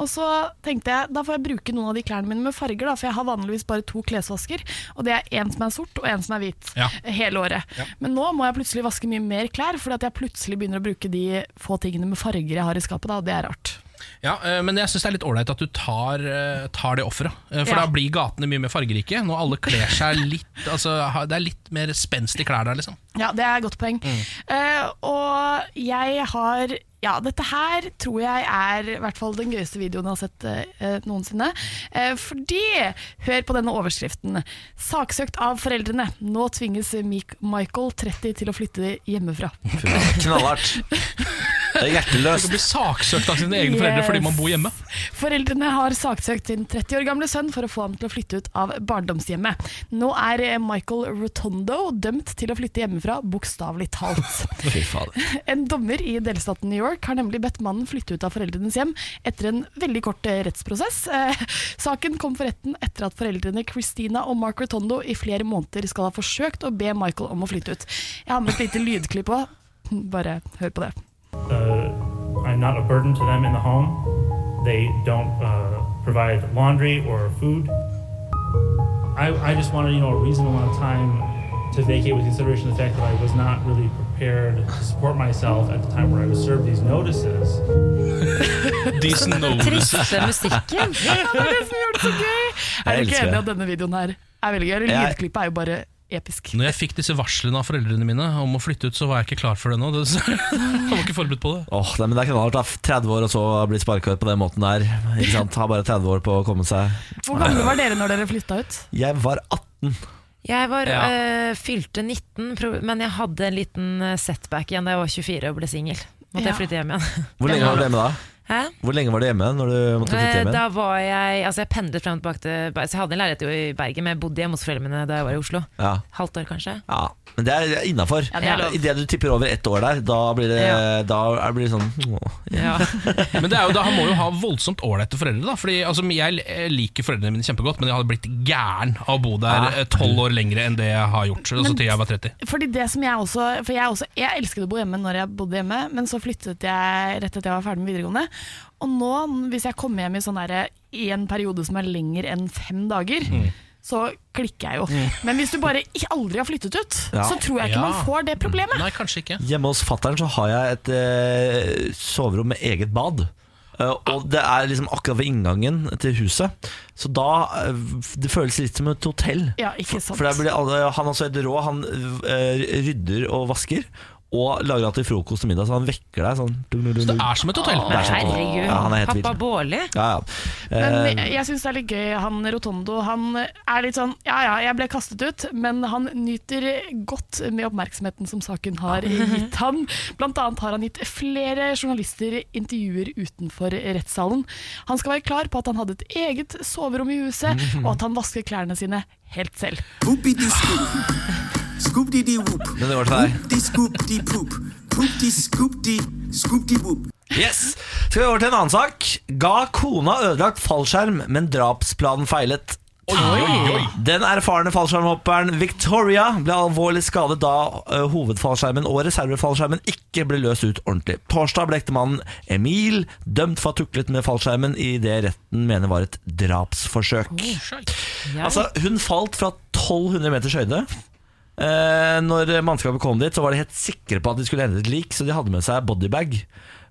Speaker 4: Og så tenkte jeg, da får jeg bruke noen av de klærne mine med farger, da, for jeg har vanligvis bare to klesvasker. Og det er én som er sort, og én som er hvit.
Speaker 2: Ja.
Speaker 4: Hele året. Men nå må jeg plutselig vaske mye mer klær, fordi at jeg plutselig begynner å bruke de få tingene med farger jeg har i skapet, da, og det er rart.
Speaker 2: Ja, eh, Men jeg syns det er litt ålreit at du tar, eh, tar det offeret. Eh, For
Speaker 4: Ja.
Speaker 2: da blir gatene mye mer fargerike. Når alle kler seg litt altså, ha- Det er litt mer spenst i klær der, liksom.
Speaker 4: Ja, det er et godt poeng. Eh, og jeg har ja, dette her tror jeg er i hvert fall den gøyeste videoen jeg har sett eh, noensinne. Eh, fordi Hør på denne overskriften. 'Saksøkt av foreldrene. Nå tvinges Mik Michael, 30, til å flytte hjemmefra'.
Speaker 1: Fy fader, Knallhardt. Det er
Speaker 2: Du
Speaker 1: hjerteløst.
Speaker 2: blir saksøkt av sine egne foreldre fordi man bor hjemme.
Speaker 4: Foreldrene har saksøkt sin 30 år gamle sønn for å få ham til å flytte ut av barndomshjemmet. Nå er eh, Michael Rotondo dømt til å flytte hjemmefra, bokstavelig talt.
Speaker 1: Fy fader.
Speaker 4: En dommer i delstaten New York har nemlig bedt mannen flytte ut av foreldrenes hjem etter en veldig kort eh, rettsprosess. Eh, saken kom for retten etter at foreldrene Christina og Mark Rotondo i flere måneder skal ha forsøkt å be Michael om å flytte ut. Jeg har med et lite lydklipp òg. Bare hør på det.
Speaker 8: I'm not a burden to them in the home. They don't uh, provide laundry or food. I, I just wanted, you know, a reasonable amount of time
Speaker 12: to vacate with consideration of the fact that I was not really prepared to support myself at the time where I was served these notices.
Speaker 2: These
Speaker 4: Triste musikken. Ja, det er det som gjør det så gøy!
Speaker 2: Jeg
Speaker 4: Er du ikke
Speaker 2: elsker
Speaker 4: enig
Speaker 2: det.
Speaker 4: at denne videoen her er veldig gøy? Eller
Speaker 2: Jeg-
Speaker 4: Lydklippet er jo bare episk.
Speaker 2: Når jeg fikk disse varslene av foreldrene mine om å flytte ut, så var jeg ikke klar for det nå. Det, jeg var ikke forberedt på det.
Speaker 1: Åh, nei, men Det er ikke noe annet. da. 30 år og så bli sparka ut på den måten der. Ikke sant? Har bare 30 år på å komme seg
Speaker 4: Hvor gamle var dere når dere flytta ut?
Speaker 1: Jeg var 18.
Speaker 3: Jeg var,
Speaker 1: Ja.
Speaker 3: øh, fylte 19, pro- men jeg hadde en liten øh, setback igjen da jeg var 24 og ble singel. Måtte
Speaker 4: Ja.
Speaker 3: jeg flytte hjem igjen.
Speaker 1: Hvor lenge var du hjemme da?
Speaker 3: Hæ?
Speaker 1: Hvor lenge var du hjemme når du måtte flytte
Speaker 3: Eh,
Speaker 1: hjem
Speaker 3: Da
Speaker 1: igjen?
Speaker 3: var jeg Altså jeg pendlet frem og tilbake til Bergen. Så jeg hadde en leilighet jo i Bergen, men jeg bodde hjemme hos foreldrene mine da jeg var i Oslo.
Speaker 1: Ja.
Speaker 3: Halvt år, kanskje.
Speaker 1: ja. Men det er innafor.
Speaker 3: Ja, det er lov.
Speaker 1: Idet du tipper over ett år der, da blir det, da er- blir det sånn åh.
Speaker 2: Men det er jo da, han må jo ha voldsomt ålreite foreldre. da Fordi altså, Jeg eh, liker foreldrene mine kjempegodt, men jeg hadde blitt gæren av å bo der eh, tolv år lenger enn det jeg har gjort. Altså
Speaker 4: Men-
Speaker 2: til jeg var 30
Speaker 4: Fordi det som jeg også For jeg, også, jeg elsket å bo hjemme når jeg bodde hjemme, men så flyttet jeg rett etter jeg var ferdig med videregående. Og nå, hvis jeg kommer hjem i sånn derre- i en periode som er lenger enn fem dager,
Speaker 13: Mm.
Speaker 4: så klikker jeg jo.
Speaker 1: Mm.
Speaker 4: Men hvis du bare ikke- aldri har flyttet ut,
Speaker 1: Ja.
Speaker 4: så tror jeg ikke
Speaker 1: Ja.
Speaker 4: man får det problemet.
Speaker 2: Nei, kanskje ikke
Speaker 1: Hjemme hos fattern så har jeg et eh, soverom med eget bad. Eh, og det er liksom akkurat ved inngangen til huset. Så da eh, Det føles litt som et hotell.
Speaker 4: Ja, ikke sant.
Speaker 1: For der blir alle, Han er også helt rå. Han eh, rydder og vasker. Og lager alltid frokost og middag, så han vekker deg sånn. Så
Speaker 2: det er som et hotell?
Speaker 1: Det er som et hotell.
Speaker 3: Herregud.
Speaker 1: Ja, han er helt
Speaker 3: Pappa
Speaker 1: vild.
Speaker 3: Bårli.
Speaker 1: Ja, ja. Eh,
Speaker 4: Men jeg syns det er litt gøy. Han Rotondo han er litt sånn Ja ja, jeg ble kastet ut, men han nyter godt med oppmerksomheten som saken har gitt ham. Blant annet har han gitt flere journalister intervjuer utenfor rettssalen. Han skal være klar på at han hadde et eget soverom i huset, og at han vasker klærne sine helt selv.
Speaker 1: Men det var til deg. Yes! Skal vi over til en annen sak. Ga kona ødelagt fallskjerm, men drapsplanen feilet. Den erfarne fallskjermhopperen Victoria ble alvorlig skadet da eh, hovedfallskjermen og reservefallskjermen ikke ble løst ut ordentlig. Torsdag ble ektemannen Emil dømt for å ha tuklet med fallskjermen i det retten mener var et drapsforsøk. Altså, hun falt fra 1200 meters høyde. Eh, når mannskapet kom dit, så var de helt sikre på at de skulle hente et lik, så de hadde med seg bodybag.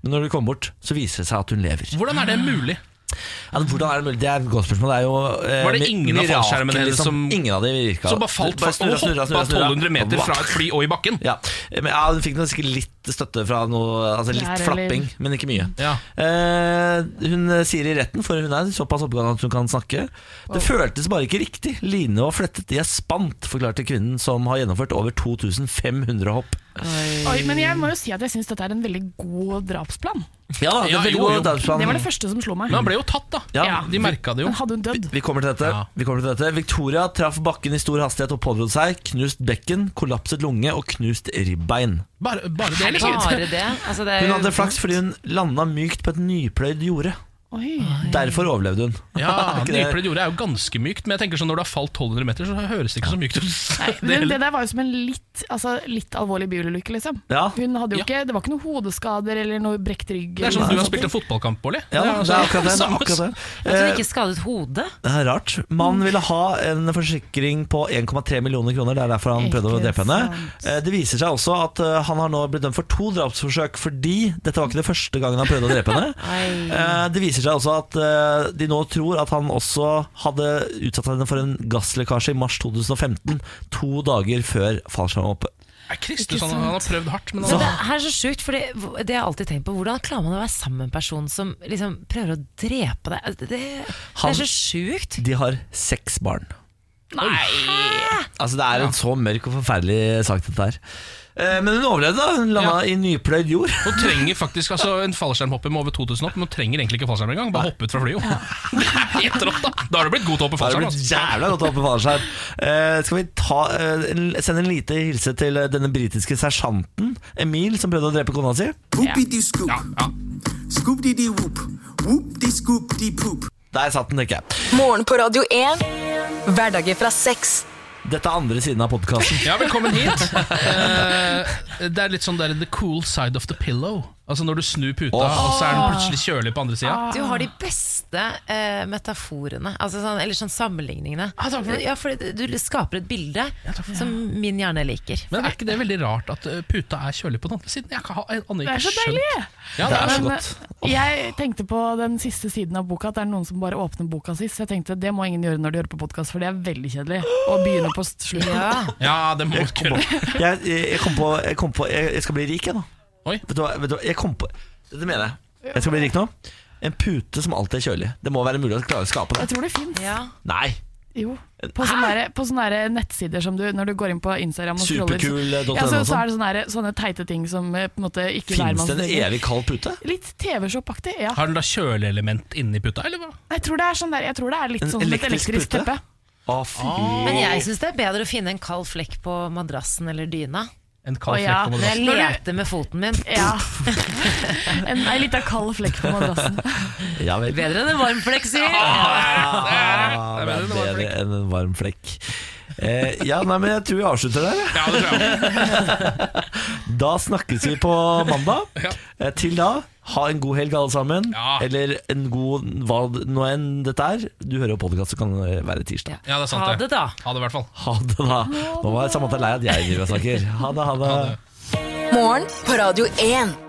Speaker 1: Men når de kom bort, så viser det seg at hun lever.
Speaker 2: Hvordan er det mulig?
Speaker 1: Ja, men hvordan er det mulig? Det er et godt spørsmål. Det er jo eh,
Speaker 2: Var det
Speaker 1: mi-
Speaker 2: ingen av
Speaker 1: mirakel,
Speaker 2: fallskjermene hennes
Speaker 1: liksom.
Speaker 2: som-
Speaker 1: Ingen av de virka.
Speaker 2: Som bare falt
Speaker 1: Bare
Speaker 2: og
Speaker 1: snurra, snurra,
Speaker 2: hoppa
Speaker 1: snurra, snurra.
Speaker 2: 1200 meter fra et fly og i bakken?
Speaker 1: Ja, men ja, Hun fikk nok sikkert litt støtte fra noe Altså litt
Speaker 2: Lærer, eller-
Speaker 1: flapping, men ikke mye.
Speaker 2: Ja.
Speaker 1: Eh, hun sier i retten, for hun er såpass oppegående at hun kan snakke Det føltes bare ikke riktig. Line var flettet i et spant, forklarte kvinnen som har gjennomført over 2500 hopp.
Speaker 4: Oi, men jeg må jo si at jeg syns dette er en veldig god drapsplan.
Speaker 1: Ja da, det er veldig god drapsplan.
Speaker 4: Det var det første som slo meg.
Speaker 1: Men han ble
Speaker 2: jo tatt, da.
Speaker 1: Ja. De merket det jo.
Speaker 4: Men hadde hun dødd?
Speaker 1: Vi kommer til dette. Vi kommer til dette. Victoria traff bakken i stor hastighet og pådro seg knust bekken, kollapset lunge og knust ribbein.
Speaker 2: Bare, bare det,
Speaker 3: Herregud.
Speaker 2: liksom.
Speaker 3: Bare det. Altså, det er
Speaker 1: Hun
Speaker 3: jo-
Speaker 1: hadde flaks fordi hun landa mykt på et nypløyd jorde.
Speaker 4: Oi.
Speaker 1: Ah, Derfor overlevde hun.
Speaker 2: Ja,
Speaker 1: Ikke det?
Speaker 2: Nypløyd jord er jo ganske mykt, men jeg tenker sånn når du har falt 1200 meter, så høres det ikke så mykt ut.
Speaker 4: Nei,
Speaker 2: Det
Speaker 4: men det
Speaker 2: heller.
Speaker 4: der var jo som en litt, altså, litt alvorlig bilulykke, liksom.
Speaker 1: Ja.
Speaker 4: Hun hadde jo ikke, det var ikke noen hodeskader eller noe brekt rygg.
Speaker 2: det er sånn som du
Speaker 4: eller noe
Speaker 2: har
Speaker 4: sånt.
Speaker 2: spilt en fotballkamp, Bårli.
Speaker 1: Ja, det er
Speaker 2: altså
Speaker 1: akkurat det, det er
Speaker 2: samme-
Speaker 1: akkurat det.
Speaker 3: At hun
Speaker 1: Eh,
Speaker 3: ikke Mm. skadet hodet.
Speaker 1: Det er rart. Mannen ville ha en forsikring på 1,3 millioner kroner. Det er derfor han prøvde å
Speaker 3: Ikke
Speaker 1: drepe henne. Eh, Det viser seg også at eh, han har nå blitt dømt for to drapsforsøk fordi dette var ikke det første gangen han prøvde å drepe henne. Eh, Det viser seg også at eh, de nå tror at han også hadde utsatt henne for en gasslekkasje i mars 2015, to dager før fallskjermhoppet.
Speaker 2: Er Kristiansand, han har prøvd hardt, men
Speaker 3: Men
Speaker 2: han
Speaker 3: det er så sjukt, for det det har jeg alltid tenkt på. Hvordan klarer man å være sammen med en person som liksom prøver å drepe deg? Altså, Det, det, det
Speaker 1: Han-
Speaker 3: er så sjukt.
Speaker 1: De har seks barn.
Speaker 3: Nei!
Speaker 1: Altså Det er en så mørk og forferdelig sak, dette her. Eh, Men hun overlevde, da. Hun landa i nypløyd jord.
Speaker 2: Hun trenger faktisk altså, en fallskjermhopper med over 2000 hopp, men hun trenger egentlig ikke fallskjerm engang. Bare hoppe ut fra flyet. jo. Etter opp, da. da har du blitt god til å hoppe
Speaker 1: Da har det
Speaker 2: fallskjerm.
Speaker 1: blitt
Speaker 2: altså.
Speaker 1: jævla godt å hoppe fallskjerm. Eh, skal vi ta, eh, en- sende en lite hilse til eh, denne britiske sersjanten Emil, som prøvde å drepe kona si? Der satt den, tenker jeg.
Speaker 5: Morgen på Radio 1. Hverdager fra seks.
Speaker 1: Dette er andre siden av podkasten.
Speaker 2: Ja, velkommen hit. Eh, det er litt sånn der the cool side of the pillow. Altså Når du snur puta,
Speaker 3: Åh.
Speaker 2: og så er den plutselig kjølig på andre sida.
Speaker 3: Du har de beste eh, metaforene, altså sånn, eller sånn sammenligningene.
Speaker 2: Ah,
Speaker 3: Ja, fordi du skaper et bilde som min hjerne liker.
Speaker 2: Men er ikke det veldig rart at eh, puta er kjølig på den andre siden? Jeg kan ha jeg aner
Speaker 4: Det er
Speaker 2: ikke
Speaker 4: så
Speaker 2: skjønt.
Speaker 4: deilig!
Speaker 2: Ja, det er så
Speaker 4: Men,
Speaker 2: godt.
Speaker 4: eh, Jeg tenkte på den siste siden av boka at det er noen som bare åpner boka sist. Jeg tenkte det må ingen gjøre når de hører på podkast, for det er veldig kjedelig å begynne på slutten.
Speaker 2: Ja, det må
Speaker 1: jeg
Speaker 2: du
Speaker 1: komme på. Jeg, jeg kom på, jeg, kom på jeg, jeg skal bli rik, jeg nå.
Speaker 2: Vet
Speaker 1: du hva, vet du hva, jeg kom på Det mener jeg. Jeg skal bli rik nå. En pute som alltid er kjølig. Det må være mulig å klare å skape
Speaker 4: Jeg
Speaker 1: det.
Speaker 4: tror det fins.
Speaker 1: Nei.
Speaker 4: Jo. På sånne, der, på sånne der nettsider som du Når du går inn på Instagram og scroller, så,
Speaker 2: eh,
Speaker 1: Superkul.no
Speaker 4: ja, så,
Speaker 1: og
Speaker 4: så
Speaker 1: sånn.
Speaker 4: er det sånne, der, sånne teite ting som eh, på en måte ikke
Speaker 1: Fins det
Speaker 4: hvermanns-
Speaker 1: en evig kald pute?
Speaker 4: Litt TV-shop-aktig, ja.
Speaker 2: Har den da kjøleelement inni puta, eller hva?
Speaker 4: Jeg tror det er, sånn der, jeg tror det er litt
Speaker 2: En
Speaker 4: sånn som et
Speaker 2: elektrisk
Speaker 4: elektrisk
Speaker 2: pute?
Speaker 4: teppe.
Speaker 1: Å, fy.
Speaker 3: Men jeg syns det er bedre å finne en kald flekk på madrassen eller dyna.
Speaker 2: En
Speaker 4: kald Å, ja. flekk på madrassen.
Speaker 3: Når jeg leter med foten min.
Speaker 4: Ja. En, en lita kald flekk på madrassen.
Speaker 1: Ja vel.
Speaker 3: Bedre enn en varm flekk, sier
Speaker 1: Ah, det er bedre enn en varm flekk. Eh, ja, nei, men jeg tror vi avslutter der. jeg. da snakkes vi på mandag. Eh, til da, ha en god helg, alle sammen. Eller en god hva nå enn dette er. Du hører jo podkast, så kan det være tirsdag.
Speaker 2: Ja, det er sant
Speaker 3: Ha det, da.
Speaker 2: Ha det i hvert fall.
Speaker 1: Ha det, da. Nå var Samantha lei av at jeg driver og snakker. Ha det, ha det.
Speaker 5: Morgen på Radio 1.